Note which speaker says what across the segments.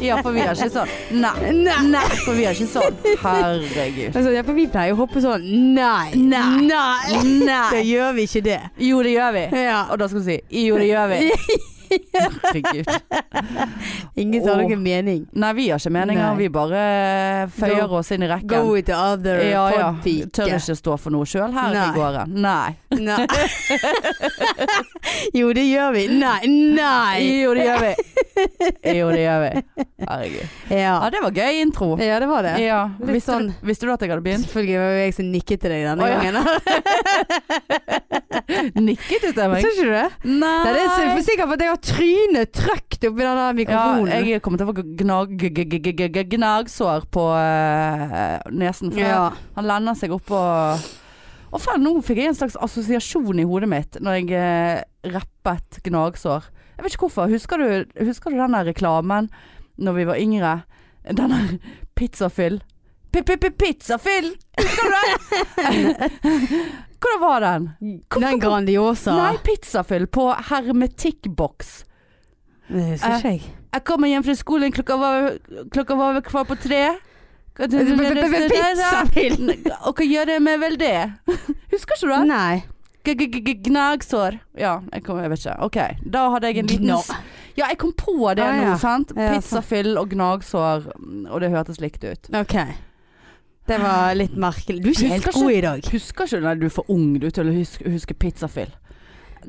Speaker 1: Ja, for vi gjør ikke sånn. Nei.
Speaker 2: Nei.
Speaker 1: Nei, for vi gjør ikke sånn. Herregud.
Speaker 2: Altså, ja, for vi pleier å hoppe sånn Nei.
Speaker 1: Nei.
Speaker 2: Da
Speaker 1: Nei.
Speaker 2: gjør vi ikke det.
Speaker 1: Jo, det gjør vi.
Speaker 2: Ja.
Speaker 1: Og da skal du si jo, det gjør vi. Herregud.
Speaker 2: Ingen sa
Speaker 1: Åh.
Speaker 2: noen mening.
Speaker 1: Nei, vi har ikke meninger.
Speaker 2: Nei.
Speaker 1: Vi bare føyer
Speaker 2: Go-
Speaker 1: oss inn i rekken.
Speaker 2: Go with the other
Speaker 1: Ja, ja.
Speaker 2: podpike.
Speaker 1: Tør ikke stå for noe sjøl her
Speaker 2: Nei.
Speaker 1: i gården. Nei.
Speaker 2: Nei. jo, det gjør vi. Nei. Nei.
Speaker 1: Jo, det gjør vi. Jo, det gjør vi. Herregud. Ja,
Speaker 2: Ja,
Speaker 1: det var gøy intro.
Speaker 2: ja det var det.
Speaker 1: Ja.
Speaker 2: Litt
Speaker 1: Visste,
Speaker 2: sånn-
Speaker 1: du, visste du at jeg hadde begynt?
Speaker 2: Selvfølgelig var det jeg som nikket til deg denne
Speaker 1: Å, ja.
Speaker 2: gangen.
Speaker 1: Nikket du til meg?
Speaker 2: Tror ikke du det?
Speaker 1: Nei.
Speaker 2: Nei, det er så- for sikkert for at jeg har trynet trøkt oppi den der mikrofonen.
Speaker 1: Ja, jeg kommer til å få gnag, g- g- g- g- g- gnagsår på eh, nesen. For
Speaker 2: Ja.
Speaker 1: Han lander seg oppå Å faen, nå fikk jeg en slags assosiasjon i hodet mitt når jeg eh, rappet gnagsår. Jeg vet ikke hvorfor. Husker du, husker du den der reklamen når vi var yngre? Den der pizzafyll. Pi-pi-pi-pizzafyll! Husker du det? Hvordan var den?
Speaker 2: Den Grandiosa.
Speaker 1: Nei, pizzafyll på hermetikkboks.
Speaker 2: Det husker ikke jeg.
Speaker 1: Jeg kommer hjem fra skolen, klokka var, klokka var vel kvart på tre.
Speaker 2: Pizzabil!
Speaker 1: Og hva gjør jeg med vel det? Husker ikke du det?
Speaker 2: Nei.
Speaker 1: G- g- g- g- Gnagsår. Ja, jeg, kom, jeg vet ikke. Ok, da hadde jeg en liten
Speaker 2: Gna-
Speaker 1: s- Ja, jeg kom på det
Speaker 2: Ah,
Speaker 1: nå,
Speaker 2: ja.
Speaker 1: sant?
Speaker 2: Ja, sant.
Speaker 1: Pizzafyll og gnagsår, mm, og det hørtes likt ut.
Speaker 2: Ok. Det var litt merkelig. Ah. Du er ikke helt
Speaker 1: Husker
Speaker 2: god i dag.
Speaker 1: Husker ikke du? Nei, du er for ung du til å huske, huske pizzafyll.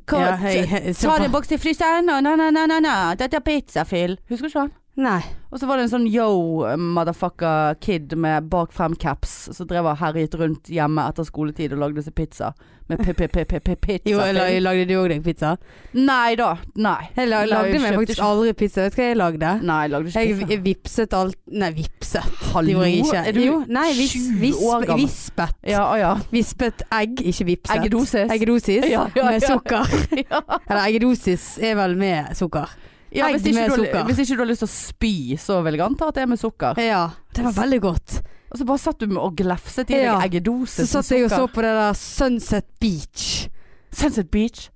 Speaker 1: Hva-
Speaker 2: Ja, jeg- jeg- så
Speaker 1: Ta
Speaker 2: bra.
Speaker 1: det en boks til fryseren, og na-na-na-na, dette er pizzafyll. Husker ikke han?
Speaker 2: Nei.
Speaker 1: Og så var det en sånn yo motherfucker kid med bak frem caps som drev og herjet rundt hjemme etter skoletid og lagde seg pizza. Med
Speaker 2: Jo,
Speaker 1: p-p-p-pizza.
Speaker 2: eller lagde du òg deg pizza?
Speaker 1: Nei da. Nei.
Speaker 2: Jeg la- lagde meg
Speaker 1: kjøpte
Speaker 2: faktisk
Speaker 1: ikke-
Speaker 2: aldri pizza. Vet du hva jeg lagde?
Speaker 1: Nei, jeg lagde ikke
Speaker 2: Jeg
Speaker 1: pizza.
Speaker 2: vi- vipset alt Nei, vipset.
Speaker 1: Hallo?
Speaker 2: Det gjorde jeg ikke.
Speaker 1: Er du
Speaker 2: jo, nei, vis,
Speaker 1: sju
Speaker 2: visp,
Speaker 1: år gammel?
Speaker 2: vispet.
Speaker 1: Ja, å ja.
Speaker 2: Vispet egg, ikke vipset.
Speaker 1: Eggedosis.
Speaker 2: Eggedosis
Speaker 1: Ja, ja,
Speaker 2: med
Speaker 1: ja.
Speaker 2: sukker.
Speaker 1: ja.
Speaker 2: Eller eggedosis er vel med sukker.
Speaker 1: ja
Speaker 2: Egg
Speaker 1: hvis, ikke
Speaker 2: med
Speaker 1: du,
Speaker 2: sukker.
Speaker 1: har- hvis ikke du har lyst til å spy, så vil jeg anta at det er med sukker.
Speaker 2: Ja, det var veldig godt.
Speaker 1: Og så bare satt du med og glefset i deg
Speaker 2: Ja.
Speaker 1: eggedose
Speaker 2: Så
Speaker 1: med
Speaker 2: satt jeg og så
Speaker 1: sukker.
Speaker 2: på det der Sunset Beach.
Speaker 1: Sunset Beach.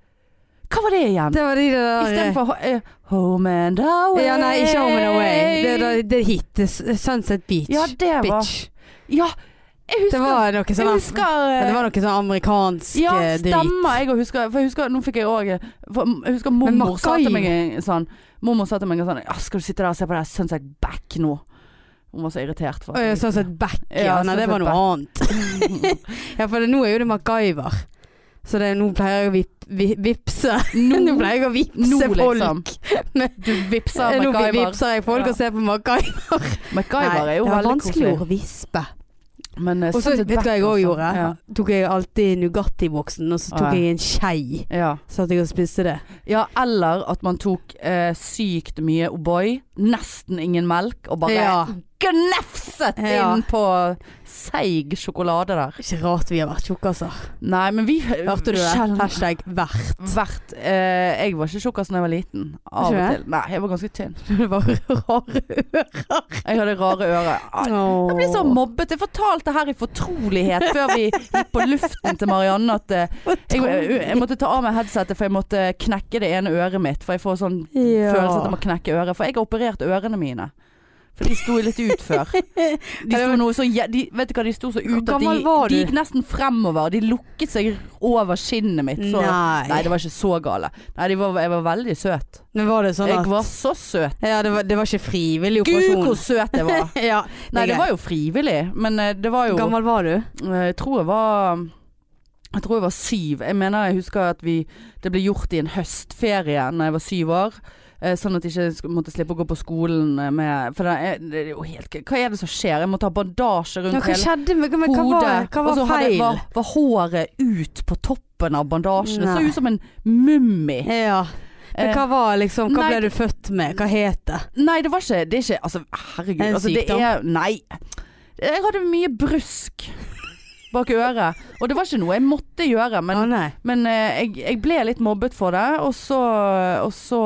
Speaker 1: Hva var det igjen?
Speaker 2: Det var de der
Speaker 1: Istedenfor uh, Home and Away.
Speaker 2: Ja, nei, ikke Home and Away. Det, det, det er hit. Det er Sunset Beach.
Speaker 1: Ja, det var
Speaker 2: Bitch.
Speaker 1: Ja, jeg husker
Speaker 2: Det var noe
Speaker 1: Jeg
Speaker 2: sånn
Speaker 1: husker
Speaker 2: ja, Det
Speaker 1: eh,
Speaker 2: var noe sånn amerikansk
Speaker 1: ja,
Speaker 2: eh, drit.
Speaker 1: stemmer. Jeg husker, for jeg husker, nå fikk jeg òg Jeg husker
Speaker 2: Men
Speaker 1: mormor sa til
Speaker 2: Mackay-
Speaker 1: meg en sånn Mormor sa til meg en sånn «Ja, 'Skal du sitte der og se på det her Sunset Back nå?' Hun var så irritert. For at
Speaker 2: Å, ja,
Speaker 1: jeg-
Speaker 2: sånn Sunset Back, ja.
Speaker 1: Ja,
Speaker 2: Nei, det
Speaker 1: Sunset
Speaker 2: var noe annet. ja, for det, nå er jo det MacGyver. Så det, nå pleier jeg å vip, vi- vipse Nå
Speaker 1: nå,
Speaker 2: pleier jeg å
Speaker 1: nå
Speaker 2: vipse
Speaker 1: liksom.
Speaker 2: folk.
Speaker 1: Du Eh, vipser
Speaker 2: Nå vi-
Speaker 1: MacGyver.
Speaker 2: vipser jeg folk
Speaker 1: Ja.
Speaker 2: og ser på MacGyver.
Speaker 1: MacGyver
Speaker 2: Nei,
Speaker 1: er jo
Speaker 2: det var
Speaker 1: veldig koselig.
Speaker 2: vanskelig å vispe.
Speaker 1: Men, eh,
Speaker 2: Og så
Speaker 1: Sunset
Speaker 2: vet du
Speaker 1: Back
Speaker 2: hva jeg òg
Speaker 1: også.
Speaker 2: gjorde?
Speaker 1: Ja.
Speaker 2: Tok jeg alltid Nugatti-boksen, og så tok
Speaker 1: Å, ja.
Speaker 2: jeg en skei.
Speaker 1: Ja.
Speaker 2: Så at jeg og spiste det.
Speaker 1: ja, eller at man tok eh, sykt mye O'boy, nesten ingen melk, og bare
Speaker 2: Ja.
Speaker 1: gnefset
Speaker 2: Ja.
Speaker 1: inn på seig sjokolade der.
Speaker 2: Ikke rart vi har vært tjukkaser.
Speaker 1: Nei, men vi
Speaker 2: Hørte du det?
Speaker 1: Sjelden-
Speaker 2: Hashtag vært.
Speaker 1: vært eh, Jeg var ikke tjukkas da jeg var liten. Av og
Speaker 2: Ikke det?
Speaker 1: til. Nei, jeg var ganske tynn.
Speaker 2: Det var rare ører.
Speaker 1: Jeg hadde rare ører. Ah, Jeg ble så mobbet. Jeg fortalte her i fortrolighet før vi gikk på luften til Marianne at eh, jeg, jeg måtte ta av meg headsetet, for jeg måtte knekke det ene øret mitt. For jeg får sånn
Speaker 2: Ja.
Speaker 1: følelse at jeg må knekke øret. For jeg har operert ørene mine. For de sto litt ut før. De sto noe så, jæ- de, vet du hva, de sto så ut
Speaker 2: Hvor
Speaker 1: at de,
Speaker 2: gammel var
Speaker 1: de
Speaker 2: du?
Speaker 1: gikk nesten fremover. De lukket seg over skinnet mitt. Så,
Speaker 2: Nei.
Speaker 1: Nei, det var ikke så gale. Nei, de var, jeg var veldig søt.
Speaker 2: Men var det sånn at
Speaker 1: Jeg var så søt.
Speaker 2: Ja, det var, det var ikke frivillig
Speaker 1: Gud,
Speaker 2: operasjon.
Speaker 1: hvor søt jeg var.
Speaker 2: ja,
Speaker 1: Nei, det var jo frivillig, men eh, det var jo
Speaker 2: Gammel var du?
Speaker 1: eh, Jeg tror jeg var jeg tror jeg var syv. Jeg mener jeg husker at vi, det ble gjort i en høstferie Når jeg var syv år. eh, Sånn at jeg ikke sk- måtte slippe å gå på skolen eh, med For det er, det er jo helt Hva er det som skjer? Jeg må ta bandasje rundt
Speaker 2: Ja, hva
Speaker 1: hele
Speaker 2: skjedde med men Hva
Speaker 1: hodet.
Speaker 2: var, hva
Speaker 1: og
Speaker 2: var
Speaker 1: så hadde-
Speaker 2: feil?
Speaker 1: var, var håret ut på toppen av bandasjen. Det
Speaker 2: Nei.
Speaker 1: så ut som en mummi.
Speaker 2: Ja. Men
Speaker 1: Eh,
Speaker 2: hva var liksom Hva
Speaker 1: nei,
Speaker 2: ble du født med? Hva het det?
Speaker 1: Nei, det var ikke Det er ikke Altså, herregud.
Speaker 2: En
Speaker 1: altså, det
Speaker 2: sykdom.
Speaker 1: er Nei. Jeg hadde mye brusk bak øret. Og det var ikke noe jeg måtte gjøre, men,
Speaker 2: Å nei.
Speaker 1: men eh, jeg, jeg ble litt mobbet for det. Og så, og så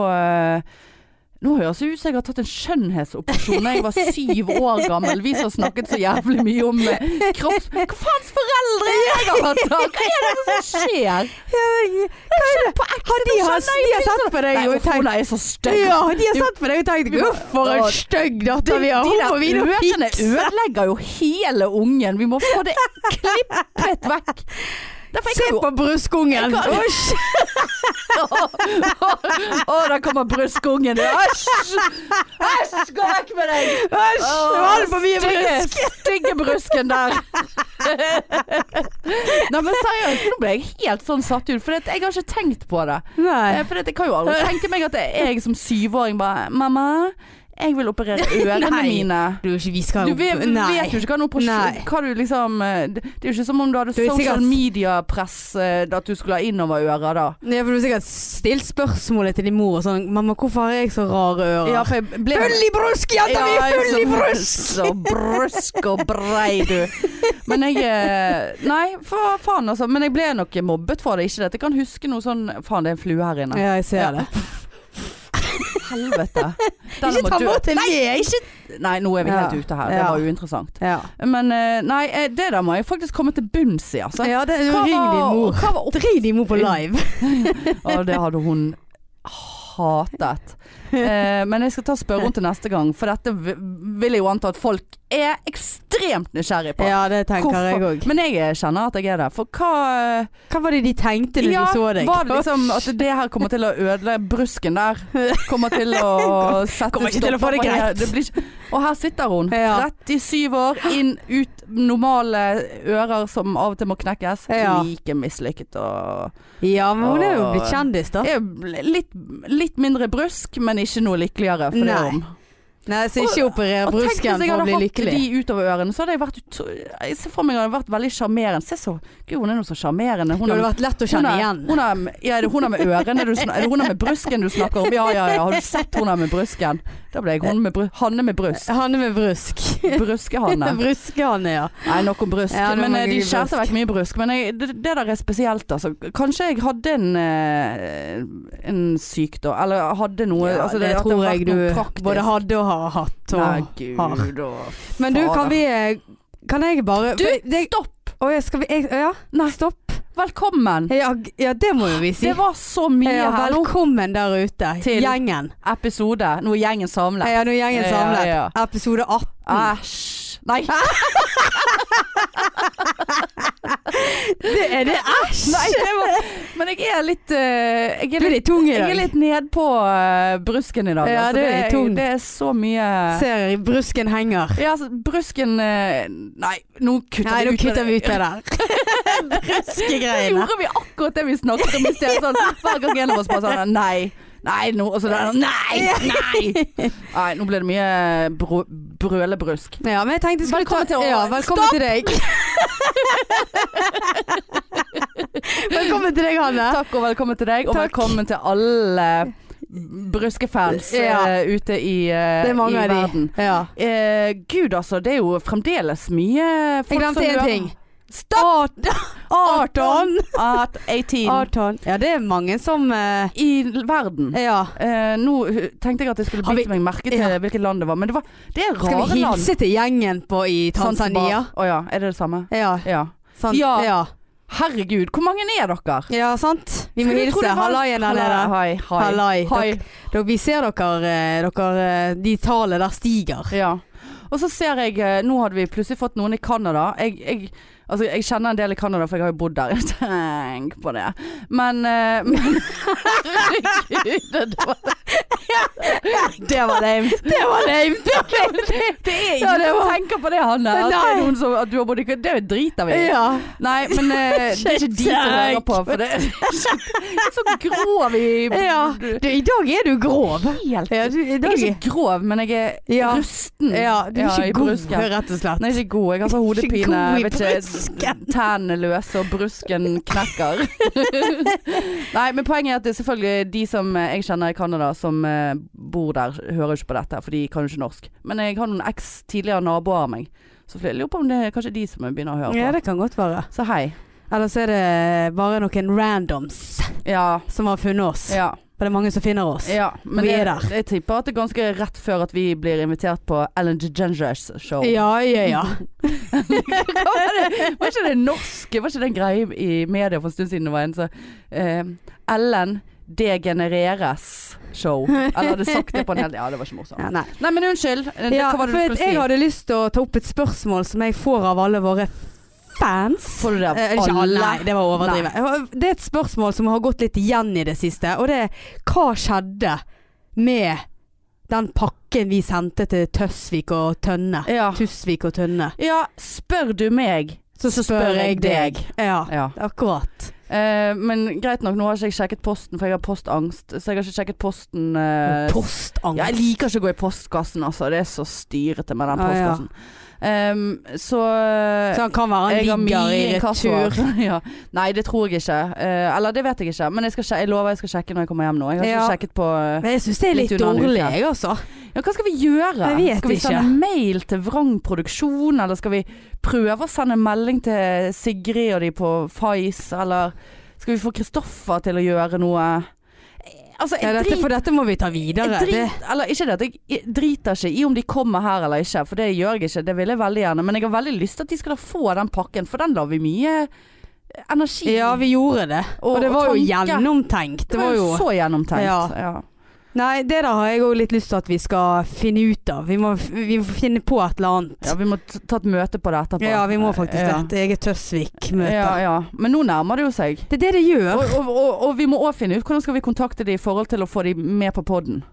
Speaker 1: Nå høres det ut som jeg har tatt en skjønnhetsoperasjon da jeg var syv år gammel. Vi som har snakket så jævlig mye om eh, kropps... Hva faens foreldre er jeg har hatt? da? Hva er det som skjer? På ekte,
Speaker 2: De har, de har sett på
Speaker 1: liksom.
Speaker 2: deg
Speaker 1: Nei,
Speaker 2: og
Speaker 1: uff, hun
Speaker 2: tenkt
Speaker 1: er så stygg.
Speaker 2: ja, de har sett på deg og tenkt Uff, for en stygg datter vi har.
Speaker 1: de
Speaker 2: Hun
Speaker 1: der
Speaker 2: må vi nå
Speaker 1: ørene
Speaker 2: fikse.
Speaker 1: ødelegger jo hele ungen. Vi må få det klippet vekk. Derfor jeg
Speaker 2: Se
Speaker 1: kan jo
Speaker 2: på bruskungen.
Speaker 1: Jeg kan-
Speaker 2: Usch.
Speaker 1: Å, der kommer brystungen. Æsj! Æsj, gå vekk med deg!
Speaker 2: Æsj. Det var altfor mye brusk.
Speaker 1: Stygge brusken der. Nei, men seriøst, nå ble jeg helt sånn satt ut, for jeg har ikke tenkt på det. Eh,
Speaker 2: Nei.
Speaker 1: For jeg kan jo aldri tenke meg at jeg som syvåring bare Mamma, jeg vil operere ørene
Speaker 2: Nei.
Speaker 1: mine.
Speaker 2: Du, ikke, vi skal
Speaker 1: Du
Speaker 2: jo
Speaker 1: vet, vet jo
Speaker 2: Nei.
Speaker 1: ikke hva, noe på,
Speaker 2: Nei.
Speaker 1: hva du liksom eh, Det det er jo ikke som om du hadde
Speaker 2: Du er
Speaker 1: social
Speaker 2: sikkert-
Speaker 1: media-press eh, at du skulle ha innover ører da.
Speaker 2: Ja, for du har sikkert stilt spørsmålet til din mor og sånn 'Mamma, hvorfor har jeg så rare ører?'
Speaker 1: Ja, for jeg ble
Speaker 2: Full i brusk, jenta mi!
Speaker 1: Ja, jeg er
Speaker 2: Full i
Speaker 1: så-
Speaker 2: brusk!
Speaker 1: Så brusk og brei, du. Men jeg eh, Nei, for faen altså. Men jeg ble nok mobbet for det, ikke det. Jeg kan huske noe sånn Faen, det er en flue her inne.
Speaker 2: Ja, jeg ser
Speaker 1: Ja.
Speaker 2: det.
Speaker 1: Helvete. Den
Speaker 2: Ikke
Speaker 1: må
Speaker 2: ta
Speaker 1: dø.
Speaker 2: bort til meg!
Speaker 1: Nei, nå er vi
Speaker 2: Ja.
Speaker 1: helt ute her. Det
Speaker 2: Ja.
Speaker 1: var uinteressant.
Speaker 2: Ja.
Speaker 1: Men eh, nei, eh, det der må jeg faktisk komme til bunns i, altså.
Speaker 2: ja, det,
Speaker 1: Hva
Speaker 2: ring din
Speaker 1: var-
Speaker 2: mor.
Speaker 1: Hva var opp...
Speaker 2: Ring din mor på live.
Speaker 1: Å, det hadde hun hatet. Eh, men jeg skal ta og spørre henne til neste gang, for dette v- vil jeg jo anta at folk er ekstremt nysgjerrig på.
Speaker 2: Ja, det tenker
Speaker 1: Hvorfor-
Speaker 2: jeg òg.
Speaker 1: Men jeg kjenner at jeg er det. For hva
Speaker 2: Hva var det de tenkte når
Speaker 1: Ja,
Speaker 2: de så deg?
Speaker 1: var det liksom at det her kommer til å ødelegge brusken der? Kommer til å sette
Speaker 2: Kommer ikke til å få det
Speaker 1: stopper for
Speaker 2: greit.
Speaker 1: det blir ikke- Og her sitter hun.
Speaker 2: Ja.
Speaker 1: 37 år, inn, ut, normale ører som av og til må knekkes.
Speaker 2: Ja.
Speaker 1: Like mislykket og
Speaker 2: Ja, men hun er jo
Speaker 1: Åh.
Speaker 2: blitt kjendis, da.
Speaker 1: er litt, litt mindre brusk, men ikke noe lykkeligere. For det
Speaker 2: Nei.
Speaker 1: om.
Speaker 2: Nei, Så ikke operer
Speaker 1: Og tenk hvis
Speaker 2: brusken
Speaker 1: jeg
Speaker 2: for å
Speaker 1: hadde
Speaker 2: bli
Speaker 1: hatt
Speaker 2: lykkelig.
Speaker 1: de utover ørene, så hadde jeg vært ut... Jeg ser for meg at jeg hadde vært veldig sjarmerende. Se så Gud, hun er nå så sjarmerende.
Speaker 2: Det
Speaker 1: Hun har
Speaker 2: hadde vært lett å
Speaker 1: Hun
Speaker 2: kjenne
Speaker 1: er-
Speaker 2: igjen.
Speaker 1: Hun er, ja, er det hun er med ørene du snakker, er det hun er med brusken du snakker om? Ja, ja, ja. Har du sett hun er med brusken? Da ble jeg hun med bru, Hanne med brusk.
Speaker 2: Hanne med brusk.
Speaker 1: Bruskehanne.
Speaker 2: Bruskehanne, ja.
Speaker 1: Nei, nok om brusk.
Speaker 2: Ja, nå må
Speaker 1: men eh,
Speaker 2: vi
Speaker 1: de
Speaker 2: brusk.
Speaker 1: skjærte vekk mye brusk. Men jeg, det, det der er spesielt, altså. Kanskje jeg hadde en, eh, en sykdom, eller hadde noe
Speaker 2: ja
Speaker 1: altså,
Speaker 2: det,
Speaker 1: at
Speaker 2: tror
Speaker 1: har vært
Speaker 2: jeg du
Speaker 1: noe praktisk.
Speaker 2: både hadde og har hatt. Og
Speaker 1: Nei,
Speaker 2: har.
Speaker 1: gud og
Speaker 2: Men du, kan
Speaker 1: fader.
Speaker 2: vi Kan jeg bare
Speaker 1: Du,
Speaker 2: for det,
Speaker 1: stopp!
Speaker 2: Å ja, skal vi jeg, Å ja.
Speaker 1: Nei.
Speaker 2: Stopp.
Speaker 1: Velkommen!
Speaker 2: Ja, ja, det må jo vi si.
Speaker 1: Det var så mye
Speaker 2: ja,
Speaker 1: her nå.
Speaker 2: velkommen der ute.
Speaker 1: Til-
Speaker 2: Gjengen.
Speaker 1: Episode. Nå er gjengen samlet.
Speaker 2: Ja, nå er gjengen
Speaker 1: Ja,
Speaker 2: samlet. Mm.
Speaker 1: ja. Ah.
Speaker 2: Episode 18.
Speaker 1: Æsj. Nei.
Speaker 2: Det er det æsj!
Speaker 1: Nei, det var, men jeg er litt eh, Jeg
Speaker 2: Du
Speaker 1: er
Speaker 2: er
Speaker 1: litt,
Speaker 2: litt tung i
Speaker 1: jeg er
Speaker 2: dag.
Speaker 1: litt nedpå uh, brusken i dag.
Speaker 2: Ja, du er litt tung.
Speaker 1: det er så mye
Speaker 2: Ser brusken henger.
Speaker 1: ja, altså, brusken eh, Nei, nå kutter
Speaker 2: Nei,
Speaker 1: vi
Speaker 2: nå
Speaker 1: ut. med
Speaker 2: kutter
Speaker 1: det.
Speaker 2: vi ut det der.
Speaker 1: Da
Speaker 2: Bruskegreiene.
Speaker 1: gjorde vi akkurat det vi snakket om i sted. Sånn, hver gang en av oss bare sånn Nei. Nei, nå Og så der Nei! Nei! Nei, nå ble det mye bro, brølebrusk.
Speaker 2: Ja, men jeg tenkte jeg skulle
Speaker 1: Velkommen
Speaker 2: ta
Speaker 1: til å-
Speaker 2: ja, Velkommen til deg. velkommen til deg, Hanne.
Speaker 1: Takk og velkommen til deg, og
Speaker 2: Takk.
Speaker 1: velkommen til alle bruskefans
Speaker 2: Ja.
Speaker 1: eh, ute i, eh,
Speaker 2: Det er mange
Speaker 1: i
Speaker 2: av de.
Speaker 1: verden.
Speaker 2: Ja.
Speaker 1: Eh, Gud altså, det er jo fremdeles mye folk
Speaker 2: Jeg glemte
Speaker 1: som
Speaker 2: en
Speaker 1: gjør-
Speaker 2: ting.
Speaker 1: Stopp!
Speaker 2: Arton.
Speaker 1: At 18
Speaker 2: Arton. Ja, det er mange som eh,
Speaker 1: i verden.
Speaker 2: Ja.
Speaker 1: Eh, nå hu- tenkte jeg at jeg skulle
Speaker 2: Har vi-
Speaker 1: bite meg merke til
Speaker 2: Ja.
Speaker 1: hvilket land det var, men det, var, det er
Speaker 2: Skal
Speaker 1: rare
Speaker 2: vi
Speaker 1: land.
Speaker 2: hilse til gjengen på i Tanzania?
Speaker 1: Zanzibar. Å ja, er det det samme?
Speaker 2: Ja.
Speaker 1: Ja.
Speaker 2: Sant.
Speaker 1: Ja.
Speaker 2: Ja.
Speaker 1: Herregud, hvor mange er dere?
Speaker 2: ja, sant? Vi må
Speaker 1: Skulle tro det
Speaker 2: hilse.
Speaker 1: var-
Speaker 2: Hallaien der nede.
Speaker 1: Hallai, hei.
Speaker 2: Hallai.
Speaker 1: Hei.
Speaker 2: Dere- Vi ser dere, eh, dere eh, De tallene der stiger.
Speaker 1: Ja. Og så ser jeg eh, Nå hadde vi plutselig fått noen i Canada. Jeg, jeg, altså, jeg kjenner en del i Canada, for jeg har jo bodd der. Tenk på det. Men, eh, men Herregud, det var Det var lame.
Speaker 2: Det var lame!
Speaker 1: Det er
Speaker 2: Ja,
Speaker 1: ingen
Speaker 2: det
Speaker 1: som
Speaker 2: var-
Speaker 1: tenker på det, Hanne. At, det er
Speaker 2: Nei.
Speaker 1: noen som, at du har bodd i Canada. Det driter vi i.
Speaker 2: Ja.
Speaker 1: Nei, men eh, det er ikke de som hører på, for det er så grov i
Speaker 2: ja. Du, I dag er du grov.
Speaker 1: Helt
Speaker 2: Ja, du, i
Speaker 1: Jeg er
Speaker 2: dag
Speaker 1: ikke så grov, men jeg er
Speaker 2: Ja.
Speaker 1: rusten.
Speaker 2: mm. Ja, du er
Speaker 1: i
Speaker 2: ikke god,
Speaker 1: brusken.
Speaker 2: rett og slett.
Speaker 1: Nei, ikke god. Jeg har så
Speaker 2: Ikke
Speaker 1: hodepine.
Speaker 2: god i
Speaker 1: Jeg vet ikke,
Speaker 2: brusken.
Speaker 1: tennene løse og brusken knekker. Nei, men poenget er at det er selvfølgelig de som eh, jeg kjenner i Canada som eh, bor der, hører jo ikke på dette, for de kan jo ikke norsk. Men jeg har noen eks tidligere naboer av meg, så jeg lurer på om det er kanskje de som begynner å høre på.
Speaker 2: Ja, det kan godt være.
Speaker 1: Så hei.
Speaker 2: Eller så er det bare noen randoms
Speaker 1: Ja.
Speaker 2: som har funnet oss.
Speaker 1: ja.
Speaker 2: For det er mange som finner oss.
Speaker 1: Ja, men
Speaker 2: Vi er
Speaker 1: jeg,
Speaker 2: der.
Speaker 1: jeg tipper at det er ganske rett før at vi blir invitert på Ellen DeGeneres show.
Speaker 2: ja, ja. ja.
Speaker 1: Hva var, det, var ikke det norske? Var ikke det en greie i media for en stund siden det var en så eh, Ellen degenereres show. Eller hadde sagt det på en hel Ja, det var ikke morsomt.
Speaker 2: ja nei.
Speaker 1: Nei, men unnskyld. Eh,
Speaker 2: Ja,
Speaker 1: Hva var det
Speaker 2: for
Speaker 1: du
Speaker 2: at jeg
Speaker 1: skulle si?
Speaker 2: hadde lyst til å ta opp et spørsmål som jeg får av alle våre fans.
Speaker 1: Får du det av
Speaker 2: Eh, ikke alle,
Speaker 1: alle?
Speaker 2: nei, det var å overdrive. Det er et spørsmål som har gått litt igjen i det siste, og det er hva skjedde med den pakken vi sendte til Tøsvik og Tønne?
Speaker 1: Ja.
Speaker 2: Tusvik og Tønne.
Speaker 1: ja, spør du meg?
Speaker 2: Så
Speaker 1: spør jeg deg.
Speaker 2: Ja,
Speaker 1: Ja.
Speaker 2: akkurat.
Speaker 1: Eh, men greit nok, nå har ikke jeg sjekket posten, for jeg har postangst. Så jeg har ikke sjekket posten eh,
Speaker 2: Postangst.
Speaker 1: Ja, jeg liker ikke å gå i postkassen, altså. Det er så styrete med den
Speaker 2: Ah, ja.
Speaker 1: postkassen. Ehm, så
Speaker 2: Så han kan være
Speaker 1: jeg har
Speaker 2: han ligger i
Speaker 1: mye
Speaker 2: retur.
Speaker 1: kasser. ja. Nei, det tror jeg ikke. Eh, eller det vet jeg ikke. Men jeg, skal, sje- jeg lover jeg skal sjekke når jeg kommer hjem nå. Jeg har
Speaker 2: Ja.
Speaker 1: ikke sjekket på eh,
Speaker 2: Men jeg syns det er
Speaker 1: Litt
Speaker 2: litt,
Speaker 1: unna en
Speaker 2: dårlig,
Speaker 1: uke.
Speaker 2: jeg altså.
Speaker 1: Ja, hva skal vi gjøre?
Speaker 2: Jeg vet
Speaker 1: skal vi
Speaker 2: ikke.
Speaker 1: sende mail til Vrang Produksjon, eller skal vi prøve å sende melding til Sigrid og de på Fais, eller skal vi få Kristoffer til å gjøre noe? Altså,
Speaker 2: Ja,
Speaker 1: jeg
Speaker 2: dette,
Speaker 1: driter
Speaker 2: for dette må vi ta videre.
Speaker 1: Jeg
Speaker 2: Det,
Speaker 1: drit, eller, ikke det at jeg jeg driter ikke i om de kommer her eller ikke, for det gjør jeg ikke. Det vil jeg veldig gjerne. Men jeg har veldig lyst til at de skal da få den pakken, for den la vi mye energi
Speaker 2: ja, vi gjorde det. Og det var jo
Speaker 1: tanke.
Speaker 2: gjennomtenkt.
Speaker 1: Det var jo så gjennomtenkt.
Speaker 2: Ja.
Speaker 1: Ja.
Speaker 2: Nei, det der har jeg òg litt lyst til at vi skal finne ut av. Vi må, vi må finne på et eller annet.
Speaker 1: Ja, vi må t- ta et møte på det etterpå.
Speaker 2: Ja, vi må faktisk
Speaker 1: Ja.
Speaker 2: det. Jeg er Tøsvik-møte.
Speaker 1: Ja, ja. Men nå nærmer det jo seg.
Speaker 2: Det er det det gjør.
Speaker 1: Og, og, og, og vi må òg finne ut hvordan skal vi kontakte de i forhold til å få de med på poden.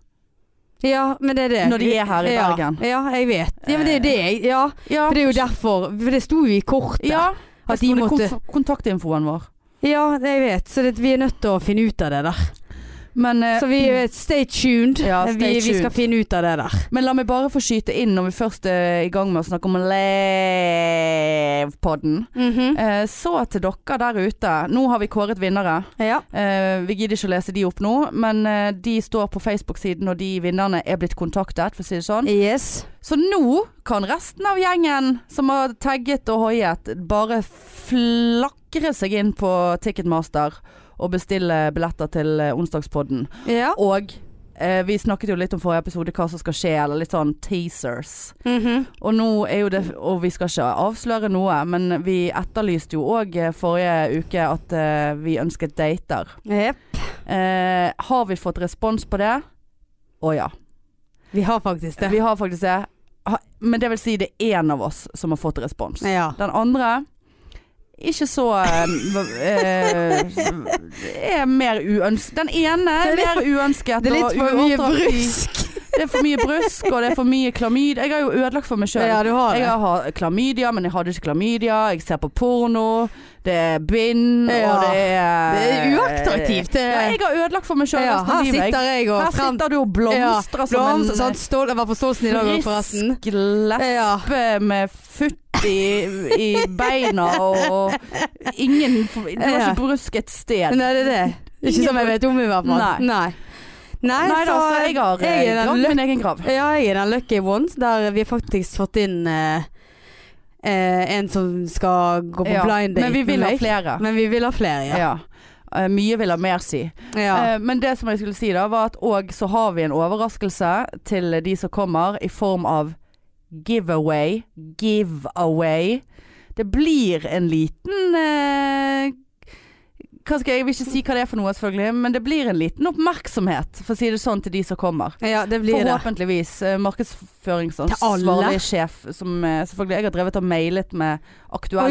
Speaker 2: Ja, men det er det.
Speaker 1: Når de er her i
Speaker 2: ja.
Speaker 1: Bergen.
Speaker 2: Ja, jeg vet. Ja, men det er det jeg Ja,
Speaker 1: Ja.
Speaker 2: for det er jo derfor. For det sto jo i kortet.
Speaker 1: ja.
Speaker 2: At
Speaker 1: Der
Speaker 2: de
Speaker 1: sto det
Speaker 2: måtte-
Speaker 1: konf- kontaktinfoen vår.
Speaker 2: Ja, jeg vet. Så det, vi er nødt til å finne ut av det der.
Speaker 1: Men, eh,
Speaker 2: Så vi vet, stay tuned.
Speaker 1: Ja, stay
Speaker 2: vi, vi skal
Speaker 1: tuned.
Speaker 2: finne ut av det der.
Speaker 1: Men la meg bare få skyte inn når vi først er i gang med å snakke om Lev-podden. Eh, så til dere der ute. Nå har vi kåret vinnere.
Speaker 2: Ja.
Speaker 1: Eh, vi gidder ikke å lese de opp nå, men eh, de står på Facebook-siden, og de vinnerne er blitt kontaktet, for å si det sånn.
Speaker 2: Yes.
Speaker 1: Så nå kan resten av gjengen som har tagget og hoiet, bare flakre seg inn på Ticketmaster og bestille billetter til eh, onsdagspodden.
Speaker 2: Ja.
Speaker 1: Og eh, vi snakket jo litt om forrige episode hva som skal skje, eller litt sånn teasers.
Speaker 2: Mhm.
Speaker 1: Og nå er jo det Og vi skal ikke avsløre noe, men vi etterlyste jo òg forrige uke at eh, vi ønsket dater.
Speaker 2: Jep.
Speaker 1: Eh, har vi fått respons på det? Å ja.
Speaker 2: Vi har faktisk det.
Speaker 1: Vi har faktisk det. Ha, men det vil si det er én av oss som har fått respons.
Speaker 2: Ja.
Speaker 1: Den andre ikke så eh, v- eh, er mer uønsket. Den ene er
Speaker 2: Det er
Speaker 1: mer uønsket
Speaker 2: Det er litt
Speaker 1: og
Speaker 2: for mye
Speaker 1: uattraktiv.
Speaker 2: brusk.
Speaker 1: Det er for mye brusk, og det er for mye klamyd. Jeg har jo ødelagt for meg sjøl.
Speaker 2: Ja, du har
Speaker 1: Jeg
Speaker 2: det.
Speaker 1: har klamydia, men jeg hadde ikke klamydia. Jeg ser på porno. Det er bind,
Speaker 2: Ja.
Speaker 1: og det er
Speaker 2: Det er uattraktivt. Det,
Speaker 1: Eh, Ja, jeg har ødelagt for meg sjøl
Speaker 2: ja,
Speaker 1: resten av
Speaker 2: her
Speaker 1: livet.
Speaker 2: sitter
Speaker 1: jeg.
Speaker 2: jeg og
Speaker 1: Her
Speaker 2: frem...
Speaker 1: sitter du og blomstrer som
Speaker 2: Blomster,
Speaker 1: en eh,
Speaker 2: sant? Stål, jeg var på Stålsen i dag også, forresten.
Speaker 1: frisk lesbe med futt i, i beina og ingen Det var
Speaker 2: Ja.
Speaker 1: ikke brusk et sted.
Speaker 2: Nei, det er det. Ikke som jeg vet om i hvert fall.
Speaker 1: Nei.
Speaker 2: Nei. Nei,
Speaker 1: Nei da, så jeg har
Speaker 2: jeg
Speaker 1: eh,
Speaker 2: er den
Speaker 1: gravd
Speaker 2: lø-
Speaker 1: min egen grav.
Speaker 2: Ja, jeg er den lucky one der vi har faktisk fått inn eh, eh, en som skal gå på
Speaker 1: Ja,
Speaker 2: blind date
Speaker 1: Men vi vil
Speaker 2: med
Speaker 1: ha
Speaker 2: meg.
Speaker 1: flere.
Speaker 2: Men vi vil ha flere, ja.
Speaker 1: Ja. Eh, mye vil ha mer si.
Speaker 2: ja.
Speaker 1: Eh, men det som jeg skulle si da, var at òg så har vi en overraskelse til de som kommer, i form av giveaway. Giveaway. Det blir en liten eh, hva skal jeg, jeg vil ikke si hva det er for noe, selvfølgelig, men det blir en liten oppmerksomhet, for å si det sånn, til de som kommer.
Speaker 2: ja, det blir det.
Speaker 1: Forhåpentligvis. eh,
Speaker 2: Til alle?
Speaker 1: Markedsføringsansvarlig sjef, som eh, selvfølgelig jeg har drevet og mailet med aktuelle aktører.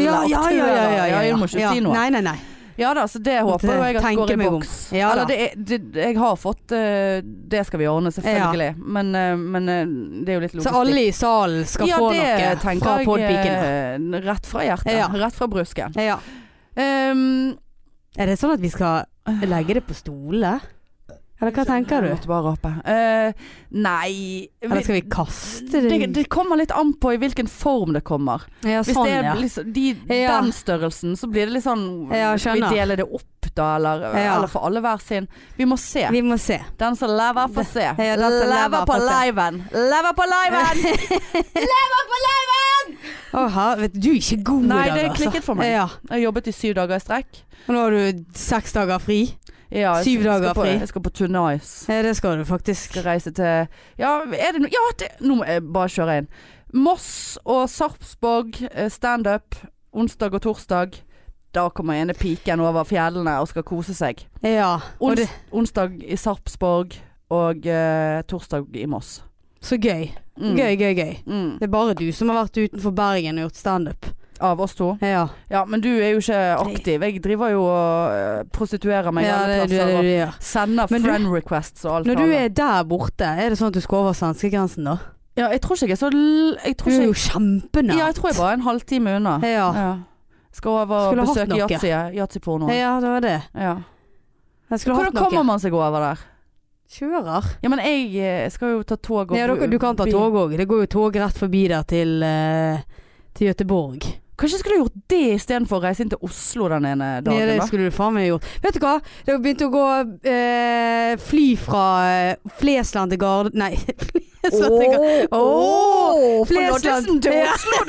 Speaker 1: jeg må ikke
Speaker 2: Ja.
Speaker 1: si noe.
Speaker 2: Nei, nei, nei.
Speaker 1: Ja da, så det håper
Speaker 2: Måtte
Speaker 1: jo jeg at
Speaker 2: tenke
Speaker 1: går i
Speaker 2: meg om.
Speaker 1: boks.
Speaker 2: Ja
Speaker 1: Eller
Speaker 2: da.
Speaker 1: det, er- det, jeg har fått eh, Det skal vi ordne, selvfølgelig. Men, eh, men eh, det er jo litt
Speaker 2: Så
Speaker 1: logistikk.
Speaker 2: alle i salen skal få
Speaker 1: det
Speaker 2: noe
Speaker 1: tenker
Speaker 2: fra
Speaker 1: jeg,
Speaker 2: podpikene.
Speaker 1: eh, Rett fra hjertet.
Speaker 2: Ja.
Speaker 1: Rett fra brusken.
Speaker 2: Ja.
Speaker 1: Ehm,
Speaker 2: Er det sånn at vi skal legge det på stole? Eller hva
Speaker 1: Jeg
Speaker 2: tenker du?
Speaker 1: måtte bare rape. Eh, nei
Speaker 2: Eller skal vi kaste det?
Speaker 1: det, det kommer litt an på i hvilken form det kommer.
Speaker 2: ja,
Speaker 1: Hvis
Speaker 2: sånn,
Speaker 1: det er
Speaker 2: ja.
Speaker 1: liksom, de,
Speaker 2: Ja.
Speaker 1: den størrelsen, så blir det litt sånn
Speaker 2: Ja,
Speaker 1: Skal vi
Speaker 2: skjønner.
Speaker 1: dele det opp, da? Eller,
Speaker 2: Ja.
Speaker 1: eller for alle hver sin? Vi må se.
Speaker 2: Vi må se.
Speaker 1: Den som lever, får se.
Speaker 2: Ja, den som lever,
Speaker 1: lever på
Speaker 2: får se.
Speaker 1: liven! Lever på liven! lever på liven!
Speaker 2: Å, helvete, du er ikke god
Speaker 1: Nei,
Speaker 2: i dag,
Speaker 1: det
Speaker 2: altså.
Speaker 1: klikket for meg.
Speaker 2: Ja.
Speaker 1: Jeg jobbet i syv dager i strekk.
Speaker 2: Og nå har du seks dager fri.
Speaker 1: Ja, jeg
Speaker 2: Syv
Speaker 1: skal
Speaker 2: dager
Speaker 1: på-
Speaker 2: fri.
Speaker 1: Jeg skal på Tunice.
Speaker 2: Ja, det skal du faktisk.
Speaker 1: Skal reise til Ja, er det noe Ja, det, nå må jeg bare kjøre inn. Moss og Sarpsborg eh, standup onsdag og torsdag. Da kommer ene piken over fjellene og skal kose seg.
Speaker 2: Ja. Og
Speaker 1: Ons,
Speaker 2: det,
Speaker 1: Onsdag i Sarpsborg og eh, torsdag i Moss.
Speaker 2: så gøy.
Speaker 1: Mm.
Speaker 2: Gøy, gøy, gøy.
Speaker 1: Mm.
Speaker 2: Det er bare du som har vært utenfor Bergen og gjort standup.
Speaker 1: Av oss to.
Speaker 2: Ja.
Speaker 1: Ja, men du er jo ikke aktiv. Jeg driver jo og eh, prostituerer meg
Speaker 2: ja, det
Speaker 1: alle
Speaker 2: er det
Speaker 1: plasser.
Speaker 2: du
Speaker 1: og
Speaker 2: gjør.
Speaker 1: Sender
Speaker 2: Men du-
Speaker 1: friend requests og alt.
Speaker 2: Når du
Speaker 1: annet.
Speaker 2: er der borte, er det sånn at du skal over svenskegrensen da?
Speaker 1: Ja, jeg tror ikke jeg er så l... Jeg
Speaker 2: Du
Speaker 1: tror ikke
Speaker 2: er
Speaker 1: jeg...
Speaker 2: jo kjempenær.
Speaker 1: Mm. Ja, jeg tror jeg bare er en halvtime unna.
Speaker 2: Ja.
Speaker 1: Ja. Skal over og
Speaker 2: Skulle hatt
Speaker 1: besøke
Speaker 2: noe.
Speaker 1: yatzy- yatzypornoen.
Speaker 2: ja, det var det.
Speaker 1: Ja.
Speaker 2: Jeg skulle
Speaker 1: Hvordan
Speaker 2: hatt noe.
Speaker 1: kommer man seg over der?
Speaker 2: Kjører.
Speaker 1: Ja, men jeg eh, skal jo ta tog og
Speaker 2: Ja, dere, du kan ta
Speaker 1: bil.
Speaker 2: tog òg. Det går jo tog rett forbi der til, eh, til Gøteborg.
Speaker 1: Kanskje jeg skulle gjort det istedenfor å reise inn til Oslo den ene dagen,
Speaker 2: Ja, det
Speaker 1: da?
Speaker 2: skulle du faen meg gjort. Vet du hva? Det begynte å gå eh, fly fra eh, Flesland til Gard... Nei. Flesland til Gard...
Speaker 1: Åh,
Speaker 2: Åh,
Speaker 1: Fra
Speaker 2: Flesland.
Speaker 1: Loddesen til
Speaker 2: Ja.
Speaker 1: Oslo,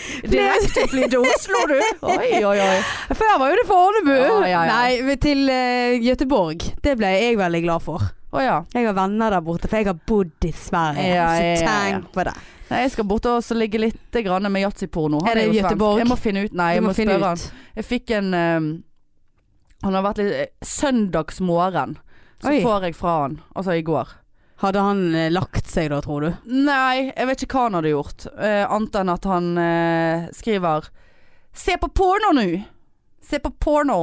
Speaker 1: du! Direktefly til Oslo, du! Oi, oi, oi.
Speaker 2: Før var jo det fra Ånebu!
Speaker 1: Ja, ja, ja.
Speaker 2: Nei, men til eh, Gøteborg. Det ble jeg veldig glad for.
Speaker 1: Å ja.
Speaker 2: Jeg har venner der borte, for jeg har bodd i Sverige.
Speaker 1: Ja,
Speaker 2: så
Speaker 1: ja, ja, ja.
Speaker 2: tenk på det.
Speaker 1: Nei, jeg skal bort og så ligge litt grann med yatzyporno. Han
Speaker 2: Er det
Speaker 1: jo svensk.
Speaker 2: Göteborg?
Speaker 1: Jeg må finne ut. Nei,
Speaker 2: Du
Speaker 1: jeg må,
Speaker 2: må finne
Speaker 1: spørre han.
Speaker 2: ut.
Speaker 1: Jeg fikk en eh, Han har vært litt eh, Søndagsmorgen. Så
Speaker 2: Oi.
Speaker 1: får jeg fra han. Altså i går.
Speaker 2: Hadde han eh, lagt seg da, tror du?
Speaker 1: Nei, jeg vet ikke hva han hadde gjort. Uh, annet enn at han eh, skriver Se på porno nå! Se på porno.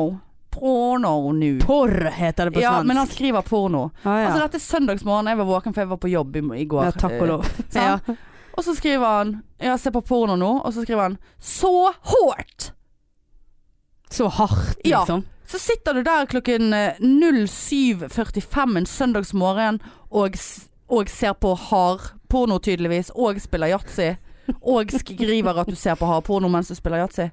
Speaker 1: Porno nå.
Speaker 2: Porr heter det på
Speaker 1: Ja,
Speaker 2: svensk.
Speaker 1: men han skriver porno.
Speaker 2: ah, ja.
Speaker 1: Altså dette er søndagsmorgen, jeg var våken for jeg var på jobb i, i går.
Speaker 2: ja, takk og
Speaker 1: Eh,
Speaker 2: lov.
Speaker 1: sant? Og så skriver han Ja, se på porno nå. Og så skriver han Så hårt!
Speaker 2: Så hardt,
Speaker 1: Ja.
Speaker 2: liksom.
Speaker 1: Så sitter du der klokken eh, 07.45 en søndagsmorgen og, s- og ser på hardporno tydeligvis, og spiller yatzy. Og skriver at du ser på hardporno mens du spiller yatzy.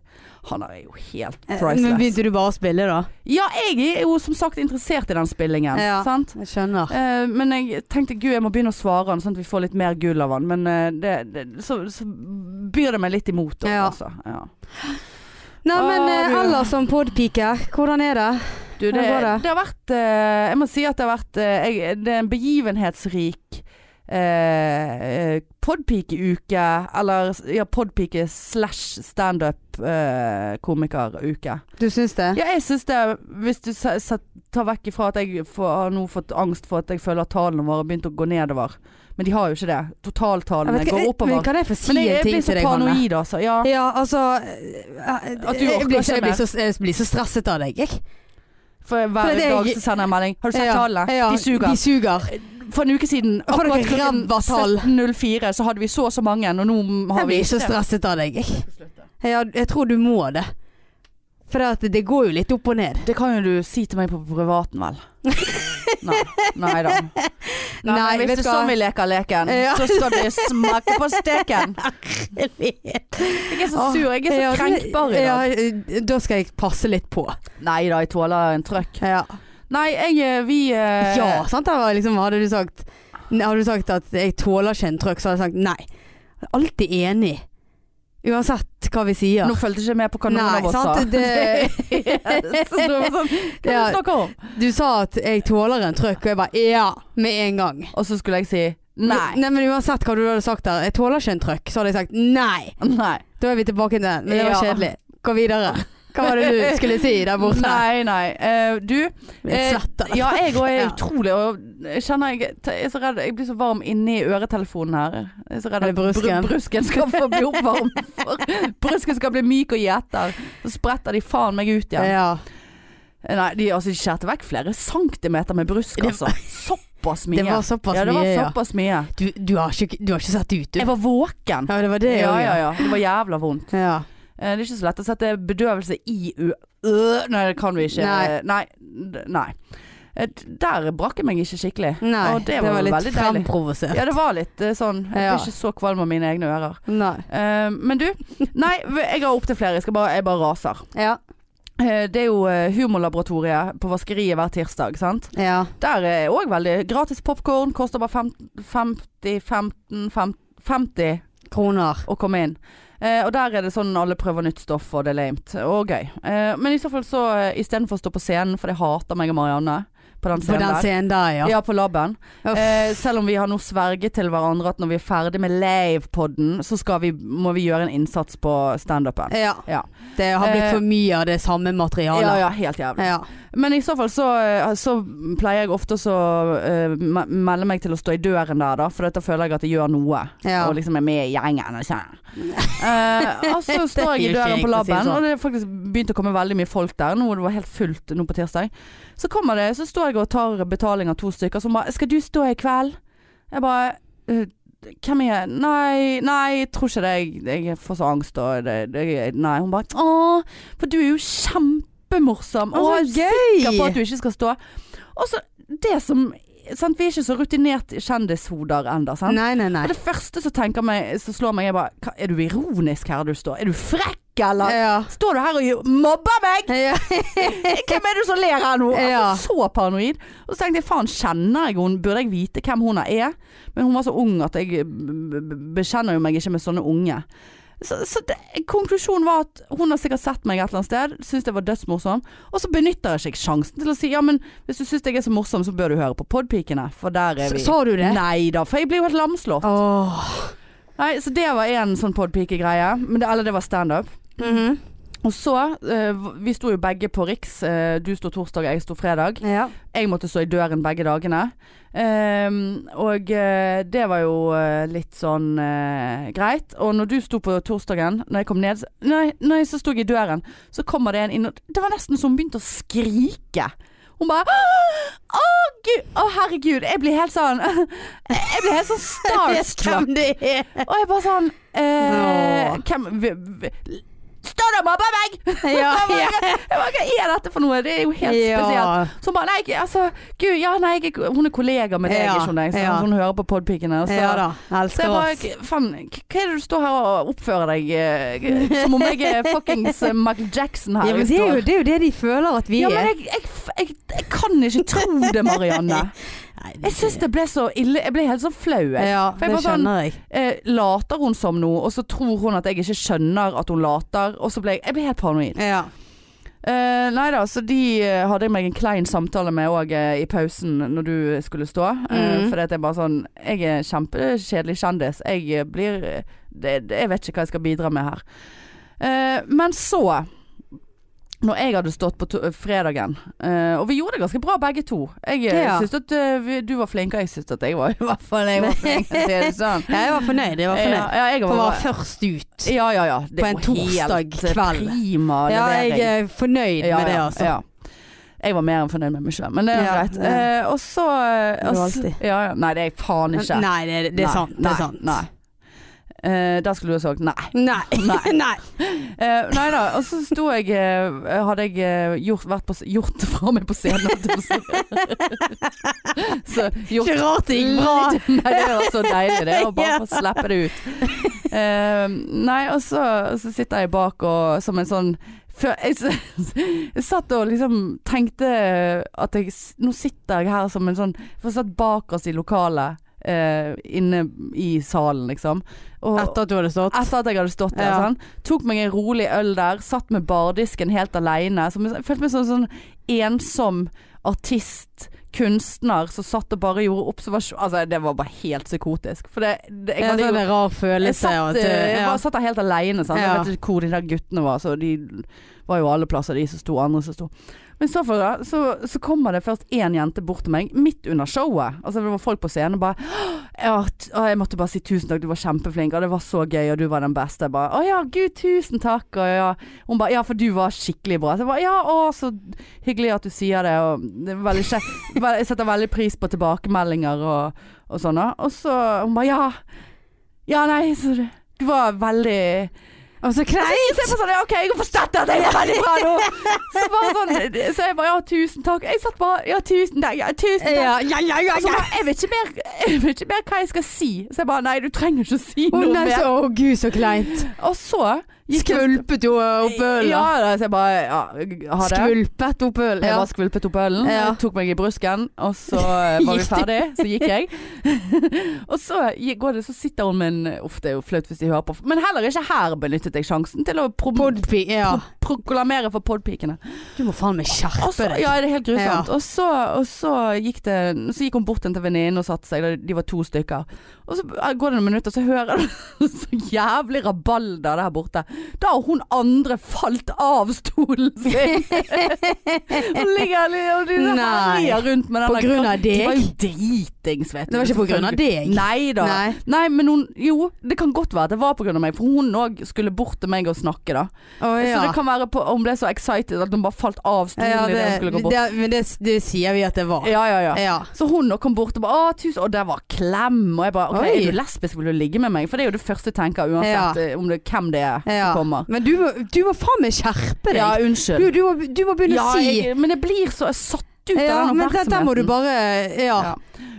Speaker 1: Han er jo helt
Speaker 2: Eh, Men
Speaker 1: priceless.
Speaker 2: begynte du bare å spille, da?
Speaker 1: Ja, jeg er jo som sagt interessert i den spillingen.
Speaker 2: Ja.
Speaker 1: Sant?
Speaker 2: Jeg skjønner.
Speaker 1: Eh, men jeg tenkte gud, jeg må begynne å svare han, sånn at vi får litt mer gull av han. Men eh, det, det, så, så byr det meg litt imot. også,
Speaker 2: Ja.
Speaker 1: Altså. Ja.
Speaker 2: Nei, men
Speaker 1: Ah,
Speaker 2: eh,
Speaker 1: du-
Speaker 2: ellers som podpike, hvordan er det?
Speaker 1: Du, det,
Speaker 2: Hvordan går det?
Speaker 1: det har vært eh, Jeg må si at det har vært eh, jeg, Det er en begivenhetsrik eh, podpikeuke, eller ja, podpike slash standup-komikeruke.
Speaker 2: Du syns det?
Speaker 1: ja, jeg syns det, hvis du se- se- tar vekk ifra at jeg får, har nå fått angst for at jeg føler at tallene våre har begynt å gå nedover, men de har jo ikke det.
Speaker 2: Jeg
Speaker 1: Totaltallene
Speaker 2: vet ikke,
Speaker 1: går
Speaker 2: jeg- men
Speaker 1: oppover.
Speaker 2: kan jeg få si
Speaker 1: Men jeg,
Speaker 2: en
Speaker 1: jeg
Speaker 2: ting
Speaker 1: blir så
Speaker 2: til deg, Hanne?
Speaker 1: paranoid, altså. Ja.
Speaker 2: Ja, altså eh,
Speaker 1: At du
Speaker 2: jeg,
Speaker 1: orker
Speaker 2: blir
Speaker 1: ikke
Speaker 2: så, jeg, blir
Speaker 1: mer.
Speaker 2: så, jeg blir så stresset av deg, jeg.
Speaker 1: For hver
Speaker 2: For det er
Speaker 1: dag
Speaker 2: jeg-
Speaker 1: så sender jeg melding. Har du sett
Speaker 2: Ja,
Speaker 1: tallene?
Speaker 2: ja,
Speaker 1: De suger.
Speaker 2: De suger.
Speaker 1: For en uke siden,
Speaker 2: For dere
Speaker 1: akkurat klokken
Speaker 2: ræva tall.
Speaker 1: 17.04, så hadde vi så og så mange, og nå har
Speaker 2: Jeg
Speaker 1: vi
Speaker 2: blir så stresset av deg, jeg. Ja, jeg tror du må det. For det, at det går jo litt opp og ned.
Speaker 1: Det kan jo du si til meg på privaten, vel? Nei, nei da. Nei,
Speaker 2: Nei,
Speaker 1: men
Speaker 2: vet
Speaker 1: hvis det
Speaker 2: du
Speaker 1: er
Speaker 2: hva?
Speaker 1: sånn vi leker leken,
Speaker 2: Ja.
Speaker 1: så skal du smake på steken. Jeg er så
Speaker 2: Åh,
Speaker 1: sur, jeg er så
Speaker 2: Ja,
Speaker 1: krenkbar i
Speaker 2: ja,
Speaker 1: dag.
Speaker 2: eh, da skal jeg passe litt på.
Speaker 1: Nei da, jeg tåler en trøkk.
Speaker 2: Ja.
Speaker 1: Nei, jeg, eh, vi eh,
Speaker 2: Ja, sant? Da var liksom, hadde du sagt Hadde du sagt at jeg tåler ikke en trøkk, så hadde jeg sagt nei. Alltid enig. Uansett hva vi sier.
Speaker 1: Nå fulgte ikke jeg med på hva noen
Speaker 2: Nei,
Speaker 1: av oss
Speaker 2: sant,
Speaker 1: sa.
Speaker 2: det-
Speaker 1: så det var sånn, hva er det
Speaker 2: Ja.
Speaker 1: du snakker om?
Speaker 2: Du sa at 'jeg tåler en trøkk', og jeg bare 'ja' med en gang.
Speaker 1: Og så skulle jeg si nei.
Speaker 2: Nei, men Uansett hva du hadde sagt der, 'jeg tåler ikke en trøkk', så hadde jeg sagt nei.
Speaker 1: Nei.
Speaker 2: Da er vi tilbake til den, men det var
Speaker 1: Ja.
Speaker 2: kjedelig. Gå videre. Hva var det du skulle si der borte?
Speaker 1: Nei, nei. Eh, du,
Speaker 2: Jeg svetter.
Speaker 1: Ja, jeg òg er
Speaker 2: Ja.
Speaker 1: utrolig og jeg kjenner jeg, jeg er så redd Jeg blir så varm inni øretelefonen her. Jeg er så redd
Speaker 2: Er det
Speaker 1: at bru-
Speaker 2: brusken?
Speaker 1: brusken skal få bli oppvarm. For brusken skal bli myk og gjeter. Så spretter de faen meg ut igjen.
Speaker 2: Ja.
Speaker 1: Nei, de altså, de skjærte vekk flere centimeter med brusk, altså. Såpass mye.
Speaker 2: Det var såpass
Speaker 1: ja, det var
Speaker 2: mye, ja.
Speaker 1: såpass mye.
Speaker 2: Du, du, har ikke, du har ikke sett ut,
Speaker 1: Jeg
Speaker 2: du.
Speaker 1: var våken.
Speaker 2: Ja, det var det.
Speaker 1: Ja,
Speaker 2: også,
Speaker 1: ja, ja. Det var jævla vondt.
Speaker 2: ja.
Speaker 1: Eh, Det er ikke så lett å sette bedøvelse i u... Øh, Nei, det kan vi ikke.
Speaker 2: Nei.
Speaker 1: Nei. d- nei. Eh, d- Der brakk jeg meg ikke skikkelig.
Speaker 2: Nei,
Speaker 1: Og
Speaker 2: det
Speaker 1: det
Speaker 2: var,
Speaker 1: var
Speaker 2: litt
Speaker 1: veldig deilig.
Speaker 2: fremprovosert.
Speaker 1: Ja, det var litt eh, sånn. Jeg
Speaker 2: Ja.
Speaker 1: blir ikke så kvalm av mine egne ører.
Speaker 2: Nei.
Speaker 1: Eh, men du, nei, v- jeg har opptil flere. Jeg, skal bare, jeg bare raser.
Speaker 2: Ja.
Speaker 1: Eh, det er jo eh, Humorlaboratoriet på Vaskeriet hver tirsdag, sant.
Speaker 2: ja.
Speaker 1: Der er òg veldig Gratis popkorn, koster bare fem- 50, 15, fem- 50
Speaker 2: Kroner.
Speaker 1: å komme inn. Eh, og der er det sånn alle prøver nytt stoff, og det er lamet. Og gøy. Eh, men i så fall så, eh, istedenfor å stå på scenen, for det hater meg og Marianne på den
Speaker 2: På
Speaker 1: scenen
Speaker 2: den
Speaker 1: der.
Speaker 2: scenen der, ja.
Speaker 1: Ja, på laben.
Speaker 2: Uff.
Speaker 1: Eh, selv om vi har nå sverget til hverandre at når vi er ferdig med livepodden, så skal vi, må vi gjøre en innsats på standupen.
Speaker 2: Ja.
Speaker 1: Ja.
Speaker 2: Det har blitt
Speaker 1: Eh,
Speaker 2: for mye av det samme materialet.
Speaker 1: Ja, ja, helt jævlig.
Speaker 2: Ja.
Speaker 1: Men i så fall så, eh, så pleier jeg ofte å så, eh, me- melde meg til å stå i døren der, da. For dette føler jeg at jeg gjør noe.
Speaker 2: Ja.
Speaker 1: Og liksom er med i gjengen. og sånn. Eh, og så står jeg i
Speaker 2: Det er
Speaker 1: døren
Speaker 2: ikke
Speaker 1: på
Speaker 2: riktig å si
Speaker 1: laben,
Speaker 2: sånn.
Speaker 1: og det er faktisk begynt å komme veldig mye folk der. Nå det var helt fullt nå på tirsdag. Så kommer det, så står jeg og tar betaling av to stykker som bare 'Skal du stå i kveld?' Jeg bare «Eh, hvem er jeg? Nei, nei, jeg tror ikke det. Jeg, jeg får så angst og det, det, Nei. Hun bare 'Å, for du er jo kjempemorsom'.
Speaker 2: Å,
Speaker 1: Å,
Speaker 2: så gøy!
Speaker 1: sikker på at du ikke skal stå. Og så det som sant? Vi er ikke så rutinert kjendishoder ennå, sant?
Speaker 2: Nei, nei, nei.
Speaker 1: Og det første som, tenker meg, som slår meg, er bare "Hva, Er du ironisk her du står? Er du frekk, eller?
Speaker 2: Ja.
Speaker 1: Står du her og mobber meg?
Speaker 2: Ja.
Speaker 1: Hvem er du som ler her nå?
Speaker 2: Ja.
Speaker 1: Altså, så paranoid. Og så tenkte jeg faen, kjenner jeg henne? Burde jeg vite hvem hun er? Men hun var så ung at jeg eh, b- b- bekjenner jo meg ikke med sånne unge. Så, så det, konklusjonen var at hun har sikkert sett meg et eller annet sted, syns det var dødsmorsom, og så benytter jeg ikke sjansen til å si ja, men hvis du syns jeg er så morsom, så bør du høre på Podpikene, for der er vi.
Speaker 2: Sa du det?
Speaker 1: Nei da, for jeg blir jo helt lamslått.
Speaker 2: Åh.
Speaker 1: Nei, så det var en sånn podpike-greie. Men det, eller det var standup.
Speaker 2: Mhm.
Speaker 1: Og så eh, Vi sto jo begge på Riks. Eh, du sto torsdag, jeg sto fredag.
Speaker 2: Ja.
Speaker 1: Jeg måtte stå i døren begge dagene. Ehm, og eh, det var jo eh, litt sånn eh, greit. Og når du sto på torsdagen, når jeg kom ned så- Nei, når jeg så sto jeg i døren, så kommer det en inn og Det var nesten som hun begynte å skrike. Hun bare Å, gud! Å, herregud! Jeg blir helt sånn Jeg blir helt sånn starstruck.
Speaker 2: Hvem det er?
Speaker 1: Og jeg bare sånn eh,
Speaker 2: Åh.
Speaker 1: Hvem vi, vi, Stå der og mobbe meg!
Speaker 2: Ja, ja.
Speaker 1: Jeg bare, Hva er dette for noe? Det er jo helt spesielt.
Speaker 2: ja.
Speaker 1: Så hun bare Nei, ikke- altså Gud, ja, nei, jeg, er- hun er kollega med deg,
Speaker 2: Ja,
Speaker 1: ikke sant?
Speaker 2: ja.
Speaker 1: Hun hører på podpikene. og Så,
Speaker 2: ja da.
Speaker 1: så jeg
Speaker 2: Elsker
Speaker 1: bare
Speaker 2: oss.
Speaker 1: "K- Faen, k- hva er det du står her og oppfører deg eh, som om jeg er fuckings eh, Michael Jackson her?
Speaker 2: Ja, men
Speaker 1: Jeg
Speaker 2: det, er jo,
Speaker 1: står-
Speaker 2: det er jo det de føler at vi
Speaker 1: ja, men
Speaker 2: er.
Speaker 1: jeg, jeg, f- jeg, jeg kan ikke tro det, Marianne.
Speaker 2: Nei, det-
Speaker 1: Jeg syns det ble så ille. Jeg ble helt sånn flau. jeg.
Speaker 2: Ja,
Speaker 1: For jeg
Speaker 2: det
Speaker 1: bare sånn-
Speaker 2: skjønner jeg.
Speaker 1: eh, later hun som noe, og så tror hun at jeg ikke skjønner at hun later. Og så ble jeg, jeg ble helt paranoid.
Speaker 2: Ja.
Speaker 1: Eh, nei da, så de eh, hadde jeg meg en klein samtale med òg eh, i pausen når du skulle stå. Eh,
Speaker 2: Mhm.
Speaker 1: Fordi at jeg bare sånn Jeg er kjempekjedelig kjendis. Jeg eh, blir det, det, Jeg vet ikke hva jeg skal bidra med her. Eh, men så når jeg hadde stått på to fredagen, eh, og vi gjorde det ganske bra begge to Jeg eh,
Speaker 2: Ja.
Speaker 1: syntes at eh, vi, du var flink, og jeg syntes at jeg var i hvert fall jeg var flink. til å si det sånn.
Speaker 2: Ja, jeg var fornøyd. Jeg var fornøyd.
Speaker 1: Ja, ja, jeg
Speaker 2: For jeg
Speaker 1: var
Speaker 2: var først ut.
Speaker 1: ja, ja, ja. Det
Speaker 2: På
Speaker 1: er
Speaker 2: en
Speaker 1: jo
Speaker 2: torsdag
Speaker 1: helt, eh,
Speaker 2: kveld.
Speaker 1: Prima
Speaker 2: Ja, jeg
Speaker 1: levering.
Speaker 2: er fornøyd
Speaker 1: eh, Ja,
Speaker 2: med det,
Speaker 1: ja,
Speaker 2: altså.
Speaker 1: ja. Jeg var mer enn fornøyd med meg selv, men det er
Speaker 2: Ja,
Speaker 1: greit.
Speaker 2: ja.
Speaker 1: Eh, og så eh,
Speaker 2: Det er du
Speaker 1: og-
Speaker 2: alltid.
Speaker 1: Ja, ja. Nei, det er jeg faen ikke.
Speaker 2: Nei, det, er- det er
Speaker 1: Nei,
Speaker 2: sant. Det
Speaker 1: nei,
Speaker 2: er sant.
Speaker 1: Nei. Eh, der skulle du ha sagt nei.
Speaker 2: Nei.
Speaker 1: Nei.
Speaker 2: Nei.
Speaker 1: Eh, nei da. Og så sto jeg eh, Hadde jeg eh, gjort, vært på, s- gjort det fra meg på scenen. holdt jeg på å si. så gjort
Speaker 2: Ikke rart det gikk bra.
Speaker 1: Nei, det var så deilig det, å bare få slippe det ut. Eh, nei, og så, og så sitter jeg bak og som en sånn før, jeg, s- jeg satt og liksom tenkte at jeg s- Nå sitter jeg her som en sånn For jeg satt bak oss i lokalet eh, inne i salen, liksom. Og,
Speaker 2: Etter at du hadde stått.
Speaker 1: etter at jeg hadde stått der.
Speaker 2: Ja.
Speaker 1: sant? Tok meg en rolig øl der, satt med bardisken helt aleine. Som- Jeg følte meg som en sånn ensom artist, kunstner, som satt og bare gjorde observasjon Altså, det var bare helt psykotisk. For det, det jeg
Speaker 2: Jeg
Speaker 1: hadde
Speaker 2: hadde
Speaker 1: jo-
Speaker 2: en sånn rar
Speaker 1: jeg
Speaker 2: følelse.
Speaker 1: satt,
Speaker 2: av at,
Speaker 1: eh, jeg
Speaker 2: ja.
Speaker 1: bare satt der helt alene. Sant?
Speaker 2: Ja.
Speaker 1: Jeg vet ikke hvor de der guttene var. Så de var jo alle plasser, de som sto, andre som sto. Men så, for, da, så, så kommer det først én jente bort til meg midt under showet. Altså Det var folk på scenen og bare ja, t- å, Jeg måtte bare si tusen takk, du var kjempeflink, og det var så gøy, og du var den beste. Jeg bare Å ja, gud, tusen takk. Og ja. Hun bare Ja, for du var skikkelig bra. Så jeg bare Ja, å, så hyggelig at du sier det, og det er veldig kjekt. Vel, Jeg setter veldig pris på tilbakemeldinger og, og sånn. da. Og så hun bare Ja. Ja, nei, så du, du var veldig
Speaker 2: Og så kleint!
Speaker 1: Se på sånn, ja, ok, jeg har forstått at jeg var veldig bra nå Så bare sånn, så jeg bare, ja, tusen takk Jeg satt bare, ja, tusen takk, ja, tusen takk
Speaker 2: Ja, ja, ja, ja.
Speaker 1: Og så
Speaker 2: ja.
Speaker 1: bare, jeg vet, ikke mer, jeg vet ikke mer hva jeg skal si Så jeg bare, nei, du trenger ikke å si
Speaker 2: Å
Speaker 1: noe
Speaker 2: nei,
Speaker 1: mer
Speaker 2: så, å gud, så kleint.
Speaker 1: Og så Gikk en-
Speaker 2: Skvulpet jo opp ølen.
Speaker 1: Ja, da, så jeg bare ja, ha det.
Speaker 2: Skvulpet opp ølen.
Speaker 1: Jeg
Speaker 2: Ja.
Speaker 1: bare skvulpet opp ølen,
Speaker 2: Ja.
Speaker 1: tok meg i brusken, og så eh, var vi
Speaker 2: Gikk du?
Speaker 1: ferdig. Så gikk jeg. og så gi- går det, så sitter hun med en Uff, det er jo flaut hvis de hører på. Men heller ikke her benyttet jeg sjansen til å prom
Speaker 2: Podpi, ja.
Speaker 1: proklamere for podpikene.
Speaker 2: Du må faen meg
Speaker 1: Og
Speaker 2: skjerpe
Speaker 1: så,
Speaker 2: deg.
Speaker 1: ja, det er helt grusomt. Og, så, og så, gikk det, så gikk hun bort til en venninne og satte seg, de var to stykker. Og så går det noen minutter, så hører du så jævlig rabalder der borte. Da har hun andre falt av stolen sin! Hun ligger li- og de
Speaker 2: Nei.
Speaker 1: herjer rundt med den
Speaker 2: På
Speaker 1: der
Speaker 2: grunn av
Speaker 1: De var jo
Speaker 2: deg.
Speaker 1: dritings, vet du.
Speaker 2: Det var ikke på grunn av deg.
Speaker 1: Nei da.
Speaker 2: Nei.
Speaker 1: Nei, men hun Jo, det kan godt være at det var på grunn av meg, for hun òg skulle bort til meg og snakke, da.
Speaker 2: Å, ja.
Speaker 1: Så det kan være på, hun ble så excited at hun bare falt av stolen
Speaker 2: ja,
Speaker 1: idet
Speaker 2: det,
Speaker 1: hun skulle gå bort.
Speaker 2: det, men det, det sier vi at det var.
Speaker 1: Ja, ja, ja.
Speaker 2: Ja.
Speaker 1: Så hun nå kom bort og bare 'Å, tusen Og der var klem. Og jeg bare 'OK,
Speaker 2: Oi.
Speaker 1: er du lesbisk, vil du ligge med meg?' For det er jo det første jeg tenker uansett
Speaker 2: Ja.
Speaker 1: eh, om det, hvem det er
Speaker 2: Ja.
Speaker 1: som kommer.
Speaker 2: Men du, må- du må faen meg skjerpe deg.
Speaker 1: Ja,
Speaker 2: du,
Speaker 1: unnskyld.
Speaker 2: du, må, du må begynne
Speaker 1: ja,
Speaker 2: å si
Speaker 1: jeg, men jeg blir så satt ut
Speaker 2: ja,
Speaker 1: av den
Speaker 2: men der,
Speaker 1: oppmerksomheten.
Speaker 2: der må du bare Ja.
Speaker 1: Ja.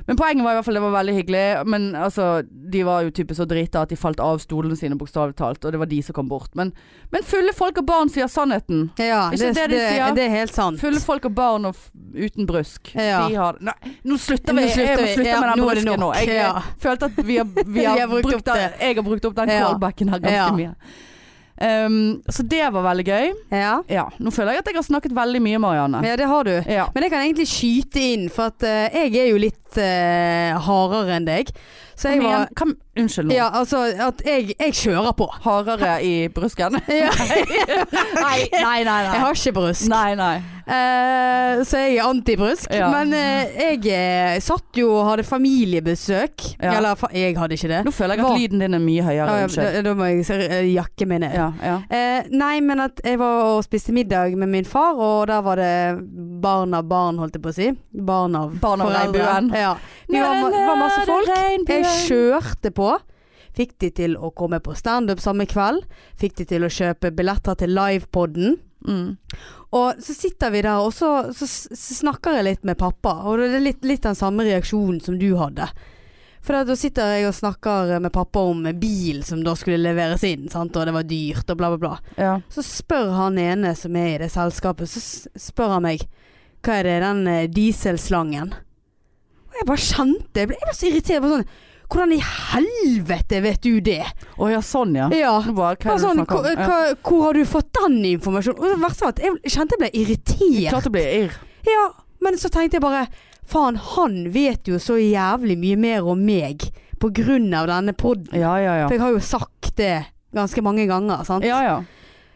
Speaker 1: Men poenget var i hvert fall det var veldig hyggelig. Men altså, de var jo typisk så drita at de falt av stolene sine, bokstavelig talt. Og det var de som kom bort. Men, men fulle folk og barn sier sannheten.
Speaker 2: Ja,
Speaker 1: Ikke det
Speaker 2: det, det,
Speaker 1: de
Speaker 2: det,
Speaker 1: sier?
Speaker 2: er helt sant.
Speaker 1: Fulle folk og barn og f uten brusk.
Speaker 2: Ja.
Speaker 1: De har, nei, nå slutter
Speaker 2: Nå
Speaker 1: vi. jeg
Speaker 2: slutter
Speaker 1: må
Speaker 2: vi.
Speaker 1: slutte
Speaker 2: Ja,
Speaker 1: med den
Speaker 2: nå er det
Speaker 1: brusken nå.
Speaker 2: nok.
Speaker 1: Jeg,
Speaker 2: Ja.
Speaker 1: følte at vi har, vi har, brukt, opp den, jeg har brukt opp den
Speaker 2: Ja.
Speaker 1: callbacken her ganske
Speaker 2: Ja.
Speaker 1: mye. Ehm, så det var veldig gøy.
Speaker 2: Ja.
Speaker 1: Ja, nå føler jeg at jeg har snakket veldig mye, Marianne.
Speaker 2: ja, det har du.
Speaker 1: Ja.
Speaker 2: Men jeg kan egentlig skyte inn, for at eh, jeg er jo litt eh, hardere enn deg. Så jeg
Speaker 1: Men
Speaker 2: var
Speaker 1: igjen, kan, unnskyld nå.
Speaker 2: Ja, altså at jeg, jeg kjører på.
Speaker 1: Hardere i brusken?
Speaker 2: Ja.
Speaker 1: nei, nei, nei.
Speaker 2: Jeg har ikke brusk.
Speaker 1: Nei, nei.
Speaker 2: Eh, så jeg er antibrusk.
Speaker 1: Ja.
Speaker 2: Men eh, jeg eh, satt jo og hadde familiebesøk.
Speaker 1: Ja.
Speaker 2: Eller fa jeg hadde ikke det.
Speaker 1: Nå føler jeg at
Speaker 2: Hva?
Speaker 1: lyden din er mye høyere.
Speaker 2: Ja,
Speaker 1: Unnskyld.
Speaker 2: da, da må jeg se- eh, jakke meg ned.
Speaker 1: Ja, ja.
Speaker 2: Eh, nei, men at jeg var og spiste middag med min far, og der var det barn av barn, holdt jeg på å si. Barn av
Speaker 1: Barn av
Speaker 2: foreldre.
Speaker 1: regnbuen.
Speaker 2: Ja. Vi var, var masse folk. Jeg
Speaker 1: Jeg
Speaker 2: kjørte på. Fikk de til å komme på standup samme kveld. Fikk de til å kjøpe billetter til livepoden.
Speaker 1: mm.
Speaker 2: Og så sitter vi der, og så, så, s- så snakker jeg litt med pappa. Og det er litt, litt den samme reaksjonen som du hadde. For da sitter jeg og snakker med pappa om bil som da skulle leveres inn, sant? og det var dyrt og bla, bla, bla.
Speaker 1: ja.
Speaker 2: Så spør han ene som er i det selskapet, så s- spør han meg Hva er det, den eh, dieselslangen? Og jeg bare kjente Jeg ble, jeg ble så irritert. jeg Bare sånn, Hvordan i helvete vet du det?
Speaker 1: Å ja, sånn ja.
Speaker 2: Ja.
Speaker 1: Nå bare, hva
Speaker 2: Bare
Speaker 1: er det du
Speaker 2: sånn,
Speaker 1: snakker
Speaker 2: hvor,
Speaker 1: om? Ja.
Speaker 2: hva- hvor har du fått den informasjonen? Og det verste var at jeg kjente jeg ble irritert.
Speaker 1: Klart å bli irr.
Speaker 2: Ja, men så tenkte jeg bare Faen, han vet jo så jævlig mye mer om meg på grunn av denne podden.
Speaker 1: Ja, ja, ja.
Speaker 2: For jeg har jo sagt det ganske mange ganger, sant?
Speaker 1: Ja, ja.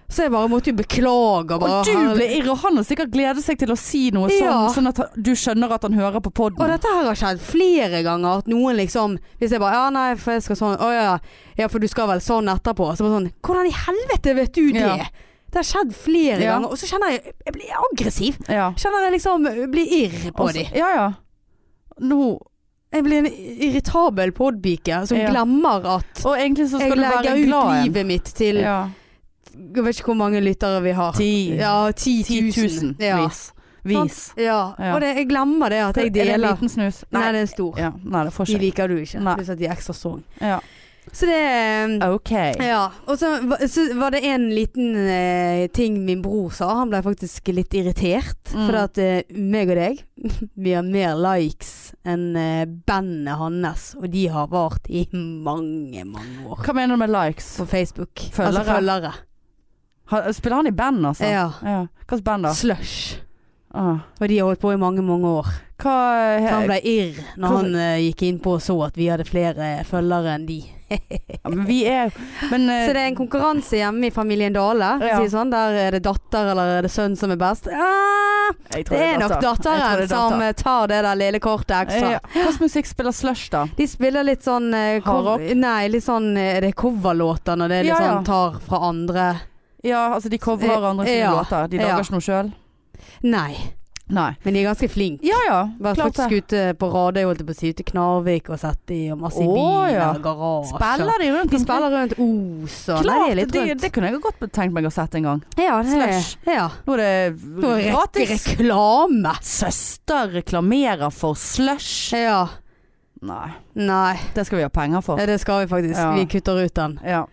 Speaker 2: Så jeg bare måtte jo beklage. og
Speaker 1: Og
Speaker 2: Bare,
Speaker 1: du ble irr, og han har sikkert gledet seg til å si noe
Speaker 2: Ja.
Speaker 1: sånn, sånn at han- du skjønner at han hører på
Speaker 2: Og
Speaker 1: poden.
Speaker 2: dette her har skjedd flere ganger. At noen liksom Hvis jeg bare Ja, nei, for jeg skal sånn. Å ja, ja. ja, for du skal vel sånn etterpå. Så bare sånn Hvordan i helvete vet du det?
Speaker 1: Ja.
Speaker 2: Det har skjedd flere
Speaker 1: Ja.
Speaker 2: ganger. Og så kjenner jeg Jeg blir aggressiv.
Speaker 1: Ja.
Speaker 2: Kjenner jeg liksom Blir irr på
Speaker 1: Og så-
Speaker 2: de.
Speaker 1: Ja, ja. Nå
Speaker 2: Jeg blir en irritabel podbike som
Speaker 1: Ja.
Speaker 2: glemmer at
Speaker 1: Og egentlig så
Speaker 2: jeg
Speaker 1: skal du
Speaker 2: legger
Speaker 1: være
Speaker 2: ut
Speaker 1: glad en.
Speaker 2: livet mitt til
Speaker 1: Ja.
Speaker 2: Jeg vet ikke hvor mange lyttere vi har.
Speaker 1: Ti.
Speaker 2: Ja, 10
Speaker 1: Ti
Speaker 2: 000.
Speaker 1: tusen.
Speaker 2: Ja.
Speaker 1: Vis. Vis.
Speaker 2: ja.
Speaker 1: Ja.
Speaker 2: Og det, jeg glemmer det at jeg
Speaker 1: Er det en
Speaker 2: deler.
Speaker 1: liten snus?
Speaker 2: Nei, det er en stor.
Speaker 1: Ja, nei det får
Speaker 2: De
Speaker 1: ikke.
Speaker 2: liker du ikke.
Speaker 1: Nei.
Speaker 2: Pluss at de er ekstra sånn.
Speaker 1: Ja.
Speaker 2: Så det eh,
Speaker 1: OK.
Speaker 2: Ja. Og så, va- så var det en liten eh, ting min bror sa. Han ble faktisk litt irritert.
Speaker 1: Mm.
Speaker 2: For at eh, meg og deg, vi har mer likes enn eh, bandet hans. Og de har vart i mange, mange år.
Speaker 1: Hva mener du med likes?
Speaker 2: På Facebook.
Speaker 1: Følgere.
Speaker 2: Altså følgere.
Speaker 1: Ha- Spiller han i band, altså?
Speaker 2: Ja.
Speaker 1: ja. Hva slags band, da?
Speaker 2: Slush.
Speaker 1: Ah.
Speaker 2: Og de har holdt på i mange, mange år.
Speaker 1: Hva
Speaker 2: Så han ble irr når
Speaker 1: Hva-
Speaker 2: han eh, gikk inn på og så at vi hadde flere eh, følgere enn de.
Speaker 1: ja, Men vi er Men eh,
Speaker 2: Så det er en konkurranse hjemme i familien Dale.
Speaker 1: Ja.
Speaker 2: Sier Sånn, der er det datter eller er det sønn som er best. Ah,
Speaker 1: eh, jeg tror
Speaker 2: det er nok
Speaker 1: datter. Jeg tror
Speaker 2: datteren
Speaker 1: det er
Speaker 2: som
Speaker 1: datter.
Speaker 2: eh, tar det der lille kortet ekstra.
Speaker 1: Eh, Hva slags musikk spiller Slush, da?
Speaker 2: De spiller litt sånn eh, cov-
Speaker 1: Hardrock?
Speaker 2: Nei, litt sånn eh, Er det coverlåter når det er litt
Speaker 1: Ja, ja.
Speaker 2: sånn tar fra andre
Speaker 1: Ja, altså de coverer
Speaker 2: Eh,
Speaker 1: andre sine
Speaker 2: ja,
Speaker 1: låter. De lager
Speaker 2: ja.
Speaker 1: ikke noe sjøl.
Speaker 2: Nei,
Speaker 1: Nei.
Speaker 2: men de er ganske flinke.
Speaker 1: Ja ja,
Speaker 2: Vært
Speaker 1: klart
Speaker 2: faktisk
Speaker 1: det.
Speaker 2: ute på Radøy, holdt jeg på å si, ute i Knarvik og sett de og masse i
Speaker 1: Å,
Speaker 2: biler,
Speaker 1: ja.
Speaker 2: garasjer.
Speaker 1: Spiller de rundt
Speaker 2: De
Speaker 1: omkring?
Speaker 2: spiller rundt Os og Nei, det er
Speaker 1: Klart,
Speaker 2: litt
Speaker 1: det,
Speaker 2: rundt.
Speaker 1: det kunne jeg godt tenkt meg å sette en gang.
Speaker 2: ja,
Speaker 1: Slush.
Speaker 2: Ja.
Speaker 1: Nå er det
Speaker 2: Nå er det
Speaker 1: gratis.
Speaker 2: Reklame!
Speaker 1: Søster reklamerer for slush.
Speaker 2: Ja.
Speaker 1: Nei,
Speaker 2: Nei,
Speaker 1: det skal vi ha penger for.
Speaker 2: det skal vi faktisk.
Speaker 1: Ja.
Speaker 2: Vi kutter ut den.
Speaker 1: Ja.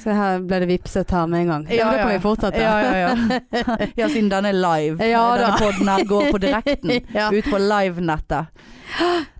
Speaker 2: Så her ble det vipset her med en gang. Ja, men da kan vi fortsette.
Speaker 1: Ja, ja, ja. ja siden den er live. Eh,
Speaker 2: Ja, da.
Speaker 1: denne podden her går på direkten.
Speaker 2: Ja.
Speaker 1: Ut på livenettet.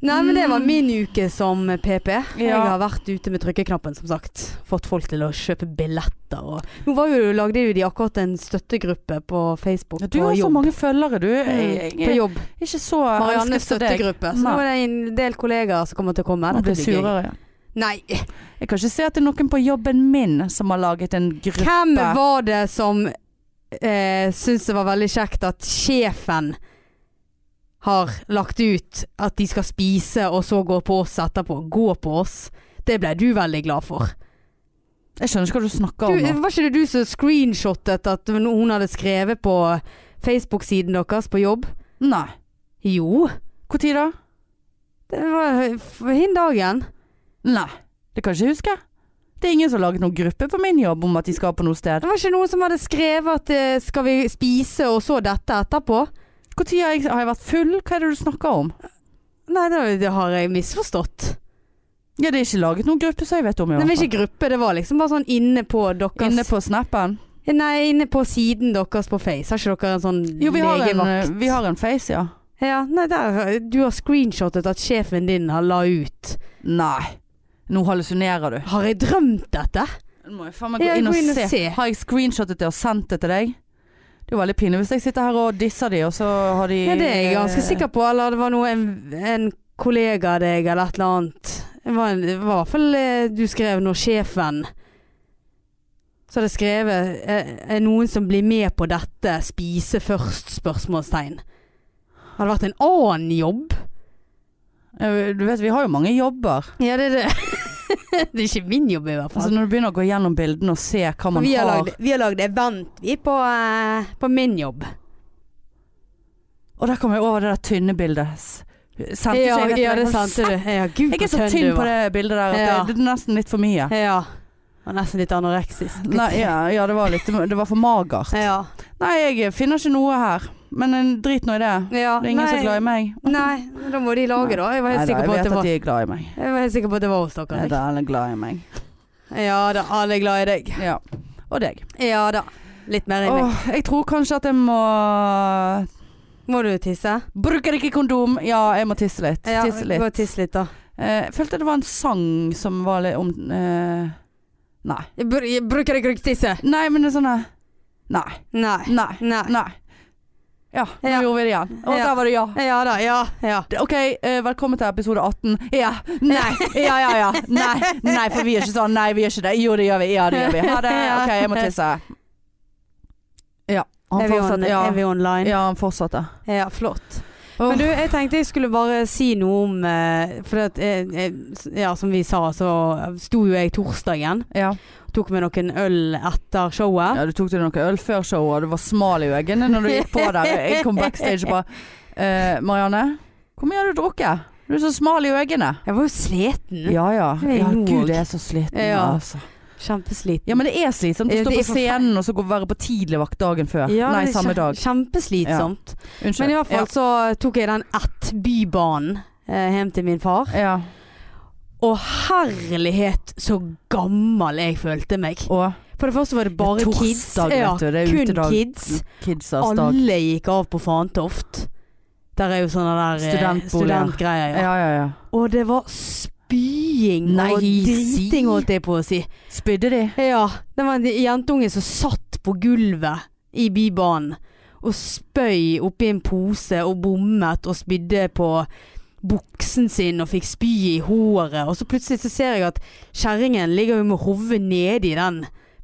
Speaker 2: Nei, men det var min uke som PP. Jeg
Speaker 1: Ja.
Speaker 2: har vært ute med trykkeknappen, som sagt. Fått folk til å kjøpe billetter og Nå var jo, lagde jo de akkurat en støttegruppe på Facebook
Speaker 1: Du
Speaker 2: på
Speaker 1: har så
Speaker 2: jobb. Mm,
Speaker 1: mange følgere, du. Jeg,
Speaker 2: på
Speaker 1: jeg er
Speaker 2: jobb.
Speaker 1: ikke så
Speaker 2: Mariannes
Speaker 1: elsket som deg.
Speaker 2: støttegruppe. Så nå
Speaker 1: Nei.
Speaker 2: er det en del kollegaer som kommer til å komme.
Speaker 1: Nå blir
Speaker 2: Dette
Speaker 1: jeg
Speaker 2: blir gøy.
Speaker 1: surere.
Speaker 2: Nei,
Speaker 1: Jeg kan ikke se at det er noen på jobben min som har laget en gruppe.
Speaker 2: hvem var det som eh, syntes det var veldig kjekt at sjefen har lagt ut at de skal spise, og så gå på oss etterpå? Gå på oss. Det ble du veldig glad for.
Speaker 1: Jeg skjønner ikke hva du snakker om.
Speaker 2: Du,
Speaker 1: nå.
Speaker 2: var ikke det du som screenshotet at hun hadde skrevet på Facebook-siden deres på jobb?
Speaker 1: Nei.
Speaker 2: Jo.
Speaker 1: Når da?
Speaker 2: Det var for hin dagen.
Speaker 1: Nei. Det kan jeg ikke huske. Det er ingen som har laget noen gruppe på min jobb om at de skal på noe sted.
Speaker 2: Det var ikke noen som hadde skrevet at eh, 'skal vi spise', og så dette etterpå?
Speaker 1: Når har, jeg- har jeg vært full? Hva er det du snakker om?
Speaker 2: Nei, det, det har jeg misforstått.
Speaker 1: Ja, det er ikke laget noen gruppe som jeg vet om. i
Speaker 2: Det
Speaker 1: hvert
Speaker 2: var
Speaker 1: fall.
Speaker 2: ikke gruppe, det var liksom bare sånn inne på deres
Speaker 1: Inne på snappen.
Speaker 2: Nei, inne på siden deres på Face. Har ikke dere en sånn
Speaker 1: Jo, vi har,
Speaker 2: legevakt?
Speaker 1: en, eh, vi har en face, ja.
Speaker 2: Ja, nei, der, du har screenshotet at sjefen din har la ut.
Speaker 1: Nei. Nå hallusinerer du.
Speaker 2: Har jeg drømt dette?
Speaker 1: Nå må jeg faen meg gå
Speaker 2: Ja,
Speaker 1: inn og se. Har jeg screenshottet det og sendt det til deg? Det er jo veldig pinlig hvis jeg sitter her og disser de, og så har de
Speaker 2: Ja, det er jeg
Speaker 1: Eh.
Speaker 2: ganske sikker på. Eller det var noe en, en kollega av deg, eller et eller annet. Det var, en, det var i hvert fall eh, du skrev når sjefen Så hadde jeg skrevet eh, Er noen som blir med på dette? Spise først? Spørsmålstegn. Hadde det vært en annen jobb?
Speaker 1: Eh, Du vet, vi har jo mange jobber.
Speaker 2: Ja, det er det. det er ikke min jobb, i hvert
Speaker 1: Altså
Speaker 2: fall.
Speaker 1: Når du begynner å gå gjennom bildene og se hva man
Speaker 2: vi, har
Speaker 1: har
Speaker 2: lagd, vi har lagd event, vi, på, eh, på min jobb.
Speaker 1: Og der kommer jeg over det der tynne bildet. S- Sendte ikke jeg, vet du,
Speaker 2: ja, det
Speaker 1: jeg kan-
Speaker 2: sendte du. Ja, gud,
Speaker 1: Jeg er
Speaker 2: hvor
Speaker 1: så
Speaker 2: tønn
Speaker 1: tynn
Speaker 2: du
Speaker 1: på
Speaker 2: var.
Speaker 1: det bildet der at
Speaker 2: Ja.
Speaker 1: det, det er nesten litt for mye.
Speaker 2: Ja. Var nesten litt anoreksisk. Litt-
Speaker 1: Nei, ja, ja, det var litt Det var for magert.
Speaker 2: Ja.
Speaker 1: Nei, jeg finner ikke noe her. Men en- drit nå i det.
Speaker 2: ja.
Speaker 1: Det er ingen som
Speaker 2: nei.
Speaker 1: er glad i meg.
Speaker 2: Nei, da må de lage, da. Jeg var
Speaker 1: Nei
Speaker 2: helt
Speaker 1: da,
Speaker 2: sikker
Speaker 1: jeg
Speaker 2: på at
Speaker 1: vet
Speaker 2: det
Speaker 1: at
Speaker 2: var
Speaker 1: de er glad i meg.
Speaker 2: Jeg var helt sikker på at det var hos dere.
Speaker 1: Ja,
Speaker 2: jeg.
Speaker 1: da, alle er glad i meg.
Speaker 2: Ja da, alle er glad i deg.
Speaker 1: Ja. Og deg.
Speaker 2: Ja da. Litt mer i meg.
Speaker 1: Åh, jeg tror kanskje at jeg må
Speaker 2: Må du tisse?
Speaker 1: Bruker ikke kondom. Ja, jeg må tisse litt.
Speaker 2: Ja,
Speaker 1: tisse litt.
Speaker 2: Gå og tisse litt, da.
Speaker 1: Eh, jeg følte det var en sang som var litt om eh, Nei.
Speaker 2: Jeg br jeg bruker ikke å tisse.
Speaker 1: Nei, men det er sånn eh, Nei.
Speaker 2: Nei.
Speaker 1: Nei.
Speaker 2: Nei.
Speaker 1: Nei. Ja, nå
Speaker 2: Ja.
Speaker 1: gjorde vi det igjen. Og
Speaker 2: Ja.
Speaker 1: der var det ja.
Speaker 2: Ja da, ja. ja.
Speaker 1: OK, eh, velkommen til episode 18. Ja. Nei. Ja, ja, ja. Nei, nei, for vi er ikke sånn. Nei, vi er ikke det. Jo, det gjør vi. Ja, det gjør vi. Ha det.
Speaker 2: Ja.
Speaker 1: OK, jeg må tisse. Ja.
Speaker 2: Er
Speaker 1: Han
Speaker 2: vi, on
Speaker 1: fortsatte. Ja,
Speaker 2: er vi online?
Speaker 1: ja han fortsatte.
Speaker 2: Ja, flott.
Speaker 1: Åh.
Speaker 2: Men du, jeg tenkte jeg skulle bare si noe om eh, For at, eh, eh, s- ja, som vi sa, så sto jo jeg torsdagen.
Speaker 1: Ja.
Speaker 2: Tok med noen øl etter showet.
Speaker 1: ja, du tok deg noe øl før showet, og du var smal i øynene når du gikk på der. Jeg kom backstage og bare eh, Marianne, hvor mye har du drukket? Du er så smal i øynene.
Speaker 2: Jeg var jo sleten.
Speaker 1: Ja ja.
Speaker 2: Jeg er
Speaker 1: ja
Speaker 2: jo
Speaker 1: Gud,
Speaker 2: også.
Speaker 1: jeg er så sliten,
Speaker 2: Ja.
Speaker 1: altså.
Speaker 2: Kjempesliten.
Speaker 1: Ja, men det er slitsomt å
Speaker 2: Eh,
Speaker 1: stå
Speaker 2: det er
Speaker 1: på scenen og så gå og være på tidligvakt dagen før.
Speaker 2: Ja,
Speaker 1: Nei,
Speaker 2: det er
Speaker 1: samme
Speaker 2: kjem-
Speaker 1: dag.
Speaker 2: Kjempeslitsomt.
Speaker 1: Unnskyld.
Speaker 2: Men i hvert fall så tok jeg den ett bybanen eh, hjem til min far.
Speaker 1: Ja. ja.
Speaker 2: Og herlighet så gammel jeg følte meg.
Speaker 1: Og
Speaker 2: For det første var det bare
Speaker 1: Det er torsdag,
Speaker 2: kids.
Speaker 1: vet
Speaker 2: Ja,
Speaker 1: du, det er
Speaker 2: kun
Speaker 1: utedag.
Speaker 2: kids.
Speaker 1: kidsas dag.
Speaker 2: Alle gikk av på Fantoft. Der er jo sånne der eh,
Speaker 1: Studentboliger.
Speaker 2: studentgreier. Ja.
Speaker 1: Ja, ja, ja.
Speaker 2: Og det var spying
Speaker 1: Nei,
Speaker 2: og driting,
Speaker 1: si.
Speaker 2: holdt jeg på å si.
Speaker 1: Spydde de?
Speaker 2: Ja, det var en jentunge som satt på gulvet i bibanen og spøy oppi en pose og bommet og spydde på buksen sin og fikk spy i håret. Og så plutselig så ser jeg at kjerringen ligger jo med hodet nedi den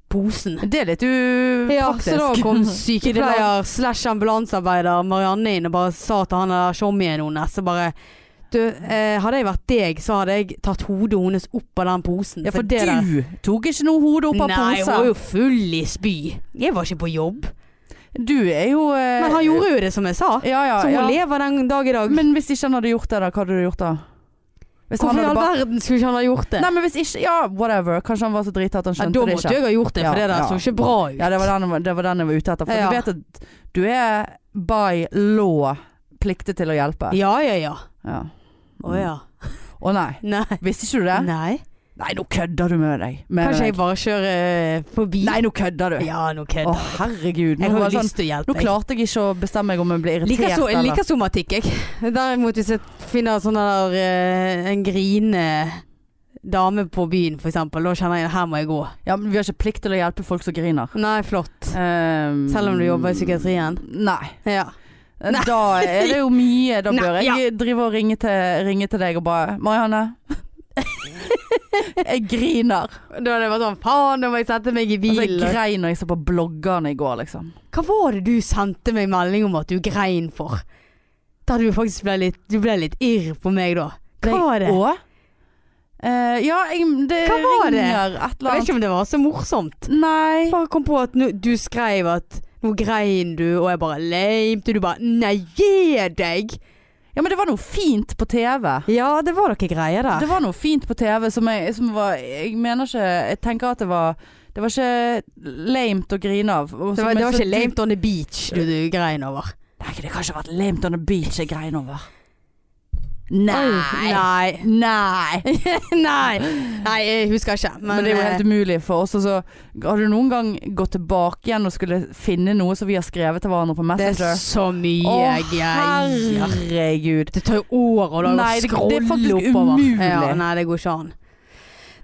Speaker 2: posen.
Speaker 1: Det er litt upraktisk.
Speaker 2: Ja, så da kom sykepleier slash ambulansearbeider Marianne inn og bare sa til han der sjommien hennes og bare Du, eh, hadde jeg vært deg, så hadde jeg tatt hodet hennes opp av den posen.
Speaker 1: Ja, for
Speaker 2: det der-
Speaker 1: du tok ikke noe hode opp av
Speaker 2: Nei, hun var
Speaker 1: posen.
Speaker 2: jo full i spy. Jeg var ikke på jobb.
Speaker 1: Du er jo eh,
Speaker 2: Men han gjorde jo det som jeg sa.
Speaker 1: Ja, ja,
Speaker 2: Så hun
Speaker 1: ja.
Speaker 2: lever den dag i dag.
Speaker 1: Men hvis ikke han hadde gjort det, da? Hva hadde du gjort da? Hvis han
Speaker 2: Hvorfor i
Speaker 1: hadde
Speaker 2: all
Speaker 1: bare-
Speaker 2: verden skulle ikke han ha gjort det?
Speaker 1: Nei, men hvis ikke Ja, whatever. Kanskje han var så drita at han
Speaker 2: Ja,
Speaker 1: skjønte
Speaker 2: da
Speaker 1: det
Speaker 2: måtte
Speaker 1: ikke.
Speaker 2: jeg ha gjort det,
Speaker 1: Ja,
Speaker 2: for det der
Speaker 1: ja.
Speaker 2: så ikke bra ut.
Speaker 1: Ja, det var den, det var den jeg var ute etter. For
Speaker 2: Ja.
Speaker 1: du vet at du er by law pliktet til å hjelpe.
Speaker 2: ja, ja. ja.
Speaker 1: Ja.
Speaker 2: Å ja.
Speaker 1: Å nei.
Speaker 2: Nei.
Speaker 1: Visste ikke du det?
Speaker 2: Nei.
Speaker 1: Nei, nå kødder du med deg. Med
Speaker 2: Kanskje
Speaker 1: deg.
Speaker 2: jeg bare kjører eh, forbi?
Speaker 1: Nei, nå kødder du. Å,
Speaker 2: Ja, nå kødder jeg.
Speaker 1: herregud. Nå,
Speaker 2: Jeg har
Speaker 1: var
Speaker 2: jo
Speaker 1: det sånn,
Speaker 2: lyst til å hjelpe.
Speaker 1: nå klarte jeg ikke å bestemme meg om jeg ble
Speaker 2: jeg
Speaker 1: irritert.
Speaker 2: liker, so jeg
Speaker 1: eller-
Speaker 2: liker somatikk, jeg. Derimot hvis jeg finner sånn der eh, en grinende dame på byen, for eksempel, da kjenner jeg her må jeg gå.
Speaker 1: Ja, men vi har ikke plikt til å hjelpe folk som griner.
Speaker 2: Nei, flott.
Speaker 1: Ehm,
Speaker 2: Selv om du jobber i psykiatrien.
Speaker 1: Nei.
Speaker 2: Ja. Nei.
Speaker 1: Eh, Da er det jo mye. Da
Speaker 2: Nei,
Speaker 1: bør jeg drive og ringe til, ringe til deg og bare Marianne. jeg griner.
Speaker 2: Da hadde jeg vært sånn faen, nå må jeg sette meg i
Speaker 1: Altså, jeg
Speaker 2: bilen.
Speaker 1: grein når jeg så på bloggerne i går, liksom.
Speaker 2: Hva var det du sendte meg melding om at du grein for? Der du faktisk ble litt, du ble litt irr på meg da. Hva var det?
Speaker 1: Og Eh, Ja, jeg, det
Speaker 2: Hva var det?
Speaker 1: ringer et eller
Speaker 2: Jeg vet
Speaker 1: annet.
Speaker 2: ikke om det var så morsomt.
Speaker 1: Nei.
Speaker 2: Jeg bare kom på at nå- du skrev at nå grein du, og jeg bare leimte, og du bare nei, gi deg!
Speaker 1: Ja, men det var noe fint på TV.
Speaker 2: Ja, det var noe greier
Speaker 1: Det
Speaker 2: der.
Speaker 1: var noe fint på TV som jeg, som var Jeg mener ikke Jeg tenker at det var Det var ikke lamet å grine av. Og som
Speaker 2: Det
Speaker 1: sånn
Speaker 2: var,
Speaker 1: jeg
Speaker 2: det var
Speaker 1: så
Speaker 2: ikke lamed on the beach du, du grein over.
Speaker 1: Nei, det kan ikke ha vært lamet on the beach jeg grein over. Nei.
Speaker 2: Nei.
Speaker 1: Nei.
Speaker 2: Nei, Nei, jeg husker ikke. Men,
Speaker 1: Men det er jo
Speaker 2: eh,
Speaker 1: helt umulig for oss. og så har du noen gang gått tilbake igjen og skulle finne noe som vi har skrevet til hverandre på
Speaker 2: det er
Speaker 1: Messenger?
Speaker 2: så mye
Speaker 1: Å,
Speaker 2: greier.
Speaker 1: herregud.
Speaker 2: Det tar jo år å lage
Speaker 1: Nei,
Speaker 2: og
Speaker 1: det- det er
Speaker 2: scrolle
Speaker 1: faktisk
Speaker 2: oppover.
Speaker 1: umulig.
Speaker 2: Ja, nei, det går ikke an.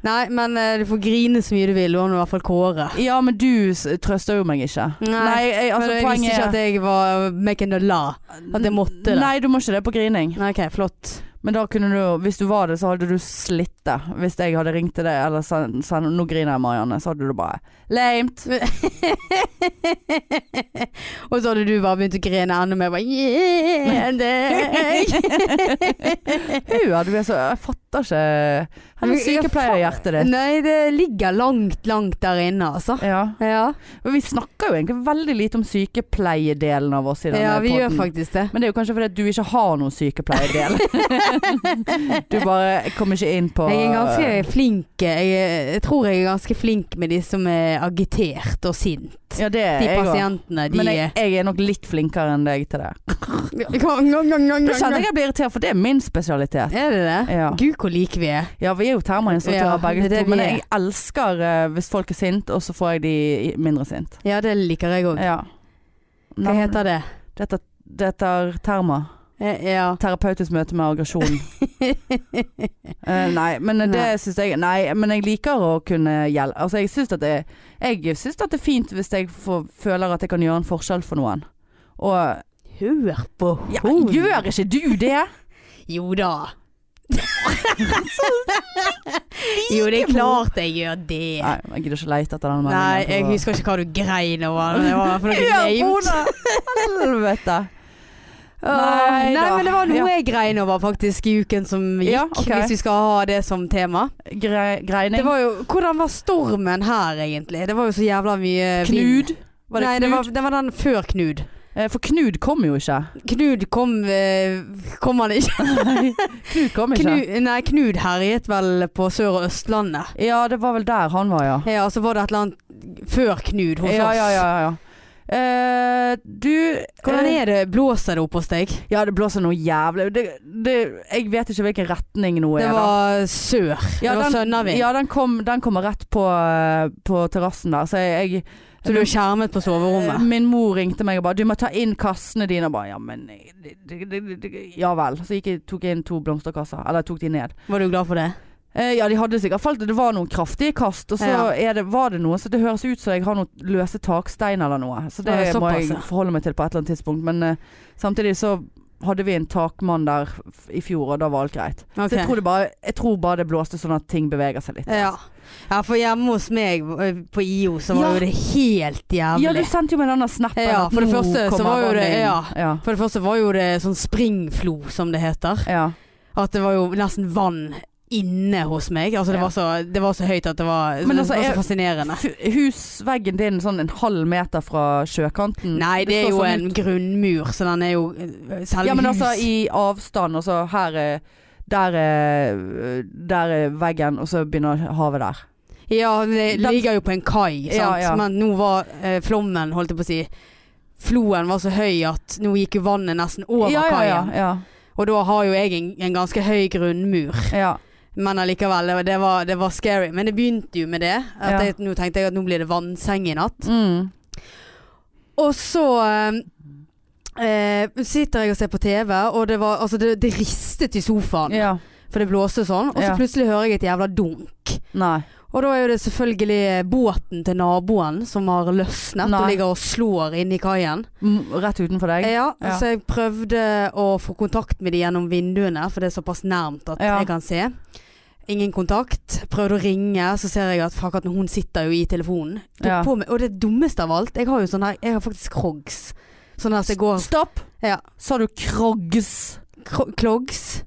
Speaker 2: Nei, men eh, du får grine så mye du vil, og nå i hvert fall Kåre.
Speaker 1: Ja, men du s- trøster jo meg ikke.
Speaker 2: Nei,
Speaker 1: jeg, altså,
Speaker 2: men jeg visste
Speaker 1: poenget
Speaker 2: ikke at jeg var making a law. at jeg måtte det.
Speaker 1: Nei, du må ikke det på grining.
Speaker 2: Nei, ok, flott.
Speaker 1: Men da kunne du, hvis du var det, så hadde du slitt det. Hvis jeg hadde ringt til deg eller sendt sen, 'Nå griner jeg, Marianne', så hadde du bare Lamet.
Speaker 2: og så hadde du bare begynt å grine enda mer. Bare, yeah, deg.
Speaker 1: Hua, du er så Jeg fatter ikke Hvor er
Speaker 2: Jeg- jeg
Speaker 1: sykepleierhjertet ditt?
Speaker 2: Nei, det ligger langt, langt der inne, altså.
Speaker 1: Ja.
Speaker 2: Ja,
Speaker 1: Men vi snakker jo egentlig veldig lite om sykepleiedelen av oss i denne
Speaker 2: ja vi gjør
Speaker 1: podden.
Speaker 2: faktisk det.
Speaker 1: Men det er jo kanskje fordi at du ikke har noen sykepleierdel. du bare kommer ikke inn på
Speaker 2: Jeg er ganske flink. Jeg, er- jeg tror jeg er ganske flink med de som er agitert og sint.
Speaker 1: Ja, det er
Speaker 2: De
Speaker 1: jeg òg.
Speaker 2: pasientene, de
Speaker 1: Men jeg, jeg er nok litt flinkere enn deg til det. Da kjente jeg jeg ble irritert, for det er min spesialitet.
Speaker 2: Er det det?
Speaker 1: Ja.
Speaker 2: Gud, hvor like vi er.
Speaker 1: Ja, vi er jo termoinstruktører
Speaker 2: Ja, det
Speaker 1: begge
Speaker 2: er det
Speaker 1: to,
Speaker 2: vi
Speaker 1: men
Speaker 2: er.
Speaker 1: jeg elsker eh, hvis folk er sint, og så får jeg de i- mindre sint.
Speaker 2: Ja, det liker jeg òg.
Speaker 1: Ja.
Speaker 2: Hva heter det?
Speaker 1: Dette, dette er terma.
Speaker 2: Eh, Ja.
Speaker 1: Terapeutisk møte med aggresjon. Eh, nei, men
Speaker 2: Nei.
Speaker 1: det syns jeg Nei, men jeg liker å kunne hjelpe. Altså, jeg syns at det Jeg syns at det er fint hvis jeg får, føler at jeg kan gjøre en forskjell for noen. Og
Speaker 2: Hør på
Speaker 1: ja,
Speaker 2: hun.
Speaker 1: gjør ikke du det?
Speaker 2: Jo da.
Speaker 1: Altså,
Speaker 2: jo, det er klart jeg gjør det.
Speaker 1: Nei, jeg gidder ikke lete etter den
Speaker 2: Nei, jeg
Speaker 1: meldingen.
Speaker 2: husker ikke hva du grein over. Det var for noe lame.
Speaker 1: Helvete.
Speaker 2: Åh,
Speaker 1: Nei
Speaker 2: Nei,
Speaker 1: da.
Speaker 2: men det var noe
Speaker 1: Ja.
Speaker 2: jeg grein over faktisk i uken som gikk,
Speaker 1: Ja, ok.
Speaker 2: hvis vi skal ha det som tema.
Speaker 1: Gre
Speaker 2: Det
Speaker 1: greining.
Speaker 2: var jo, hvordan var stormen her egentlig? Det var jo så jævla mye vind.
Speaker 1: Knud. Var det
Speaker 2: Nei,
Speaker 1: Knud?
Speaker 2: det var, det var den før Knud.
Speaker 1: Eh, For Knud kom jo ikke.
Speaker 2: Knud kom eh, Kom han ikke?
Speaker 1: Knud kom ikke.
Speaker 2: Knud, nei, Knud herjet vel på Sør- og Østlandet.
Speaker 1: Ja, det var vel der han var, ja.
Speaker 2: Ja, så var det et eller annet før Knud hos
Speaker 1: Ja,
Speaker 2: oss.
Speaker 1: ja, ja. ja. Eh, du
Speaker 2: Hvordan
Speaker 1: eh,
Speaker 2: er det? Blåser det opp hos deg?
Speaker 1: Ja, det blåser noe jævlig det, det, Jeg vet ikke hvilken retning nå
Speaker 2: Det
Speaker 1: er. da.
Speaker 2: var sør.
Speaker 1: ja,
Speaker 2: det var sønnavind.
Speaker 1: Ja, den, kom, den kommer rett på, eh, på terrassen der, så jeg, jeg
Speaker 2: Så du er skjermet på soverommet?
Speaker 1: Min mor ringte meg og bare 'Du må ta inn kassene dine'. Og bare 'Ja, men jeg- det- det- det- det- Ja vel. Så gikk jeg, tok jeg inn to blomsterkasser. Eller jeg tok de ned.
Speaker 2: Var du glad for det?
Speaker 1: Eh, ja, de hadde sikkert falt. Det var noen kraftige kast. Og så
Speaker 2: Ja.
Speaker 1: er det, var det noe Så det høres ut som jeg har noen løse takstein eller noe. Så det
Speaker 2: Ja,
Speaker 1: må
Speaker 2: såpass,
Speaker 1: jeg
Speaker 2: ja.
Speaker 1: forholde meg til på et eller annet tidspunkt. Men eh, samtidig så hadde vi en takmann der f- i fjor, og da var alt greit. Så jeg
Speaker 2: Ok.
Speaker 1: tror, det bare, jeg tror bare det blåste sånn at ting beveger seg litt.
Speaker 2: Ja. ja, for hjemme hos meg eh, på IO så var
Speaker 1: Ja.
Speaker 2: jo det helt jævlig.
Speaker 1: Ja, du sendte jo meg denne snappen.
Speaker 2: Ja,
Speaker 1: at
Speaker 2: for det
Speaker 1: nå
Speaker 2: første så
Speaker 1: kommer
Speaker 2: var jo
Speaker 1: vannet
Speaker 2: det-
Speaker 1: inn.
Speaker 2: ja.
Speaker 1: ja.
Speaker 2: For det første var jo det sånn springflo, som det heter.
Speaker 1: ja.
Speaker 2: At det var jo nesten vann inne hos meg. Altså det,
Speaker 1: Ja.
Speaker 2: var, så, det var så høyt at det var,
Speaker 1: Men altså,
Speaker 2: det var
Speaker 1: jeg-
Speaker 2: så fascinerende.
Speaker 1: F- Husveggen din sånn en halv meter fra sjøkanten.
Speaker 2: Nei, det
Speaker 1: står
Speaker 2: er jo
Speaker 1: sånn
Speaker 2: en grunnmur, så den er jo eh, selve
Speaker 1: Ja, men altså
Speaker 2: hus.
Speaker 1: i avstand, altså her er der er, der er veggen, og så begynner havet der.
Speaker 2: Ja, det
Speaker 1: Den-
Speaker 2: ligger jo på en kai, sant.
Speaker 1: Ja, ja.
Speaker 2: Men nå var eh, flommen, holdt jeg på å si. Floen var så høy at nå gikk jo vannet nesten over
Speaker 1: ja, ja,
Speaker 2: kaien.
Speaker 1: ja, ja,
Speaker 2: Og da har jo jeg en, en ganske høy grunnmur.
Speaker 1: ja.
Speaker 2: Men allikevel, det var- det var, det var scary. Men det begynte jo med det. At
Speaker 1: Ja.
Speaker 2: jeg, nå tenkte jeg at nå blir det vannseng i natt.
Speaker 1: Mm.
Speaker 2: Og så eh, eh, sitter jeg og ser på TV, og det, var, altså det, det ristet i sofaen.
Speaker 1: Ja.
Speaker 2: For det blåste sånn. Og
Speaker 1: Ja.
Speaker 2: så plutselig hører jeg et jævla dunk.
Speaker 1: Nei.
Speaker 2: Og da er jo det selvfølgelig båten til naboen som har løsnet
Speaker 1: Nei.
Speaker 2: og ligger og slår inne i kaien.
Speaker 1: Mm, Rett utenfor deg?
Speaker 2: Ja,
Speaker 1: Ja.
Speaker 2: Så jeg prøvde å få kontakt med de gjennom vinduene, for det er såpass nærmt at
Speaker 1: Ja.
Speaker 2: jeg kan se. Ingen kontakt. Prøvde å ringe, så ser jeg at fuck, at hun sitter jo i telefonen. Tok
Speaker 1: Ja.
Speaker 2: på meg, og det dummeste av alt, jeg har jo sånn her, jeg har faktisk Krogs. Sånn her som jeg går
Speaker 1: Stopp!
Speaker 2: Ja.
Speaker 1: Sa du Kroggs?
Speaker 2: kro- Klogs.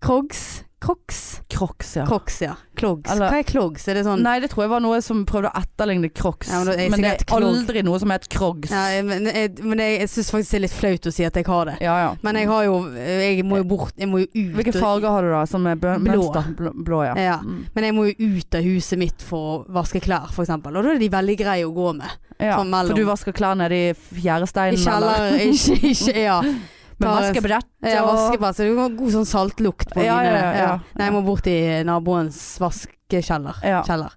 Speaker 2: Krogs. Kroks.
Speaker 1: Crocs, ja.
Speaker 2: Kroks, ja. Klogs.
Speaker 1: Eller-
Speaker 2: Hva er klogs? Er det sånn
Speaker 1: Nei, det tror jeg var noe som prøvde å etterligne Crocs.
Speaker 2: Ja,
Speaker 1: men,
Speaker 2: men det er
Speaker 1: det
Speaker 2: sikkert
Speaker 1: er
Speaker 2: krog.
Speaker 1: aldri noe som heter Crocs.
Speaker 2: Ja, jeg- men jeg, men jeg, jeg syns faktisk det er litt flaut å si at jeg har det.
Speaker 1: ja, ja.
Speaker 2: Men jeg har jo Jeg må jo bort. Jeg må jo ut.
Speaker 1: Hvilke
Speaker 2: og-
Speaker 1: farger har du da? Som er blå.
Speaker 2: Blå.
Speaker 1: Mønster? Bl- Blå, ja.
Speaker 2: Ja.
Speaker 1: Mm.
Speaker 2: Men jeg må jo ut av huset mitt for å vaske klær, f.eks. Og da er de veldig greie å gå med.
Speaker 1: ja.
Speaker 2: Sånn mellom-
Speaker 1: For du vasker klær nede i
Speaker 2: I
Speaker 1: fjæresteinen? eller?
Speaker 2: kjeller, ikke, ikke, ja.
Speaker 1: Med
Speaker 2: Tar-
Speaker 1: vaskebrett?
Speaker 2: ja
Speaker 1: og-
Speaker 2: vaskebrett, så du har god sånn saltlukt på
Speaker 1: Ja,
Speaker 2: mine.
Speaker 1: ja, ja, ja.
Speaker 2: Nei, jeg må bort i naboens vaskekjeller.
Speaker 1: Ja.
Speaker 2: Kjeller.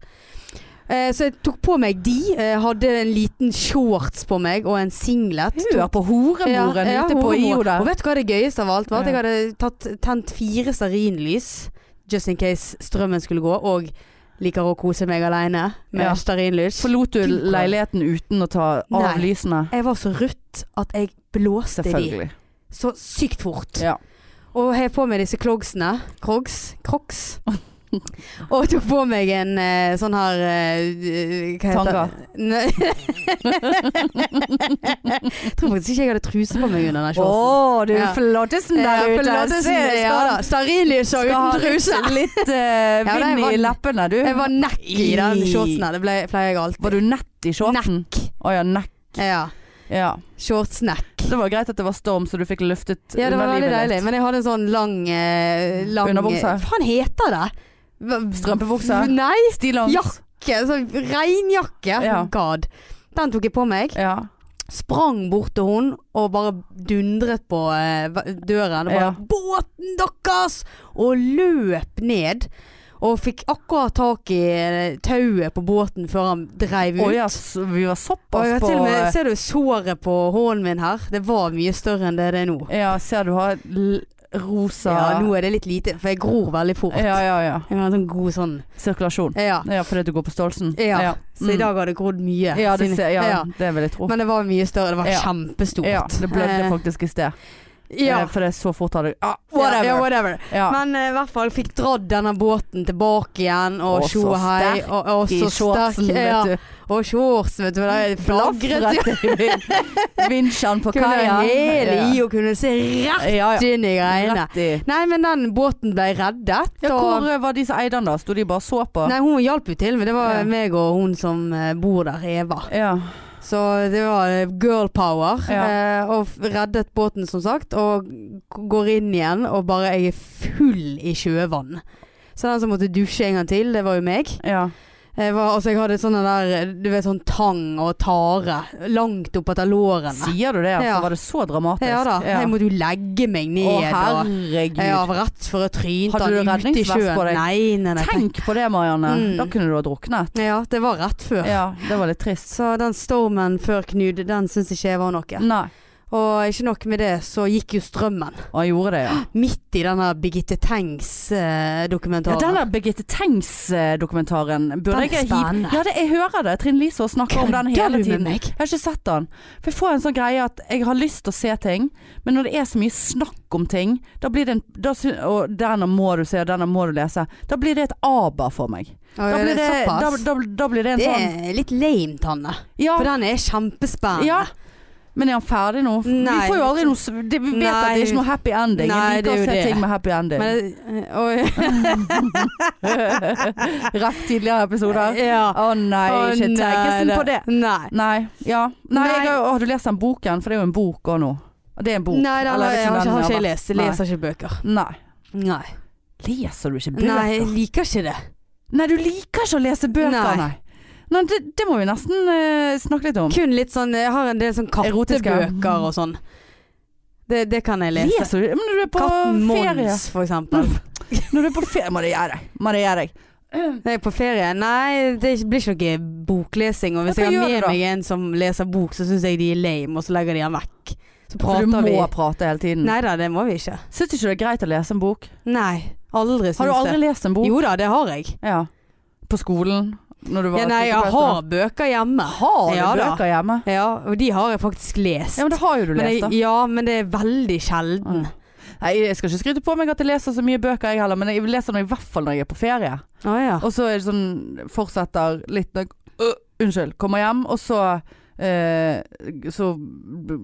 Speaker 2: Eh, så jeg tok på meg de. Eh, hadde en liten shorts på meg og en singlet.
Speaker 1: Hør på horemoren
Speaker 2: Ja, ja,
Speaker 1: ute på
Speaker 2: horemor.
Speaker 1: IO
Speaker 2: Og
Speaker 1: der.
Speaker 2: vet du hva det gøyeste av alt var? At
Speaker 1: Ja.
Speaker 2: jeg hadde tatt, tent fire stearinlys, just in case strømmen skulle gå, og liker å kose meg aleine med
Speaker 1: Ja.
Speaker 2: stearinlys.
Speaker 1: Forlot du
Speaker 2: Gud, hvor-
Speaker 1: leiligheten uten å ta av
Speaker 2: Nei.
Speaker 1: lysene?
Speaker 2: Jeg var så rutt at jeg blåste de
Speaker 1: Selvfølgelig.
Speaker 2: så sykt fort.
Speaker 1: Ja.
Speaker 2: Og hev på meg disse clogsene. Crogs. Crocs. Og tok på meg en eh, sånn her eh, Hva heter
Speaker 1: Tanga.
Speaker 2: Nei. jeg tror faktisk ikke jeg hadde truse på meg under den
Speaker 1: Å,
Speaker 2: shortsen.
Speaker 1: du
Speaker 2: Ja.
Speaker 1: flottesen
Speaker 2: Ja,
Speaker 1: der ute.
Speaker 2: forlåtelsen,
Speaker 1: Se,
Speaker 2: ja da.
Speaker 1: skal,
Speaker 2: Stearinlysa
Speaker 1: skal ha
Speaker 2: uten truse.
Speaker 1: litt, litt eh,
Speaker 2: Ja, nei,
Speaker 1: vind
Speaker 2: jeg
Speaker 1: i
Speaker 2: var-
Speaker 1: leppene, du.
Speaker 2: Jeg var nekk i den shortsen her. Det ble, pleier jeg alltid.
Speaker 1: Var du nett i shortsen?
Speaker 2: Nekk.
Speaker 1: Å ja, nekk.
Speaker 2: Ja.
Speaker 1: Ja.
Speaker 2: Shortsnekk.
Speaker 1: Det var greit at det var storm, så du fikk luftet
Speaker 2: Ja, det var veldig
Speaker 1: underlivet
Speaker 2: deilig.
Speaker 1: litt.
Speaker 2: Men jeg hadde en sånn lang, eh, lang
Speaker 1: Underbukse.
Speaker 2: Hva faen heter det? Hva-
Speaker 1: Strømpebukse.
Speaker 2: Nei,
Speaker 1: Stillongs.
Speaker 2: jakke. Sånn regnjakke.
Speaker 1: Ja.
Speaker 2: God. Den tok jeg på meg.
Speaker 1: Ja.
Speaker 2: Sprang bort til hun og bare dundret på eh, va- døren. Og bare
Speaker 1: Ja.
Speaker 2: 'Båten deres!' Og løp ned. Og fikk akkurat tak i eh, tauet på båten før han dreiv ut.
Speaker 1: Å ja, s- vi var
Speaker 2: Og
Speaker 1: såpass
Speaker 2: jeg har
Speaker 1: på eh,
Speaker 2: til og med, ser du såret på hånden min her? Det var mye større enn det det er nå.
Speaker 1: Ja, ser du har l- rosa
Speaker 2: Ja, nå er det litt lite, for jeg gror veldig fort.
Speaker 1: ja, ja, ja.
Speaker 2: Jeg har en sånn god sånn
Speaker 1: Sirkulasjon.
Speaker 2: Ja.
Speaker 1: Ja, fordi du går på størrelsen.
Speaker 2: ja. Så i
Speaker 1: Mm.
Speaker 2: dag har det grodd mye.
Speaker 1: ja, det,
Speaker 2: siden-
Speaker 1: ser, ja,
Speaker 2: Ja.
Speaker 1: det vil jeg tro.
Speaker 2: Men det var mye større. Det var
Speaker 1: Ja.
Speaker 2: kjempestort.
Speaker 1: ja, det blødde
Speaker 2: Eh,
Speaker 1: faktisk i sted.
Speaker 2: Ja.
Speaker 1: Eh, For det er så fort hadde ah,
Speaker 2: Ja,
Speaker 1: Whatever!
Speaker 2: Ja, whatever.
Speaker 1: Ja.
Speaker 2: Men eh, i hvert fall fikk dratt denne båten tilbake igjen, og
Speaker 1: Og så
Speaker 2: tjo og hei.
Speaker 1: sterk
Speaker 2: Og, og
Speaker 1: I
Speaker 2: så sterk.
Speaker 1: shortsen, vet
Speaker 2: Ja.
Speaker 1: du.
Speaker 2: Og shorts, vet du. for Det flagret jo.
Speaker 1: Blafret i vin- vinsjen på
Speaker 2: Kunne
Speaker 1: kaia.
Speaker 2: hele i og kunne se rett
Speaker 1: Ja, ja.
Speaker 2: inn i greiene.
Speaker 1: Rett i.
Speaker 2: Nei, men den båten ble reddet.
Speaker 1: Ja,
Speaker 2: og-
Speaker 1: hvor eh, var de som eide den da? Sto de bare og så på?
Speaker 2: Nei, hun hjalp jo til, men det var
Speaker 1: Ja.
Speaker 2: meg og hun som eh, bor der, Eva.
Speaker 1: Ja.
Speaker 2: Så det var eh, girl power.
Speaker 1: Ja.
Speaker 2: eh, Og f- reddet båten, som sagt, og g- går inn igjen og bare Jeg er full i sjøvann. Så den som måtte dusje en gang til, det var jo meg.
Speaker 1: ja.
Speaker 2: Jeg, var, altså, jeg hadde sånne der Du vet, sånn tang og tare langt opp etter lårene.
Speaker 1: Sier du det? Altså,
Speaker 2: Ja.
Speaker 1: Var det så dramatisk?
Speaker 2: Ja da. Jeg måtte jo legge meg ned.
Speaker 1: Å,
Speaker 2: og-
Speaker 1: herregud.
Speaker 2: ja, rett før jeg trynte
Speaker 1: Hadde du
Speaker 2: den ute i
Speaker 1: redningsvest
Speaker 2: sjøen.
Speaker 1: på deg?
Speaker 2: Nei, nei, nei.
Speaker 1: Tenk på det, Marianne.
Speaker 2: Mm.
Speaker 1: Da kunne du ha druknet.
Speaker 2: Ja, det var rett før.
Speaker 1: Ja, det var litt trist.
Speaker 2: Så den stormen før Knud, den syns ikke jeg var noe.
Speaker 1: Nei.
Speaker 2: Og ikke nok med det, så gikk jo strømmen.
Speaker 1: Og han gjorde det, ja.
Speaker 2: Midt i denne Birgitte eh,
Speaker 1: ja
Speaker 2: Tengs-dokumentaren.
Speaker 1: den der Birgitte Tengs-dokumentaren burde
Speaker 2: Den er
Speaker 1: jeg hive
Speaker 2: spennende.
Speaker 1: Ja, det, jeg hører det. Trine Lise også snakker om den hele
Speaker 2: du med
Speaker 1: tiden.
Speaker 2: meg?
Speaker 1: Jeg har ikke sett den. For jeg får en sånn greie at jeg har lyst til å se ting, men når det er så mye snakk om ting, da blir det en da, sy- Og denne må du se, og denne må du lese. Da blir det et aber for meg. Da
Speaker 2: Og er
Speaker 1: blir
Speaker 2: det,
Speaker 1: det, da,
Speaker 2: såpass?
Speaker 1: da, da blir det en
Speaker 2: det
Speaker 1: sånn
Speaker 2: er litt lame, Tanne.
Speaker 1: Ja,
Speaker 2: For den er kjempespennende.
Speaker 1: Ja, men er han ferdig nå?
Speaker 2: Nei.
Speaker 1: vi får jo aldri noe s- det, Vi vet at det er ikke noe happy ending.
Speaker 2: Nei,
Speaker 1: jeg
Speaker 2: det
Speaker 1: liker
Speaker 2: er
Speaker 1: å
Speaker 2: jo
Speaker 1: se
Speaker 2: det.
Speaker 1: ting med happy ending.
Speaker 2: Men, eh, og,
Speaker 1: Rett tidligere episoder.
Speaker 2: ja.
Speaker 1: Å nei,
Speaker 2: Å,
Speaker 1: ikke
Speaker 2: nei,
Speaker 1: tenkesen på det.
Speaker 2: Nei.
Speaker 1: Nei. Ja. Nei,
Speaker 2: Nei.
Speaker 1: Jeg har, jo- har du lest den boken? For det er jo en bok òg nå. Det er en bok.
Speaker 2: Nei, den
Speaker 1: Eller
Speaker 2: har
Speaker 1: vet
Speaker 2: jeg
Speaker 1: ikke om
Speaker 2: har ikke,
Speaker 1: den
Speaker 2: har
Speaker 1: har
Speaker 2: ikke jeg
Speaker 1: vært-
Speaker 2: lest. Jeg leser ikke bøker.
Speaker 1: Nei.
Speaker 2: Nei.
Speaker 1: Leser du ikke bøker?
Speaker 2: Nei, jeg
Speaker 1: Nei,
Speaker 2: liker ikke det.
Speaker 1: du liker ikke å lese bøker,
Speaker 2: Nei.
Speaker 1: nei. Nei, det, det må vi nesten eh, snakke litt om.
Speaker 2: Kun litt sånn Jeg har en del sånn
Speaker 1: Erotiske.
Speaker 2: kattebøker og sånn. Det, det kan jeg lese.
Speaker 1: Leser du? Men du er på
Speaker 2: Katten
Speaker 1: ferie.
Speaker 2: Mons, for eksempel.
Speaker 1: Når du er på ferie, må det gjøre deg. Må det gjøre deg.
Speaker 2: Når jeg er på ferie? Nei, det blir ikke noe boklesing. Og
Speaker 1: Ja,
Speaker 2: hvis
Speaker 1: hva
Speaker 2: jeg har
Speaker 1: gjør
Speaker 2: med
Speaker 1: du da?
Speaker 2: meg en som leser bok, så syns jeg de er lame, og så legger de den vekk.
Speaker 1: For
Speaker 2: Så
Speaker 1: du
Speaker 2: prater
Speaker 1: må
Speaker 2: vi.
Speaker 1: prate hele tiden.
Speaker 2: Nei da, det må vi ikke.
Speaker 1: Syns du ikke det er greit å lese en bok?
Speaker 2: Nei. Aldri syns
Speaker 1: Har du aldri
Speaker 2: det.
Speaker 1: lest en bok?
Speaker 2: Jo da, det har jeg.
Speaker 1: Ja. På skolen? Når du var
Speaker 2: Ja, nei, jeg har bøker hjemme.
Speaker 1: Har du
Speaker 2: Ja da.
Speaker 1: bøker hjemme?
Speaker 2: Ja, og de har jeg faktisk lest.
Speaker 1: Ja, men det har jo du
Speaker 2: Men
Speaker 1: lest, da.
Speaker 2: jeg, ja, men det er veldig sjelden.
Speaker 1: Mm. Nei, jeg skal ikke skryte på meg at jeg leser så mye bøker jeg heller, men jeg leser nå i hvert fall når jeg er på ferie.
Speaker 2: Å ja.
Speaker 1: Og så er det sånn Fortsetter litt når jeg øh, Unnskyld. Kommer hjem, og så eh, Så b-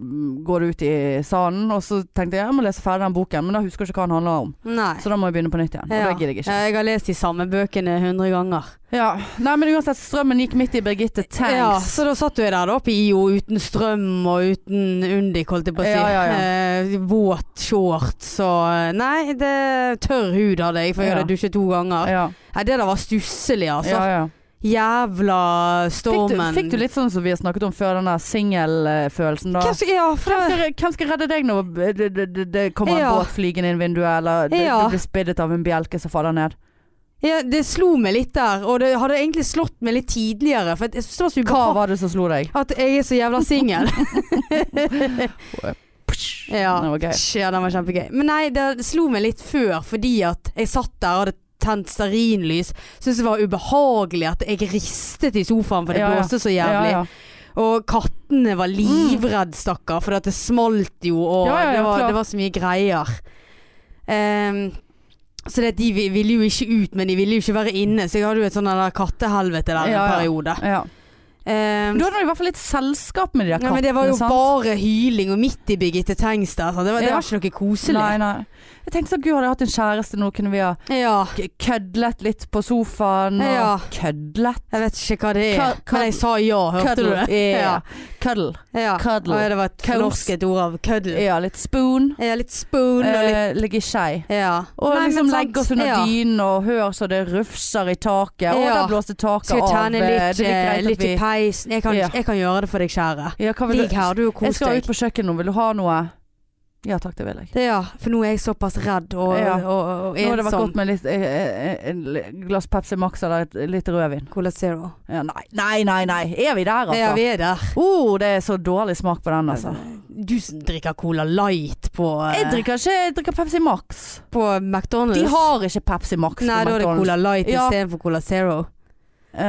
Speaker 1: går det ut i sanden, og så tenkte jeg jeg må lese ferdig den boken, men da husker jeg ikke hva den handler om.
Speaker 2: Nei.
Speaker 1: Så da må jeg begynne på nytt igjen. Og
Speaker 2: Ja.
Speaker 1: det
Speaker 2: Eh,
Speaker 1: gidder jeg
Speaker 2: Ja,
Speaker 1: ikke.
Speaker 2: jeg har lest de samme bøkene hundre ganger.
Speaker 1: Ja. Nei, men uansett, strømmen gikk midt i Birgitte Tanks.
Speaker 2: Ja, så da satt du der da på IO uten strøm og uten Undik, holdt jeg på å si.
Speaker 1: Ja, ja, ja.
Speaker 2: Eh, våt shorts og eh, Nei, det tørr hud hadde jeg, for jeg
Speaker 1: Ja.
Speaker 2: hadde dusjet to ganger.
Speaker 1: ja.
Speaker 2: Nei, det der var stusslig, altså.
Speaker 1: ja, ja.
Speaker 2: Jævla
Speaker 1: Fikk, du,
Speaker 2: stormen.
Speaker 1: fikk du litt sånn som vi har snakket om før, den der singelfølelsen da?
Speaker 2: Hvem skal, ja, for
Speaker 1: Hvem
Speaker 2: det,
Speaker 1: skal, hvem skal redde deg nå? Det, det, det, det kommer en
Speaker 2: Ja.
Speaker 1: båt flygende inn vinduet, eller det,
Speaker 2: Ja.
Speaker 1: du blir spiddet av en bjelke som faller ned.
Speaker 2: ja, det slo meg litt der, og det hadde egentlig slått meg litt tidligere. For jeg synes det var
Speaker 1: Hva
Speaker 2: så ubehagelig
Speaker 1: var det som slo deg?
Speaker 2: at jeg er så jævla singel. Ja.
Speaker 1: Det var gøy.
Speaker 2: Tj, Ja, den var kjempegøy. Men nei, det slo meg litt før, fordi at jeg satt der og hadde tent stearinlys. Syntes det var ubehagelig at jeg ristet i sofaen, for det
Speaker 1: Ja, ja.
Speaker 2: blåste så
Speaker 1: Ja,
Speaker 2: jævlig.
Speaker 1: ja.
Speaker 2: Og kattene var livredd, stakkar, for at det smalt jo, og
Speaker 1: Mm. Ja, ja, ja,
Speaker 2: det, var,
Speaker 1: klart.
Speaker 2: det var så mye greier. Ehm, så det, at de vi- ville jo ikke ut, men de ville jo ikke være inne, så jeg hadde jo et sånn der kattehelvete der i
Speaker 1: Ja,
Speaker 2: en
Speaker 1: ja.
Speaker 2: periode.
Speaker 1: Ja.
Speaker 2: Ehm,
Speaker 1: Men Du hadde nå i hvert fall litt selskap med de der
Speaker 2: ja,
Speaker 1: kattene.
Speaker 2: men det var jo
Speaker 1: sant?
Speaker 2: bare hyling, og midt i Birgitte Tengs der. sant? Det var, det
Speaker 1: Ja.
Speaker 2: var ikke noe koselig.
Speaker 1: Nei, nei. Jeg tenkte sånn, gud hadde jeg hatt en kjæreste nå, kunne vi ha
Speaker 2: Ja.
Speaker 1: k- kødlet litt på sofaen. Og
Speaker 2: Ja.
Speaker 1: Kødlet?
Speaker 2: Jeg vet ikke hva det er,
Speaker 1: Kød- kød-
Speaker 2: men jeg sa ja, hørte
Speaker 1: Køddel.
Speaker 2: du det?
Speaker 1: Ja. Køddel.
Speaker 2: ja.
Speaker 1: Køddel.
Speaker 2: Å, ja, det var et
Speaker 1: Kødels.
Speaker 2: norsket ord av køddel. Ja.
Speaker 1: Ja, litt spoon.
Speaker 2: litt spoon og litt
Speaker 1: Eh, Ligge i skei.
Speaker 2: ja.
Speaker 1: Og
Speaker 2: Nei,
Speaker 1: liksom
Speaker 2: men sant.
Speaker 1: legge oss under
Speaker 2: ja.
Speaker 1: dynen og hør så det rufser i taket. Og
Speaker 2: Ja.
Speaker 1: der blåste taket
Speaker 2: Skal vi
Speaker 1: av. eh,
Speaker 2: tjene litt,
Speaker 1: det er
Speaker 2: eh,
Speaker 1: greit at
Speaker 2: litt i
Speaker 1: vi-
Speaker 2: peisen? Jeg kan,
Speaker 1: Ja.
Speaker 2: jeg kan gjøre det for deg, kjære.
Speaker 1: Ja, hva vil
Speaker 2: Ligg
Speaker 1: du?
Speaker 2: her, du, og
Speaker 1: Jeg
Speaker 2: kos
Speaker 1: skal ut
Speaker 2: deg.
Speaker 1: på kjøkkenet nå. Vil du ha noe? Ja takk, det vil jeg.
Speaker 2: Det, ja, for nå er jeg såpass redd og,
Speaker 1: Ja.
Speaker 2: og, og, og
Speaker 1: Nå hadde det vært godt
Speaker 2: ensom.
Speaker 1: med litt, eh, eh, en glass Pepsi Max eller et litt rødvin.
Speaker 2: Cola Zero.
Speaker 1: Ja, nei, nei, nei, nei. Er vi der, altså?
Speaker 2: Ja, vi er der.
Speaker 1: Oh, det er så dårlig smak på den, altså.
Speaker 2: Du som drikker Cola Light på, eh,
Speaker 1: Jeg drikker ikke jeg drikker Pepsi Max.
Speaker 2: på
Speaker 1: De
Speaker 2: McDonald's.
Speaker 1: har ikke Pepsi Max på
Speaker 2: Nei, da er det
Speaker 1: McDonald's.
Speaker 2: Cola Light
Speaker 1: Ja.
Speaker 2: istedenfor Cola Zero.
Speaker 1: Eh,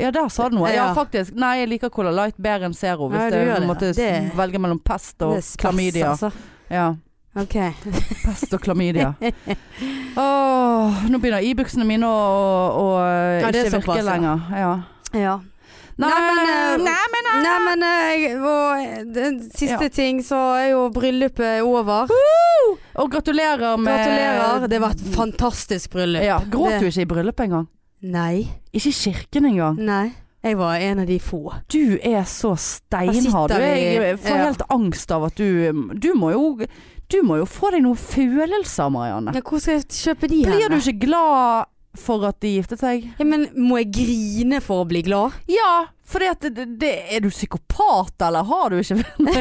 Speaker 1: ja, der sa du noe. Ja,
Speaker 2: Ja.
Speaker 1: faktisk. Nei, jeg liker Cola Light bedre enn Zero. Hvis
Speaker 2: Ja, du
Speaker 1: jeg
Speaker 2: gjør det.
Speaker 1: måtte
Speaker 2: Det-
Speaker 1: velge mellom pest og
Speaker 2: det er spes,
Speaker 1: klamydia.
Speaker 2: altså.
Speaker 1: Ja.
Speaker 2: Ok.
Speaker 1: Pest og klamydia. Åh, nå begynner ibuksene mine å, å, å eh,
Speaker 2: Ja, det er
Speaker 1: ikke virke
Speaker 2: såpass, ja.
Speaker 1: lenger. Ja.
Speaker 2: Ja.
Speaker 1: Nei,
Speaker 2: Nei, men, eh,
Speaker 1: nei, men
Speaker 2: Nei, men eh, og, den
Speaker 1: Ja.
Speaker 2: siste ting, så er jo bryllupet over.
Speaker 1: Og gratulerer med
Speaker 2: Gratulerer. Det var et fantastisk bryllup.
Speaker 1: Eh, Ja, Gråt
Speaker 2: Det-
Speaker 1: du ikke i bryllupet engang?
Speaker 2: Nei.
Speaker 1: Ikke i kirken engang.
Speaker 2: Nei. Jeg var en av de få.
Speaker 1: Du er så steinhard.
Speaker 2: Her
Speaker 1: Du
Speaker 2: sitter
Speaker 1: er,
Speaker 2: vi.
Speaker 1: jeg får
Speaker 2: Ja.
Speaker 1: helt angst av at du Du må jo, du må jo få deg noen følelser, Marianne.
Speaker 2: Ja, hvor skal jeg kjøpe de
Speaker 1: Blir du
Speaker 2: henne?
Speaker 1: ikke glad for at de giftet seg?
Speaker 2: Ja, men må jeg grine for å bli glad?
Speaker 1: Ja, for det, det, er du psykopat, eller har du ikke Nei,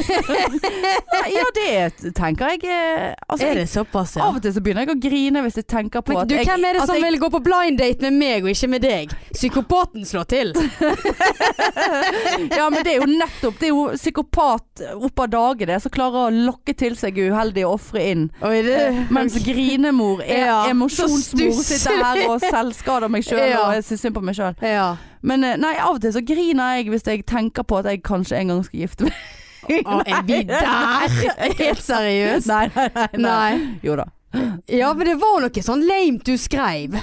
Speaker 1: Ja, det tenker jeg eh, altså,
Speaker 2: er
Speaker 1: jeg-
Speaker 2: det såpass, ja?
Speaker 1: Av og til så begynner jeg å grine hvis jeg tenker på
Speaker 2: Men
Speaker 1: at
Speaker 2: du,
Speaker 1: jeg,
Speaker 2: hvem er det
Speaker 1: at
Speaker 2: som
Speaker 1: jeg,
Speaker 2: vil gå på blind date med meg og ikke med deg? Psykopaten slår til.
Speaker 1: Ja, men det er jo nettopp Det er jo psykopat opp av dage det som klarer å lokke til seg uheldige ofre inn.
Speaker 2: Oi, det,
Speaker 1: Eh, Mens grinemor er
Speaker 2: Ja, så
Speaker 1: emosjonsmor,
Speaker 2: stusslig.
Speaker 1: sitter her og selvskader meg sjøl
Speaker 2: Ja.
Speaker 1: og jeg syns synd på meg sjøl.
Speaker 2: ja.
Speaker 1: Men eh, nei, av og til så griner jeg hvis jeg tenker på at jeg kanskje en gang skal gifte meg.
Speaker 2: Å, er vi der? Helt seriøst?
Speaker 1: Nei, nei, nei. nei.
Speaker 2: Nei.
Speaker 1: Jo da.
Speaker 2: Ja, men det var noe sånn lame du skrev.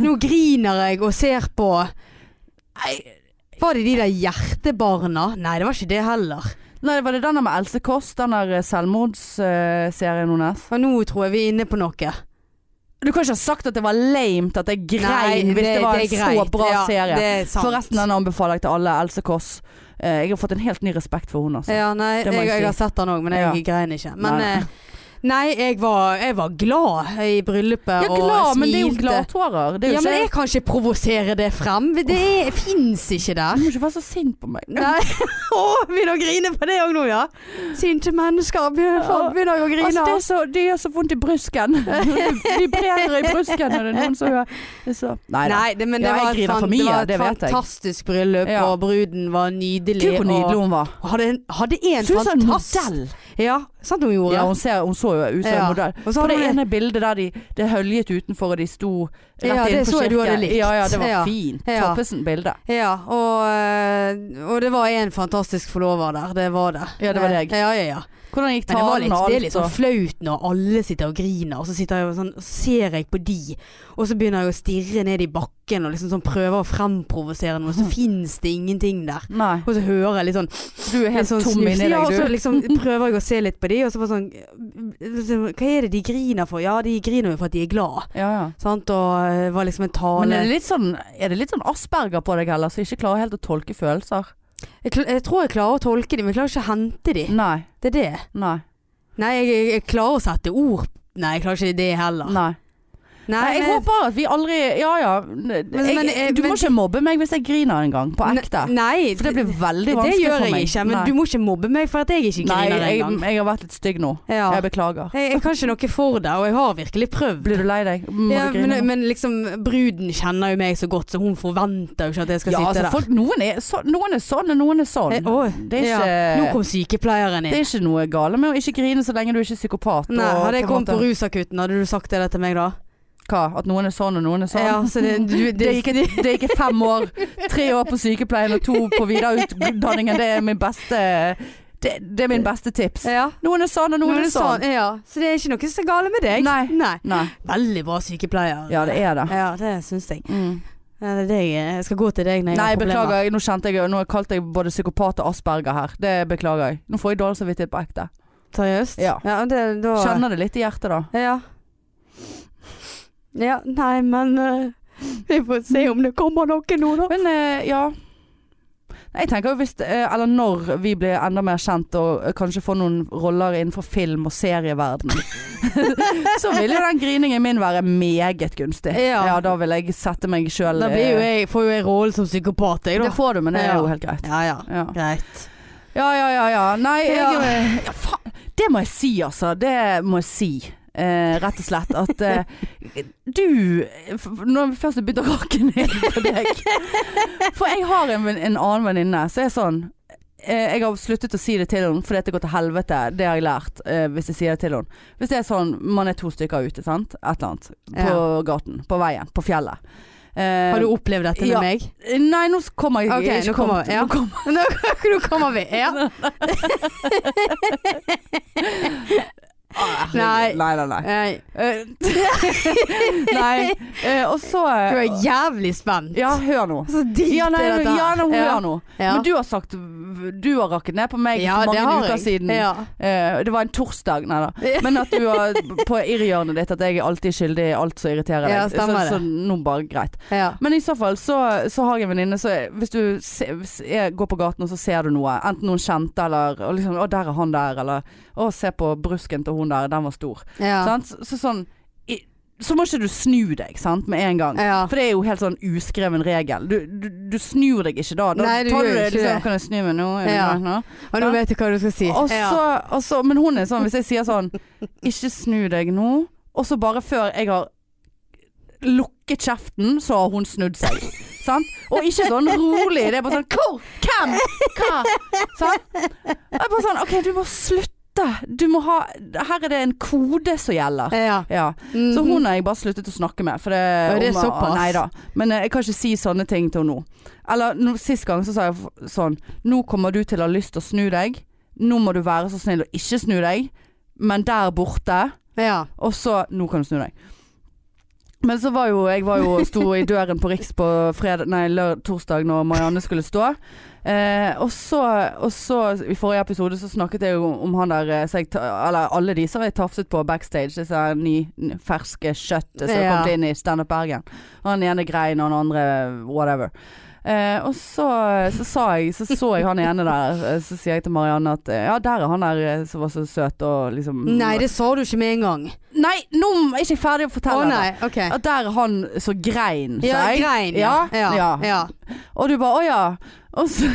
Speaker 2: Nå griner jeg og ser på Var det de der hjertebarna? Nei, det var ikke det heller.
Speaker 1: Nei, var det den der med Else Kåss? Den der eh, selvmordsserien eh, hennes?
Speaker 2: Og nå tror jeg vi er inne på noe.
Speaker 1: Du kan ikke ha sagt at det var lamet at jeg grein hvis det, var en
Speaker 2: er
Speaker 1: så
Speaker 2: greit.
Speaker 1: bra
Speaker 2: ja,
Speaker 1: serie.
Speaker 2: Det er sant.
Speaker 1: Forresten, den anbefaler jeg til alle. Else Kåss. Eh, jeg har fått en helt ny respekt for henne, altså.
Speaker 2: Ja, nei,
Speaker 1: Det må
Speaker 2: jeg,
Speaker 1: jeg si.
Speaker 2: jeg har sett den òg, men jeg
Speaker 1: Ja.
Speaker 2: grein ikke. Men
Speaker 1: Nei, nei.
Speaker 2: eh, Nei, jeg var, jeg var glad i bryllupet
Speaker 1: Ja, glad,
Speaker 2: og
Speaker 1: men det er jo
Speaker 2: smilte.
Speaker 1: gladtårer. Det er jo
Speaker 2: ja, men
Speaker 1: ikke
Speaker 2: jeg kan ikke provosere det frem. Det fins
Speaker 1: Du
Speaker 2: ikke der.
Speaker 1: må ikke være så sint på meg.
Speaker 2: Nei. Å, begynner å grine på det òg nå, ja. Sinte mennesker begynner, faen, begynner å grine.
Speaker 1: Altså, det, er så, det gjør så vondt i brysken. De brenner i brysken når det er noen som gjør det. Så. Nei da.
Speaker 2: Nei, det, men
Speaker 1: Ja,
Speaker 2: det,
Speaker 1: jeg
Speaker 2: var et,
Speaker 1: griner
Speaker 2: fan,
Speaker 1: for mye,
Speaker 2: det var et
Speaker 1: det vet jeg.
Speaker 2: fantastisk bryllup,
Speaker 1: Ja.
Speaker 2: og bruden var nydelig.
Speaker 1: Gud, hvor nydelig
Speaker 2: og
Speaker 1: hun var.
Speaker 2: hadde en, hadde en
Speaker 1: Hun så en
Speaker 2: fantastisk
Speaker 1: modell.
Speaker 2: Ja, sant hun gjorde?
Speaker 1: Ja, hun, ser, hun så jo ut som en
Speaker 2: Ja.
Speaker 1: modell.
Speaker 2: Og så
Speaker 1: På
Speaker 2: hadde
Speaker 1: det
Speaker 2: hun en-
Speaker 1: ene bildet der de, det er høljet utenfor og de sto rett
Speaker 2: Ja, det
Speaker 1: innenfor
Speaker 2: så jeg du
Speaker 1: kirken.
Speaker 2: hadde likt.
Speaker 1: Ja, ja, det var
Speaker 2: Ja.
Speaker 1: fint.
Speaker 2: Ja.
Speaker 1: Toppesen-bildet.
Speaker 2: Ja, og, eh, og det var en fantastisk forlover der. Det var det. Eh,
Speaker 1: Ja, det var deg.
Speaker 2: Ja, ja, ja.
Speaker 1: Hvordan gikk
Speaker 2: Men det, var
Speaker 1: talen
Speaker 2: litt,
Speaker 1: og
Speaker 2: det er litt
Speaker 1: alt?
Speaker 2: sånn
Speaker 1: og-
Speaker 2: flaut når alle sitter og griner, og så sitter jeg og sånn, og ser jeg på de, og så begynner jeg å stirre ned i bakken og liksom sånn prøver å fremprovosere noe, så fins det ingenting der.
Speaker 1: Nei.
Speaker 2: Og så hører jeg litt sånn
Speaker 1: Du er helt
Speaker 2: litt sånn
Speaker 1: tom
Speaker 2: snufs.
Speaker 1: inni
Speaker 2: Ja, og
Speaker 1: deg,
Speaker 2: så
Speaker 1: du.
Speaker 2: liksom prøver jeg å se litt på de, og så bare sånn Hva er det de griner for? Ja, de griner jo for at de er glad.
Speaker 1: Ja, ja.
Speaker 2: Sant? Og det var liksom en tale
Speaker 1: Men er det litt sånn, er det litt sånn asperger på deg heller, som ikke klarer helt å tolke følelser?
Speaker 2: jeg, kl- jeg tror jeg klarer å tolke de, men jeg klarer ikke å hente de.
Speaker 1: Nei.
Speaker 2: Det er det.
Speaker 1: Nei.
Speaker 2: Nei, jeg, jeg- jeg klarer å sette ord Nei, jeg klarer ikke det heller.
Speaker 1: Nei. Nei, jeg
Speaker 2: men-
Speaker 1: håper at vi aldri Ja ja. Jeg,
Speaker 2: men, eh,
Speaker 1: du
Speaker 2: men-
Speaker 1: må ikke mobbe meg hvis jeg griner en gang, på ekte.
Speaker 2: Nei,
Speaker 1: For det blir veldig
Speaker 2: det
Speaker 1: vanskelig
Speaker 2: gjør
Speaker 1: for meg.
Speaker 2: jeg ikke. Men
Speaker 1: Nei.
Speaker 2: du må ikke mobbe meg for at jeg ikke
Speaker 1: Nei,
Speaker 2: griner
Speaker 1: jeg,
Speaker 2: engang.
Speaker 1: jeg har vært litt stygg nå.
Speaker 2: Ja.
Speaker 1: Jeg beklager.
Speaker 2: Jeg, jeg kan ikke noe for det, og jeg har virkelig prøvd.
Speaker 1: Blir du lei deg? Må
Speaker 2: Ja,
Speaker 1: du grine?
Speaker 2: men,
Speaker 1: nå?
Speaker 2: men liksom, bruden kjenner jo meg så godt, så hun forventer jo ikke at jeg skal
Speaker 1: ja,
Speaker 2: sitte
Speaker 1: altså,
Speaker 2: der.
Speaker 1: folk, noen, er så, noen er sånn, og noen er sånn.
Speaker 2: Eh, åh,
Speaker 1: Det er ikke,
Speaker 2: ja. Nå kom sykepleieren
Speaker 1: det er
Speaker 2: inn.
Speaker 1: ikke noe gale med å ikke grine så lenge du ikke er psykopat.
Speaker 2: Nei,
Speaker 1: og
Speaker 2: hadde
Speaker 1: på
Speaker 2: jeg
Speaker 1: en
Speaker 2: kommet på
Speaker 1: måte-
Speaker 2: rusakutten, hadde du sagt det der til meg da?
Speaker 1: Hva? At noen er sånn, og noen er sånn?
Speaker 2: Ja, så det, du, det,
Speaker 1: Det gikk, et- det gikk et fem år. Tre år på sykepleien og to på videreutdanningen. Det er min beste, det, det er min beste tips.
Speaker 2: ja.
Speaker 1: Noen er sånn, og noen,
Speaker 2: Noen
Speaker 1: er sånn.
Speaker 2: sa- Ja, så det er ikke noe som er gale med deg.
Speaker 1: Nei. Nei.
Speaker 2: Veldig bra sykepleier.
Speaker 1: Ja, det er det.
Speaker 2: Ja, det syns jeg.
Speaker 1: Mm.
Speaker 2: Ja, det er det jeg. jeg skal gå til deg når
Speaker 1: Nei,
Speaker 2: jeg har problemer.
Speaker 1: beklager. jeg- Nå kjente jeg Nå kalte jeg både psykopat og asperger her. Det beklager jeg. Nå får jeg dårlig samvittighet på ekte.
Speaker 2: Seriøst?
Speaker 1: Ja.
Speaker 2: det, da,
Speaker 1: Kjenner det litt i hjertet, da.
Speaker 2: Ja. Ja, nei, men eh, Vi får se om det kommer noe nå, da.
Speaker 1: Men eh, ja. Nei, Jeg tenker jo hvis, eh, eller når vi blir enda mer kjent og eh, kanskje får noen roller innenfor film- og serieverden så vil jo den griningen min være meget gunstig.
Speaker 2: Ja.
Speaker 1: da vil jeg sette meg sjøl
Speaker 2: Da blir jo jeg, får jo jeg rollen som psykopat, jeg,
Speaker 1: eh, Det
Speaker 2: da.
Speaker 1: får du, men det er jo
Speaker 2: Ja.
Speaker 1: helt greit.
Speaker 2: Ja ja,
Speaker 1: Ja,
Speaker 2: greit.
Speaker 1: ja, ja. ja, ja. Nei, jeg eh,
Speaker 2: Ja.
Speaker 1: ja, faen. Det må jeg si, altså. Det må jeg si. Eh, rett og slett at eh, du f- Når vi først begynte å rake ned på deg For jeg har en, venn- en annen venninne som er sånn eh, Jeg har sluttet å si det til henne fordi at det går til helvete. Det har jeg lært eh, hvis jeg sier det til henne. Hvis det er sånn man er to stykker ute, sant. Et eller annet. På gaten. På veien. På fjellet. Eh,
Speaker 2: Har du opplevd dette med
Speaker 1: ja.
Speaker 2: meg?
Speaker 1: Nei, nå kommer jeg
Speaker 2: Ok,
Speaker 1: ikke
Speaker 2: nå kommer-
Speaker 1: kommet-
Speaker 2: ja.
Speaker 1: nå kommer-
Speaker 2: Nå, nå kommer vi. Ja.
Speaker 1: Ah,
Speaker 2: Nei.
Speaker 1: herregud. Nei, nei, nei.
Speaker 2: Nei,
Speaker 1: Eh, nei. eh, og så eh,
Speaker 2: Du er jævlig spent.
Speaker 1: Ja, hør nå.
Speaker 2: Så drit
Speaker 1: Ja, nei,
Speaker 2: i dette.
Speaker 1: ja, nå, hør nå.
Speaker 2: Ja.
Speaker 1: Men du har sagt Du har rakket ned på meg
Speaker 2: ja,
Speaker 1: for
Speaker 2: det
Speaker 1: mange
Speaker 2: har
Speaker 1: uker
Speaker 2: jeg.
Speaker 1: siden.
Speaker 2: Ja.
Speaker 1: Eh, det var en torsdag, nei da. Men at du har på irrhjørnet ditt at jeg er alltid skyldig i alt som irriterer deg.
Speaker 2: Ja, stemmer
Speaker 1: så, så nå bare greit.
Speaker 2: Ja.
Speaker 1: Men i så fall så, så har jeg en venninne som Hvis du se, hvis jeg går på gaten og så ser du noe, enten noen kjente eller og liksom, 'Å, der er han der', eller 'Å, se på brusken til hun der, den var stor'.
Speaker 2: Ja.
Speaker 1: Sant? Så, så sånn i, Så må ikke du snu deg, sant, med en gang.
Speaker 2: Ja.
Speaker 1: For det er jo helt sånn uskreven regel. Du, du, du snur deg ikke da. da
Speaker 2: Nei, du
Speaker 1: tar
Speaker 2: gjør
Speaker 1: det
Speaker 2: ikke
Speaker 1: liksom,
Speaker 2: det.
Speaker 1: Kan jeg snu meg nå? Er det
Speaker 2: Ja.
Speaker 1: greit nå?
Speaker 2: Og nå vet du hva du skal si.
Speaker 1: Og
Speaker 2: Ja.
Speaker 1: så, og så, men hun er sånn, hvis jeg sier sånn Ikke snu deg nå Og så bare før jeg har lukket kjeften Så har hun snudd seg sant? Og ikke sånn rolig Det er bare sånn, hvor, hvem, hva sant? Det er bare sånn, ok, du må slutte Du må ha, her er det en kode som gjelder
Speaker 2: ja.
Speaker 1: Ja,
Speaker 2: Mhm.
Speaker 1: så hun har jeg bare sluttet å snakke med. For det,
Speaker 2: Ja, det er
Speaker 1: hun var-
Speaker 2: såpass.
Speaker 1: Nei da. Men eh, jeg kan ikke si sånne ting til henne nå. Eller nå- sist gang så sa jeg f- sånn Nå kommer du til å ha lyst til å snu deg. Nå må du være så snill å ikke snu deg. Men der borte
Speaker 2: Mm-hmm. ja.
Speaker 1: Og så Nå kan du snu deg. Men så var jo jeg var jo, sto i døren på Riks på fredag, nei, lør, torsdag når Marianne skulle stå. Eh, og, så, og så I forrige episode så snakket jeg jo om, om han der eh, så jeg, ta- Eller alle de som jeg tafset på backstage. Disse her ny, n- ferske kjøttet som
Speaker 2: Ja.
Speaker 1: kom inn i Standup Bergen. Han ene grein, og han andre whatever. Eh, Eh, og så, så sa jeg Så så jeg han ene der. eh, Så sier jeg til Marianne at eh, ja, der er han der eh, som var så søt og liksom
Speaker 2: Nei, det sa du ikke med en gang.
Speaker 1: Nei, nå er jeg ikke ferdig å
Speaker 2: Å
Speaker 1: fortelle.
Speaker 2: nei, ok.
Speaker 1: At der er han så grein,
Speaker 2: Ja,
Speaker 1: sa jeg.
Speaker 2: grein.
Speaker 1: Ja,
Speaker 2: ja.
Speaker 1: ja. Og du bare 'å ja'. Og så,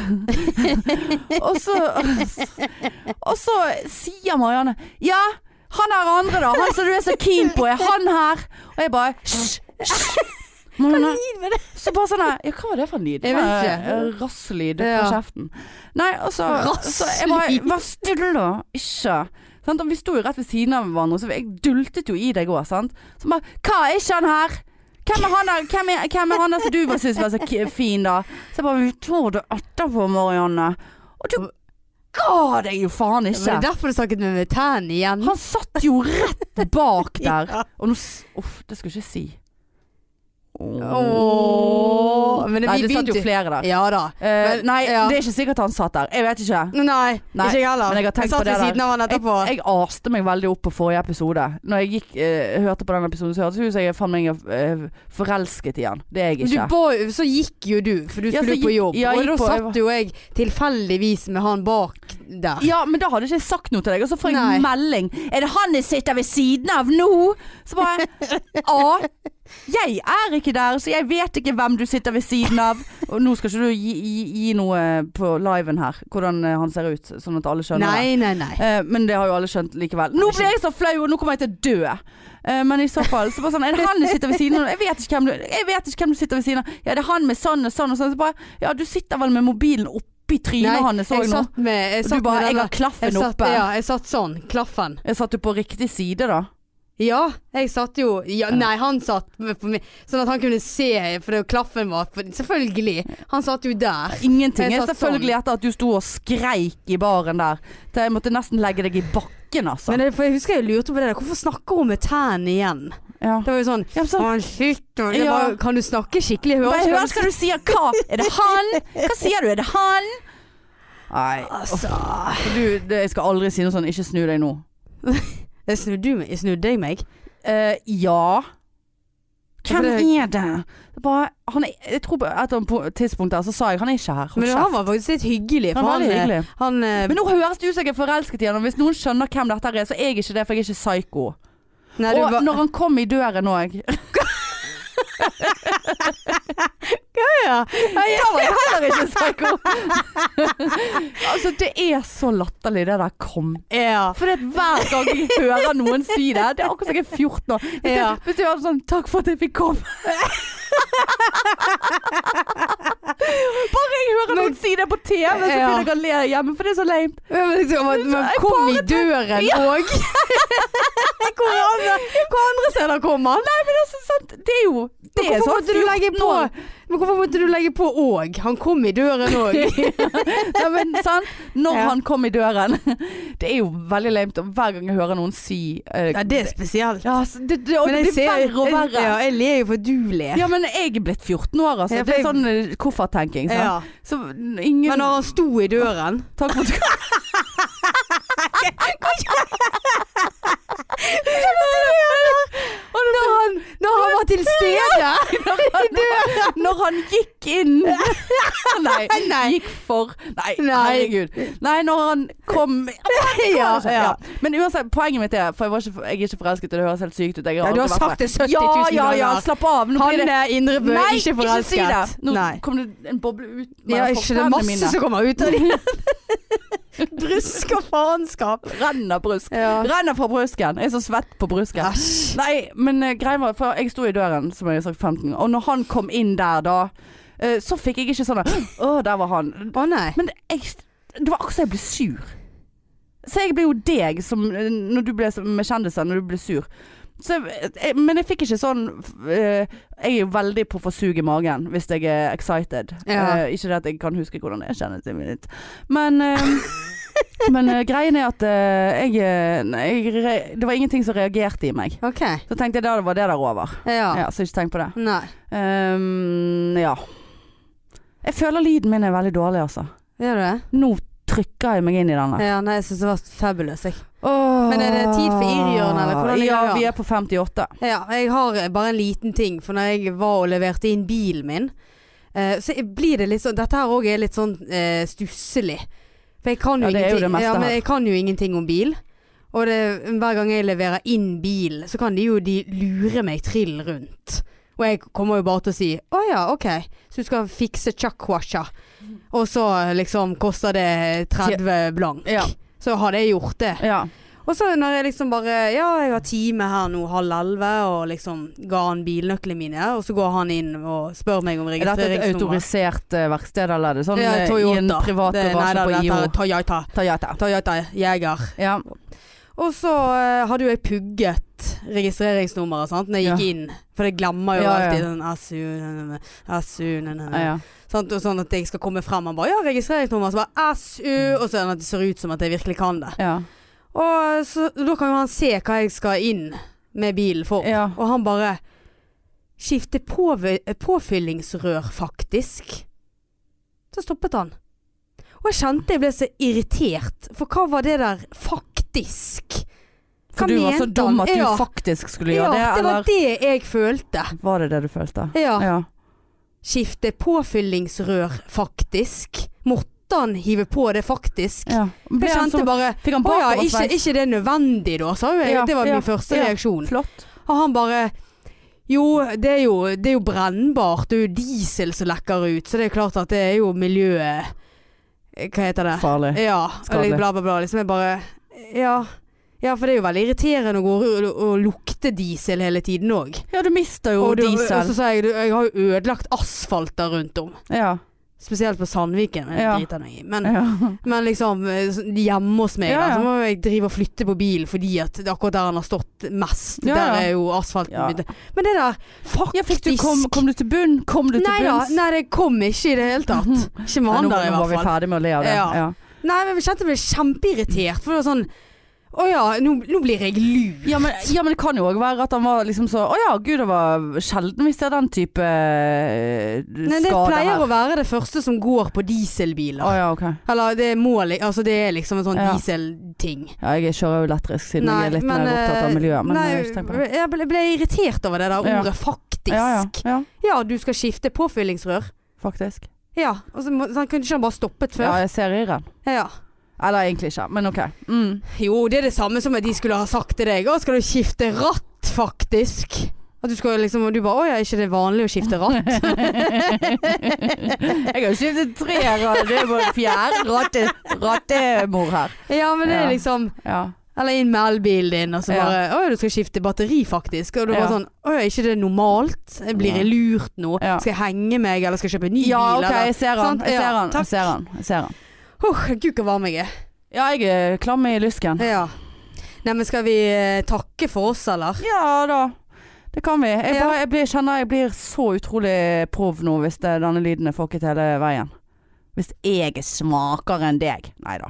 Speaker 1: og så Og så sier Marianne 'ja, han her andre da, han som du er så keen på, er han her?' Og jeg bare 'hysj, hysj'. Marianne, så bare sånn her, Ja, hva var det for en lyd?
Speaker 2: Jeg vet ikke.
Speaker 1: Eh, Rasslyd fra
Speaker 2: Ja.
Speaker 1: kjeften. Nei, og så så jeg bare
Speaker 2: Rasslyd.
Speaker 1: Vær stille, da. Ikke. Sant? Og vi sto jo rett ved siden av hverandre, så jeg dultet jo i deg òg, sant. Så bare Hva er ikke han her? Hvem er han der, hvem er, hvem er han der som du var- syntes var så k fin, da? Så jeg bare Vi tar det etterpå, Marianne. Og du ga deg jo faen
Speaker 2: Det
Speaker 1: ikke.
Speaker 2: er derfor du snakket med Vetan igjen.
Speaker 1: Han satt jo rett bak der.
Speaker 2: Ja.
Speaker 1: Og nå s- Uff, det skulle jeg ikke si.
Speaker 2: Åh, men det-
Speaker 1: Nei,
Speaker 2: vi
Speaker 1: det satt
Speaker 2: begynte-
Speaker 1: jo flere der.
Speaker 2: Ja da.
Speaker 1: Eh,
Speaker 2: Men-
Speaker 1: nei,
Speaker 2: ja.
Speaker 1: det er ikke sikkert han satt der. Jeg vet ikke.
Speaker 2: Nei,
Speaker 1: Nei,
Speaker 2: ikke jeg heller.
Speaker 1: men jeg har tenkt på
Speaker 2: satt
Speaker 1: det
Speaker 2: ved
Speaker 1: der.
Speaker 2: siden av han
Speaker 1: Jeg,
Speaker 2: etterpå.
Speaker 1: jeg aste meg veldig opp på forrige episode. Når jeg gikk, eh, hørte på den episoden, så hørtes det ut som jeg faen meg eh, forelsket i han. Det er jeg
Speaker 2: du
Speaker 1: ikke.
Speaker 2: ba, jo- så gikk jo du, for du
Speaker 1: Ja,
Speaker 2: skulle
Speaker 1: så
Speaker 2: jo på
Speaker 1: gikk-
Speaker 2: jobb.
Speaker 1: ja, jeg
Speaker 2: og da
Speaker 1: gikk på- jeg var-
Speaker 2: satt jo jeg tilfeldigvis med han bak der.
Speaker 1: Ja, men da hadde ikke jeg sagt noe til deg. Og så får jeg
Speaker 2: Nei.
Speaker 1: melding. Er det han jeg sitter ved siden av nå? Så bare A. Jeg er ikke der, så jeg vet ikke hvem du sitter ved siden av. Og nå skal ikke du gi, gi, gi noe eh, på liven her, hvordan eh, han ser ut, sånn at alle skjønner det.
Speaker 2: Nei, nei, nei.
Speaker 1: Eh, men det har jo alle skjønt likevel. Nå ble jeg så flau, og nå kommer jeg til å dø. Eh, men i så fall så bare sånn, Er det han du sitter ved siden av? Jeg vet ikke hvem du, jeg vet ikke hvem du sitter ved siden av. Ja, det er han med sånn og sånn og sånn. Så bare, ja, du sitter vel med mobilen oppi
Speaker 2: Nei,
Speaker 1: trynet hans òg
Speaker 2: jeg
Speaker 1: nå.
Speaker 2: satt med jeg
Speaker 1: Og
Speaker 2: satt
Speaker 1: du bare
Speaker 2: med
Speaker 1: 'Jeg
Speaker 2: denne-
Speaker 1: har klaffen
Speaker 2: jeg satt,
Speaker 1: oppe'.
Speaker 2: Ja, jeg satt sånn. Klaffen.
Speaker 1: Jeg satt jo på riktig side, da.
Speaker 2: Ja, jeg satt jo ja, Nei, han satt med- på meg, sånn at han kunne se, for det- klaffen var for, Selvfølgelig. Han satt jo der.
Speaker 1: Ingenting.
Speaker 2: Jeg
Speaker 1: Jeg
Speaker 2: satt sånn-
Speaker 1: selvfølgelig etter at du sto og skreik i baren der. Til jeg måtte nesten legge deg i bakken, altså.
Speaker 2: Men det, for jeg husker jeg lurte på det der. Hvorfor snakker hun med tærne igjen?
Speaker 1: Ja.
Speaker 2: Det var jo sånn
Speaker 1: Ja, men så,
Speaker 2: «Å, shit, og det
Speaker 1: Ja.
Speaker 2: var, Kan du snakke skikkelig? Hører
Speaker 1: Bare
Speaker 2: ikke hva
Speaker 1: hør hva du sier. Hva? Er det han? Hva sier du? Er det han? Nei.
Speaker 2: Altså
Speaker 1: Du, det, jeg skal aldri si noe sånn 'ikke snu deg nå'.
Speaker 2: Jeg snudde, du meg- jeg snudde jeg meg?
Speaker 1: Eh, ja.
Speaker 2: Ja, for
Speaker 1: Hvem
Speaker 2: det-
Speaker 1: er det? det er bare, han er, jeg tror på et eller annet tidspunkt der så sa jeg 'han er ikke her'. Hold
Speaker 2: Men
Speaker 1: kjeft.
Speaker 2: han var faktisk litt hyggelig. For
Speaker 1: Han var
Speaker 2: han,
Speaker 1: veldig
Speaker 2: eh,
Speaker 1: hyggelig.
Speaker 2: han, eh,
Speaker 1: Men nå høres det ut som jeg er forelsket i han, og hvis noen skjønner hvem dette her er, så er jeg ikke det, for jeg er ikke psyko.
Speaker 2: nei, du
Speaker 1: Og
Speaker 2: var-
Speaker 1: når han kom i døren òg
Speaker 2: ja.
Speaker 1: Da var jeg heller ikke psyko. altså, det er så latterlig, det der 'kom'.
Speaker 2: ja.
Speaker 1: For det at hver gang jeg hører noen si det Det er akkurat som jeg er 14 år. Hvis jeg,
Speaker 2: Ja.
Speaker 1: hvis jeg hadde sånn 'Takk for at jeg fikk komme'. Bare jeg hører noen si det på TV, så
Speaker 2: Ja.
Speaker 1: begynner jeg å le hjemme, for det er så lame.
Speaker 2: Men liksom, man, man
Speaker 1: Jeg
Speaker 2: kom
Speaker 1: bare
Speaker 2: i døren òg. Hvor andre, hvor andre steder kom han?
Speaker 1: Nei, men altså, sant? Det er jo det er
Speaker 2: Hvorfor
Speaker 1: sånn
Speaker 2: måtte du legge
Speaker 1: 14
Speaker 2: på
Speaker 1: år.
Speaker 2: Men hvorfor måtte du legge på òg? Han kom i døren òg.
Speaker 1: Nei, men, sant? Når
Speaker 2: Ja.
Speaker 1: han kom i døren Det er jo veldig lame. Og hver gang jeg hører noen si eh,
Speaker 2: spesielt.
Speaker 1: ja, altså, det, det, og det blir verre og verre.
Speaker 2: Ja, jeg ler jo for du ler.
Speaker 1: Ja, men jeg er blitt 14 år, altså.
Speaker 2: Ja, for
Speaker 1: Det er
Speaker 2: jeg-
Speaker 1: sånn eh, kofferttenking. sant?
Speaker 2: Ja.
Speaker 1: Så ingen
Speaker 2: Men når han sto i døren
Speaker 1: Takk for at du kom.
Speaker 2: Når han, når han var til stede i døren!
Speaker 1: Når han gikk inn Nei,
Speaker 2: Nei.
Speaker 1: gikk for Nei,
Speaker 2: Nei.
Speaker 1: herregud. Nei, når han kom
Speaker 2: Ja,
Speaker 1: Ja,
Speaker 2: sånn, ja.
Speaker 1: Men uansett, poenget mitt er For jeg, var ikke, jeg er ikke forelsket, og det høres helt sykt ut. Jeg har
Speaker 2: Ja, du har
Speaker 1: aldri vært
Speaker 2: sagt det 70 000
Speaker 1: ja, ja, ja,
Speaker 2: ganger.
Speaker 1: slapp av. Nå blir det
Speaker 2: Hanne Indrebø,
Speaker 1: Nei,
Speaker 2: ikke
Speaker 1: si det!
Speaker 2: forelsket.
Speaker 1: Nå
Speaker 2: Nei.
Speaker 1: kom det en boble ut
Speaker 2: Ja,
Speaker 1: mellom
Speaker 2: ikke det er
Speaker 1: fortennene
Speaker 2: masse
Speaker 1: mine.
Speaker 2: som kommer ut av det. Brusk og faenskap.
Speaker 1: Renner brusk.
Speaker 2: Ja.
Speaker 1: Renner fra brusken. Jeg er så svett på brusken.
Speaker 2: Æsj.
Speaker 1: Nei, men eh, greia var For jeg sto i døren, som jeg har sagt 15 ganger. Og når han kom inn der da, eh, så fikk jeg ikke sånn Å, der var han.
Speaker 2: Å nei.
Speaker 1: Men det- jeg, det var akkurat som jeg ble sur. Så jeg ble jo deg som eh, Når du ble som- med kjendiser, når du ble sur. Så jeg, jeg, men jeg fikk ikke sånn f- eh, Jeg er jo veldig på å få sug i magen hvis jeg er excited.
Speaker 2: Ja.
Speaker 1: Eh, ikke det at jeg kan huske hvordan jeg kjenner det mitt. Men, eh, men eh, greien er at eh, jeg, eh, nei, jeg re, Det var ingenting som reagerte i meg.
Speaker 2: Ok.
Speaker 1: Så tenkte jeg da var det der over.
Speaker 2: Ja.
Speaker 1: Ja, så ikke tenk på det.
Speaker 2: Nei.
Speaker 1: Ehm, ja. Jeg føler lyden min er veldig dårlig, altså.
Speaker 2: Gjør du det?
Speaker 1: Nå trykker jeg meg inn i denne.
Speaker 2: Ja, nei, jeg syns det var fabulous, jeg.
Speaker 1: Åh.
Speaker 2: Men er det tid for irrgjørende, eller hvordan er
Speaker 1: Ja,
Speaker 2: det?
Speaker 1: vi er på 58.
Speaker 2: eh, Ja, jeg har bare en liten ting. For når jeg var og leverte inn bilen min, Eh, så jeg- blir det litt sånn Dette her òg er litt sånn eh, stusslig. For jeg kan jo,
Speaker 1: Ja, det er jo det
Speaker 2: ingenting,
Speaker 1: meste
Speaker 2: ja, men
Speaker 1: her.
Speaker 2: jeg kan jo ingenting om bil. Og det, hver gang jeg leverer inn bil, så kan de jo de lure meg trill rundt. Og jeg kommer jo bare til å si 'Å ja, ok, så du skal fikse chakwasha', og så liksom koster det 30 blank.
Speaker 1: Ja.
Speaker 2: Så hadde jeg gjort det.
Speaker 1: Ja.
Speaker 2: Og så når jeg liksom bare Ja, jeg har time her nå halv elleve, og liksom ga han bilnøklene mine, og så går han inn og spør meg om
Speaker 1: Er dette et
Speaker 2: registreringsnummer.
Speaker 1: autorisert eh, verksted, eller er det sånn
Speaker 2: Ja,
Speaker 1: eh, i
Speaker 2: Toyota.
Speaker 1: en privat
Speaker 2: Det- nei,
Speaker 1: garasje
Speaker 2: da,
Speaker 1: på
Speaker 2: dette
Speaker 1: IO?
Speaker 2: er Toyota.
Speaker 1: Toyota.
Speaker 2: Toyota Jeger.
Speaker 1: Ja.
Speaker 2: Og så eh, hadde jo jeg pugget registreringsnummeret sant, når jeg gikk inn, for jeg glemmer jo
Speaker 1: Ja, ja.
Speaker 2: alltid sånn SU, SU,
Speaker 1: Ja, ja.
Speaker 2: Sant? Og sånn at jeg skal komme frem og bare Ja, registreringsnummer, så bare SU, og sånn at det ser ut som at jeg virkelig kan det.
Speaker 1: ja.
Speaker 2: Og så, da kan jo han se hva jeg skal inn med bilen for.
Speaker 1: Ja.
Speaker 2: Og han bare Skifte påv- påfyllingsrør, faktisk. Så stoppet han. Og jeg kjente jeg ble så irritert, for hva var det der 'faktisk'?
Speaker 1: For du var så
Speaker 2: mente
Speaker 1: dum
Speaker 2: han?
Speaker 1: at du
Speaker 2: ja,
Speaker 1: faktisk skulle
Speaker 2: ja,
Speaker 1: gjøre det,
Speaker 2: det var
Speaker 1: eller?
Speaker 2: det jeg følte.
Speaker 1: Var det det du følte?
Speaker 2: Ja.
Speaker 1: Ja.
Speaker 2: Skifte påfyllingsrør, faktisk. Måtte han hive på det, faktisk?
Speaker 1: ja. Ble
Speaker 2: Jeg
Speaker 1: han
Speaker 2: kjente
Speaker 1: så
Speaker 2: bare
Speaker 1: Fikk han
Speaker 2: Å ja, ikke,
Speaker 1: bakoversveis?
Speaker 2: ikke det er nødvendig da, sa jo jeg.
Speaker 1: Ja,
Speaker 2: det var
Speaker 1: ja,
Speaker 2: min første
Speaker 1: ja.
Speaker 2: reaksjon.
Speaker 1: Flott.
Speaker 2: Og han bare jo det, er jo, det er jo brennbart. Det er jo diesel som lekker ut. Så det er klart at det er jo miljøet eh, Hva heter det?
Speaker 1: Farlig.
Speaker 2: Ja.
Speaker 1: Skadelig.
Speaker 2: eller Bla, bla, bla. Liksom jeg bare Ja. Ja, for det er jo veldig irriterende å gå ru- og lukte diesel hele tiden òg.
Speaker 1: Ja, du mister jo
Speaker 2: Og, du- og så
Speaker 1: diesel.
Speaker 2: sa jeg du, jeg har jo ødelagt asfalt der rundt om.
Speaker 1: Ja.
Speaker 2: Spesielt på Sandviken. Men, det
Speaker 1: Ja.
Speaker 2: driter jeg meg i. men,
Speaker 1: ja.
Speaker 2: men liksom eh, så- hjemme hos meg,
Speaker 1: Ja,
Speaker 2: da,
Speaker 1: ja.
Speaker 2: så må jeg drive og flytte på bilen fordi at det er akkurat der han har stått mest,
Speaker 1: Ja, ja.
Speaker 2: der er jo asfalten
Speaker 1: Ja.
Speaker 2: begynt. Men det der, faktisk
Speaker 1: ja fikk du, kom, kom du til bunn? Kom du til
Speaker 2: Nei da,
Speaker 1: bunns?
Speaker 2: nei det kom ikke i det hele tatt. Ikke
Speaker 1: Ja,
Speaker 2: med han
Speaker 1: nå,
Speaker 2: der i
Speaker 1: nå var vi
Speaker 2: hvert fall.
Speaker 1: ferdig med å le av det.
Speaker 2: Ja.
Speaker 1: Ja.
Speaker 2: Nei, men jeg kjente jeg ble kjempeirritert, for det var sånn Å ja, nå, nå blir jeg lur.
Speaker 1: Ja, men, ja, men det kan jo òg være at han var liksom så Å ja, gud, det var sjelden vi ser den type eh,
Speaker 2: Nei, det
Speaker 1: skader
Speaker 2: pleier
Speaker 1: her.
Speaker 2: å være det første som går på dieselbiler.
Speaker 1: Å ja, ok.
Speaker 2: Eller det er mål, altså det er liksom en sånn
Speaker 1: Ja.
Speaker 2: dieselting.
Speaker 1: Ja, jeg kjører jo elektrisk siden
Speaker 2: Nei,
Speaker 1: jeg er litt
Speaker 2: men, eh,
Speaker 1: mer opptatt av miljøet. Men eh,
Speaker 2: nei,
Speaker 1: jeg har ikke tenkt på det.
Speaker 2: jeg ble, ble irritert over det der
Speaker 1: Ja.
Speaker 2: ordet 'faktisk'.
Speaker 1: Ja, ja, ja,
Speaker 2: Ja, du skal skifte påfyllingsrør.
Speaker 1: faktisk.
Speaker 2: Ja, og så må, så han kunne ikke han bare
Speaker 1: Ja,
Speaker 2: stoppet før?
Speaker 1: jeg ser irren.
Speaker 2: Ja.
Speaker 1: Eller egentlig ikke, men ok. Mm.
Speaker 2: Jo, det er det samme som at de skulle ha sagt til deg Å, skal du skifte ratt, faktisk? At du skal liksom Og du bare Å ja, ikke det er vanlig å skifte ratt?
Speaker 1: Jeg har jo skiftet tre rader, det er vår fjerde ratte, rattemor her.
Speaker 2: ja, men det
Speaker 1: Ja.
Speaker 2: er liksom
Speaker 1: Ja.
Speaker 2: Eller inn med elbilen din, og så
Speaker 1: Ja.
Speaker 2: bare Å ja, du skal skifte batteri, faktisk. Og du bare
Speaker 1: Ja.
Speaker 2: sånn Å ja, ikke det er normalt? Jeg blir jeg lurt nå?
Speaker 1: Ja.
Speaker 2: Skal jeg henge meg, eller skal jeg kjøpe en ny
Speaker 1: ja,
Speaker 2: bil,
Speaker 1: ok, jeg ser han.
Speaker 2: Sant?
Speaker 1: Jeg
Speaker 2: Ja,
Speaker 1: ser han.
Speaker 2: takk.
Speaker 1: Jeg ser han. Jeg ser han.
Speaker 2: eller Åh, gud, hvor varm jeg er.
Speaker 1: Ja, jeg er klam i lysken.
Speaker 2: Ja. Nei, men skal vi eh, takke for oss, eller?
Speaker 1: Ja da. Det kan vi. Jeg,
Speaker 2: Ja.
Speaker 1: bare, jeg blir, kjenner jeg blir så utrolig prov nå hvis det, denne lyden er fucket hele veien. Hvis jeg er smakere enn deg. Nei da.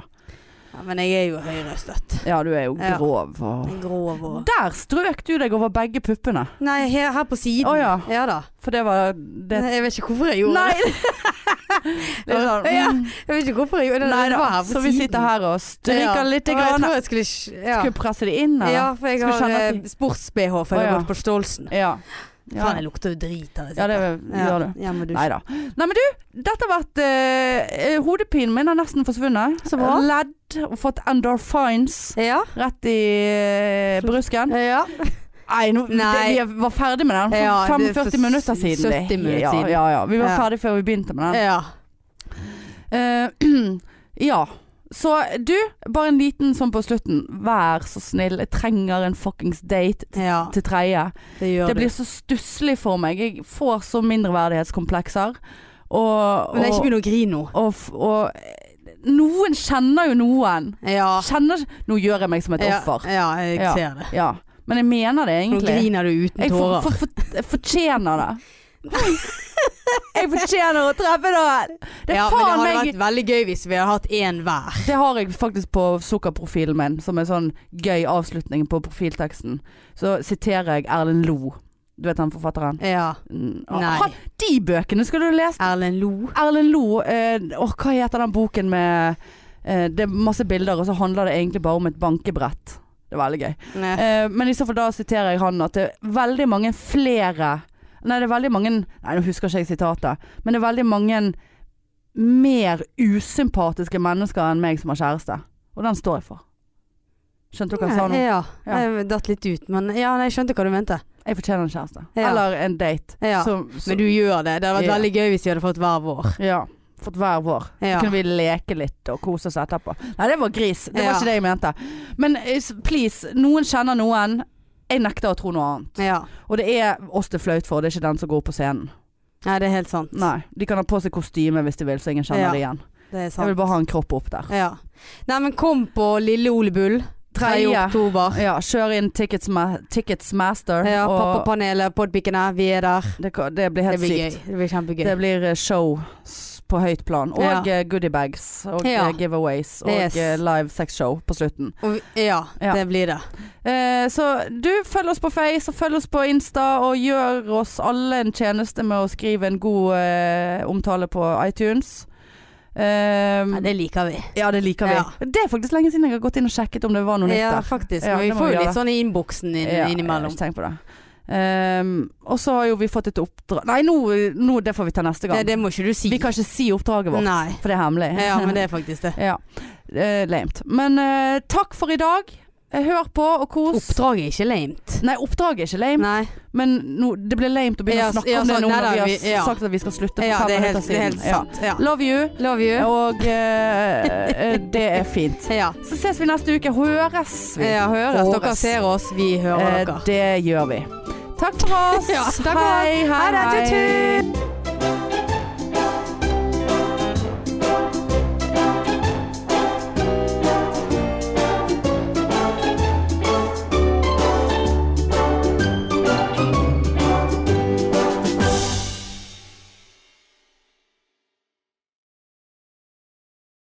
Speaker 2: Ja, men jeg er jo høyrøstet.
Speaker 1: Ja, du er jo
Speaker 2: Ja.
Speaker 1: grov. Og...
Speaker 2: Grov og
Speaker 1: Der strøk du deg over begge puppene.
Speaker 2: Nei, her, her på siden.
Speaker 1: Å ja.
Speaker 2: da.
Speaker 1: For det var det...
Speaker 2: Nei, Jeg vet ikke hvorfor jeg gjorde
Speaker 1: Nei!
Speaker 2: det.
Speaker 1: det er sånn,
Speaker 2: Ja.
Speaker 1: mm.
Speaker 2: Jeg vet ikke hvorfor jeg gjorde det.
Speaker 1: Nei
Speaker 2: det
Speaker 1: da.
Speaker 2: var her på
Speaker 1: Så vi
Speaker 2: siden.
Speaker 1: sitter her og stryker
Speaker 2: Ja.
Speaker 1: litt.
Speaker 2: Og Jeg
Speaker 1: Grann.
Speaker 2: tror jeg skulle sk- ja.
Speaker 1: Skulle presse det inn,
Speaker 2: ja,
Speaker 1: eller?
Speaker 2: for jeg
Speaker 1: Skulle
Speaker 2: har
Speaker 1: kjenne at
Speaker 2: eh, sports-BH, for jeg
Speaker 1: Å,
Speaker 2: har
Speaker 1: ja.
Speaker 2: gått på Stolsen.
Speaker 1: Ja.
Speaker 2: Faen, jeg lukter jo drit her.
Speaker 1: ja det gjør du.
Speaker 2: Ja, men du.
Speaker 1: Nei da. Nei, men du, dette har vært eh, eh, Hodepinen min har nesten forsvunnet.
Speaker 2: Så bra.
Speaker 1: Ledd og fått endorphins
Speaker 2: Ja.
Speaker 1: rett i eh, brusken.
Speaker 2: ja.
Speaker 1: Nei, nå,
Speaker 2: Nei.
Speaker 1: Det, vi var ferdig med den for
Speaker 2: Ja, det er
Speaker 1: 45
Speaker 2: for
Speaker 1: minutter siden.
Speaker 2: 70 minutter
Speaker 1: ja,
Speaker 2: siden.
Speaker 1: ja, ja. Vi var
Speaker 2: Ja.
Speaker 1: ferdig før vi begynte med den.
Speaker 2: ja.
Speaker 1: Eh, ja. Så du, bare en liten sånn på slutten. Vær så snill, jeg trenger en fuckings date
Speaker 2: ja.
Speaker 1: til tredje.
Speaker 2: Det gjør
Speaker 1: Det blir
Speaker 2: du.
Speaker 1: så stusslig for meg. Jeg får så mindreverdighetskomplekser. Og,
Speaker 2: Men det er ikke
Speaker 1: og,
Speaker 2: begynn å grine nå.
Speaker 1: og, f- og eh, noen kjenner jo noen.
Speaker 2: Ja.
Speaker 1: Kjenner Nå gjør jeg meg som et
Speaker 2: ja.
Speaker 1: offer.
Speaker 2: Ja, jeg
Speaker 1: Ja.
Speaker 2: ser det.
Speaker 1: Ja. Men jeg mener det
Speaker 2: Nå
Speaker 1: egentlig.
Speaker 2: griner du uten
Speaker 1: Jeg, for,
Speaker 2: tårer.
Speaker 1: for, for, jeg fortjener det. Jeg fortjener å treffe noen! Det er
Speaker 2: Ja, men det
Speaker 1: faen
Speaker 2: hadde
Speaker 1: meg
Speaker 2: vært veldig gøy hvis vi hadde hatt én hver.
Speaker 1: Det har jeg faktisk på sukkerprofilen min, som en sånn gøy avslutning på profilteksten. Så siterer jeg Erlend Lo. Du vet han forfatteren?
Speaker 2: Ja.
Speaker 1: Mm,
Speaker 2: Nei.
Speaker 1: Han, de bøkene skulle du lest!
Speaker 2: Erlend lo.
Speaker 1: Erlend Lo, eh, åh, hva heter den boken med eh, Det er masse bilder, og så handler det egentlig bare om et bankebrett. Det er veldig gøy.
Speaker 2: Nei.
Speaker 1: Eh, men i så fall da siterer jeg han at det er veldig mange flere Nei, det er veldig mange Nei, nå husker ikke jeg sitatet. Men det er veldig mange mer usympatiske mennesker enn meg som har kjæreste. Og den står jeg for. Skjønte du hva jeg sa nå?
Speaker 2: Ja,
Speaker 1: Ja.
Speaker 2: jeg datt litt ut, men ja, nei, jeg skjønte hva du mente.
Speaker 1: Jeg fortjener en kjæreste.
Speaker 2: Ja.
Speaker 1: Eller en date.
Speaker 2: Ja.
Speaker 1: Som, som,
Speaker 2: Men du gjør det. Det hadde vært
Speaker 1: Ja.
Speaker 2: veldig gøy hvis vi hadde fått hver vår.
Speaker 1: ja. Fått hver vår.
Speaker 2: Ja.
Speaker 1: Så kunne vi leke litt og kose oss etterpå. Nei, det var gris. Det var
Speaker 2: Ja.
Speaker 1: ikke det jeg mente. Men eh, s- please, noen kjenner noen. Jeg nekter å tro noe annet.
Speaker 2: Ja.
Speaker 1: Og det er oss det er flaut for, det er ikke den som går på scenen.
Speaker 2: Nei, det er helt sant.
Speaker 1: Nei. De kan ha på seg kostyme hvis de vil, så ingen kjenner
Speaker 2: Ja.
Speaker 1: det igjen.
Speaker 2: Det er
Speaker 1: Jeg
Speaker 2: sant.
Speaker 1: vil bare ha en kropp opp der.
Speaker 2: Ja. Nei, men kom på Lille Ole Bull 3.
Speaker 1: Tredje.
Speaker 2: oktober.
Speaker 1: Ja, kjør inn Tickets, ma tickets Master.
Speaker 2: Ja,
Speaker 1: og
Speaker 2: Pappapanelet, Podpikene, vi er der.
Speaker 1: det, kan- det blir
Speaker 2: Det
Speaker 1: helt
Speaker 2: blir gøy.
Speaker 1: sykt.
Speaker 2: Det blir kjempegøy.
Speaker 1: Det blir eh, show s- på høyt plan. Og
Speaker 2: Ja.
Speaker 1: eh, goodiebags. Og
Speaker 2: Ja.
Speaker 1: eh, giveaways. Og
Speaker 2: Yes.
Speaker 1: eh, live sexshow på slutten.
Speaker 2: Og vi, ja,
Speaker 1: Ja.
Speaker 2: det blir det.
Speaker 1: Eh, så du, følg oss på Face og følg oss på Insta, og gjør oss alle en tjeneste med å skrive en god eh, omtale på iTunes. Eh,
Speaker 2: Ja, det liker vi.
Speaker 1: ja, det liker vi.
Speaker 2: Ja.
Speaker 1: Det er faktisk lenge siden jeg har gått inn og sjekket om det var noe nytt
Speaker 2: Ja,
Speaker 1: der.
Speaker 2: faktisk.
Speaker 1: Ja,
Speaker 2: Men vi
Speaker 1: det må
Speaker 2: får
Speaker 1: vi
Speaker 2: jo
Speaker 1: gjøre.
Speaker 2: litt sånn i innboksen inn,
Speaker 1: Ja,
Speaker 2: innimellom.
Speaker 1: Jeg har ikke tenkt på det. Ehm, og så har jo vi fått et oppdrag Nei, nå, nå det får vi ta neste gang.
Speaker 2: Det, det må ikke du si.
Speaker 1: Vi kan ikke si oppdraget vårt,
Speaker 2: Nei.
Speaker 1: for det er hemmelig.
Speaker 2: Ja, men det er faktisk det.
Speaker 1: Ja. Eh, lamet. Men eh, takk for i dag. Eh, Hør på og kos.
Speaker 2: Oppdraget er ikke lamet.
Speaker 1: Nei, oppdraget er ikke lame,
Speaker 2: Nei.
Speaker 1: men nå- det blir lame å begynne
Speaker 2: Ja,
Speaker 1: å snakke
Speaker 2: ja,
Speaker 1: om det
Speaker 2: sånn,
Speaker 1: nå
Speaker 2: nei,
Speaker 1: når vi
Speaker 2: nei,
Speaker 1: har
Speaker 2: vi- ja.
Speaker 1: sagt at vi skal slutte for
Speaker 2: Ja,
Speaker 1: fem
Speaker 2: det er
Speaker 1: minutter
Speaker 2: helt, det er
Speaker 1: siden.
Speaker 2: helt sant. Ja.
Speaker 1: Ja. Love you,
Speaker 2: Love you.
Speaker 1: og eh, eh, det er fint.
Speaker 2: Ja.
Speaker 1: Så ses vi neste uke. Høres vi.
Speaker 2: ja høres. Dere
Speaker 1: Høres.
Speaker 2: ser oss, vi hører
Speaker 1: Eh,
Speaker 2: dere.
Speaker 1: det gjør vi. Takk for oss.
Speaker 2: Ja, takk for oss.
Speaker 1: hei, hei.
Speaker 2: Ha det,
Speaker 1: hei.
Speaker 2: tut, tut.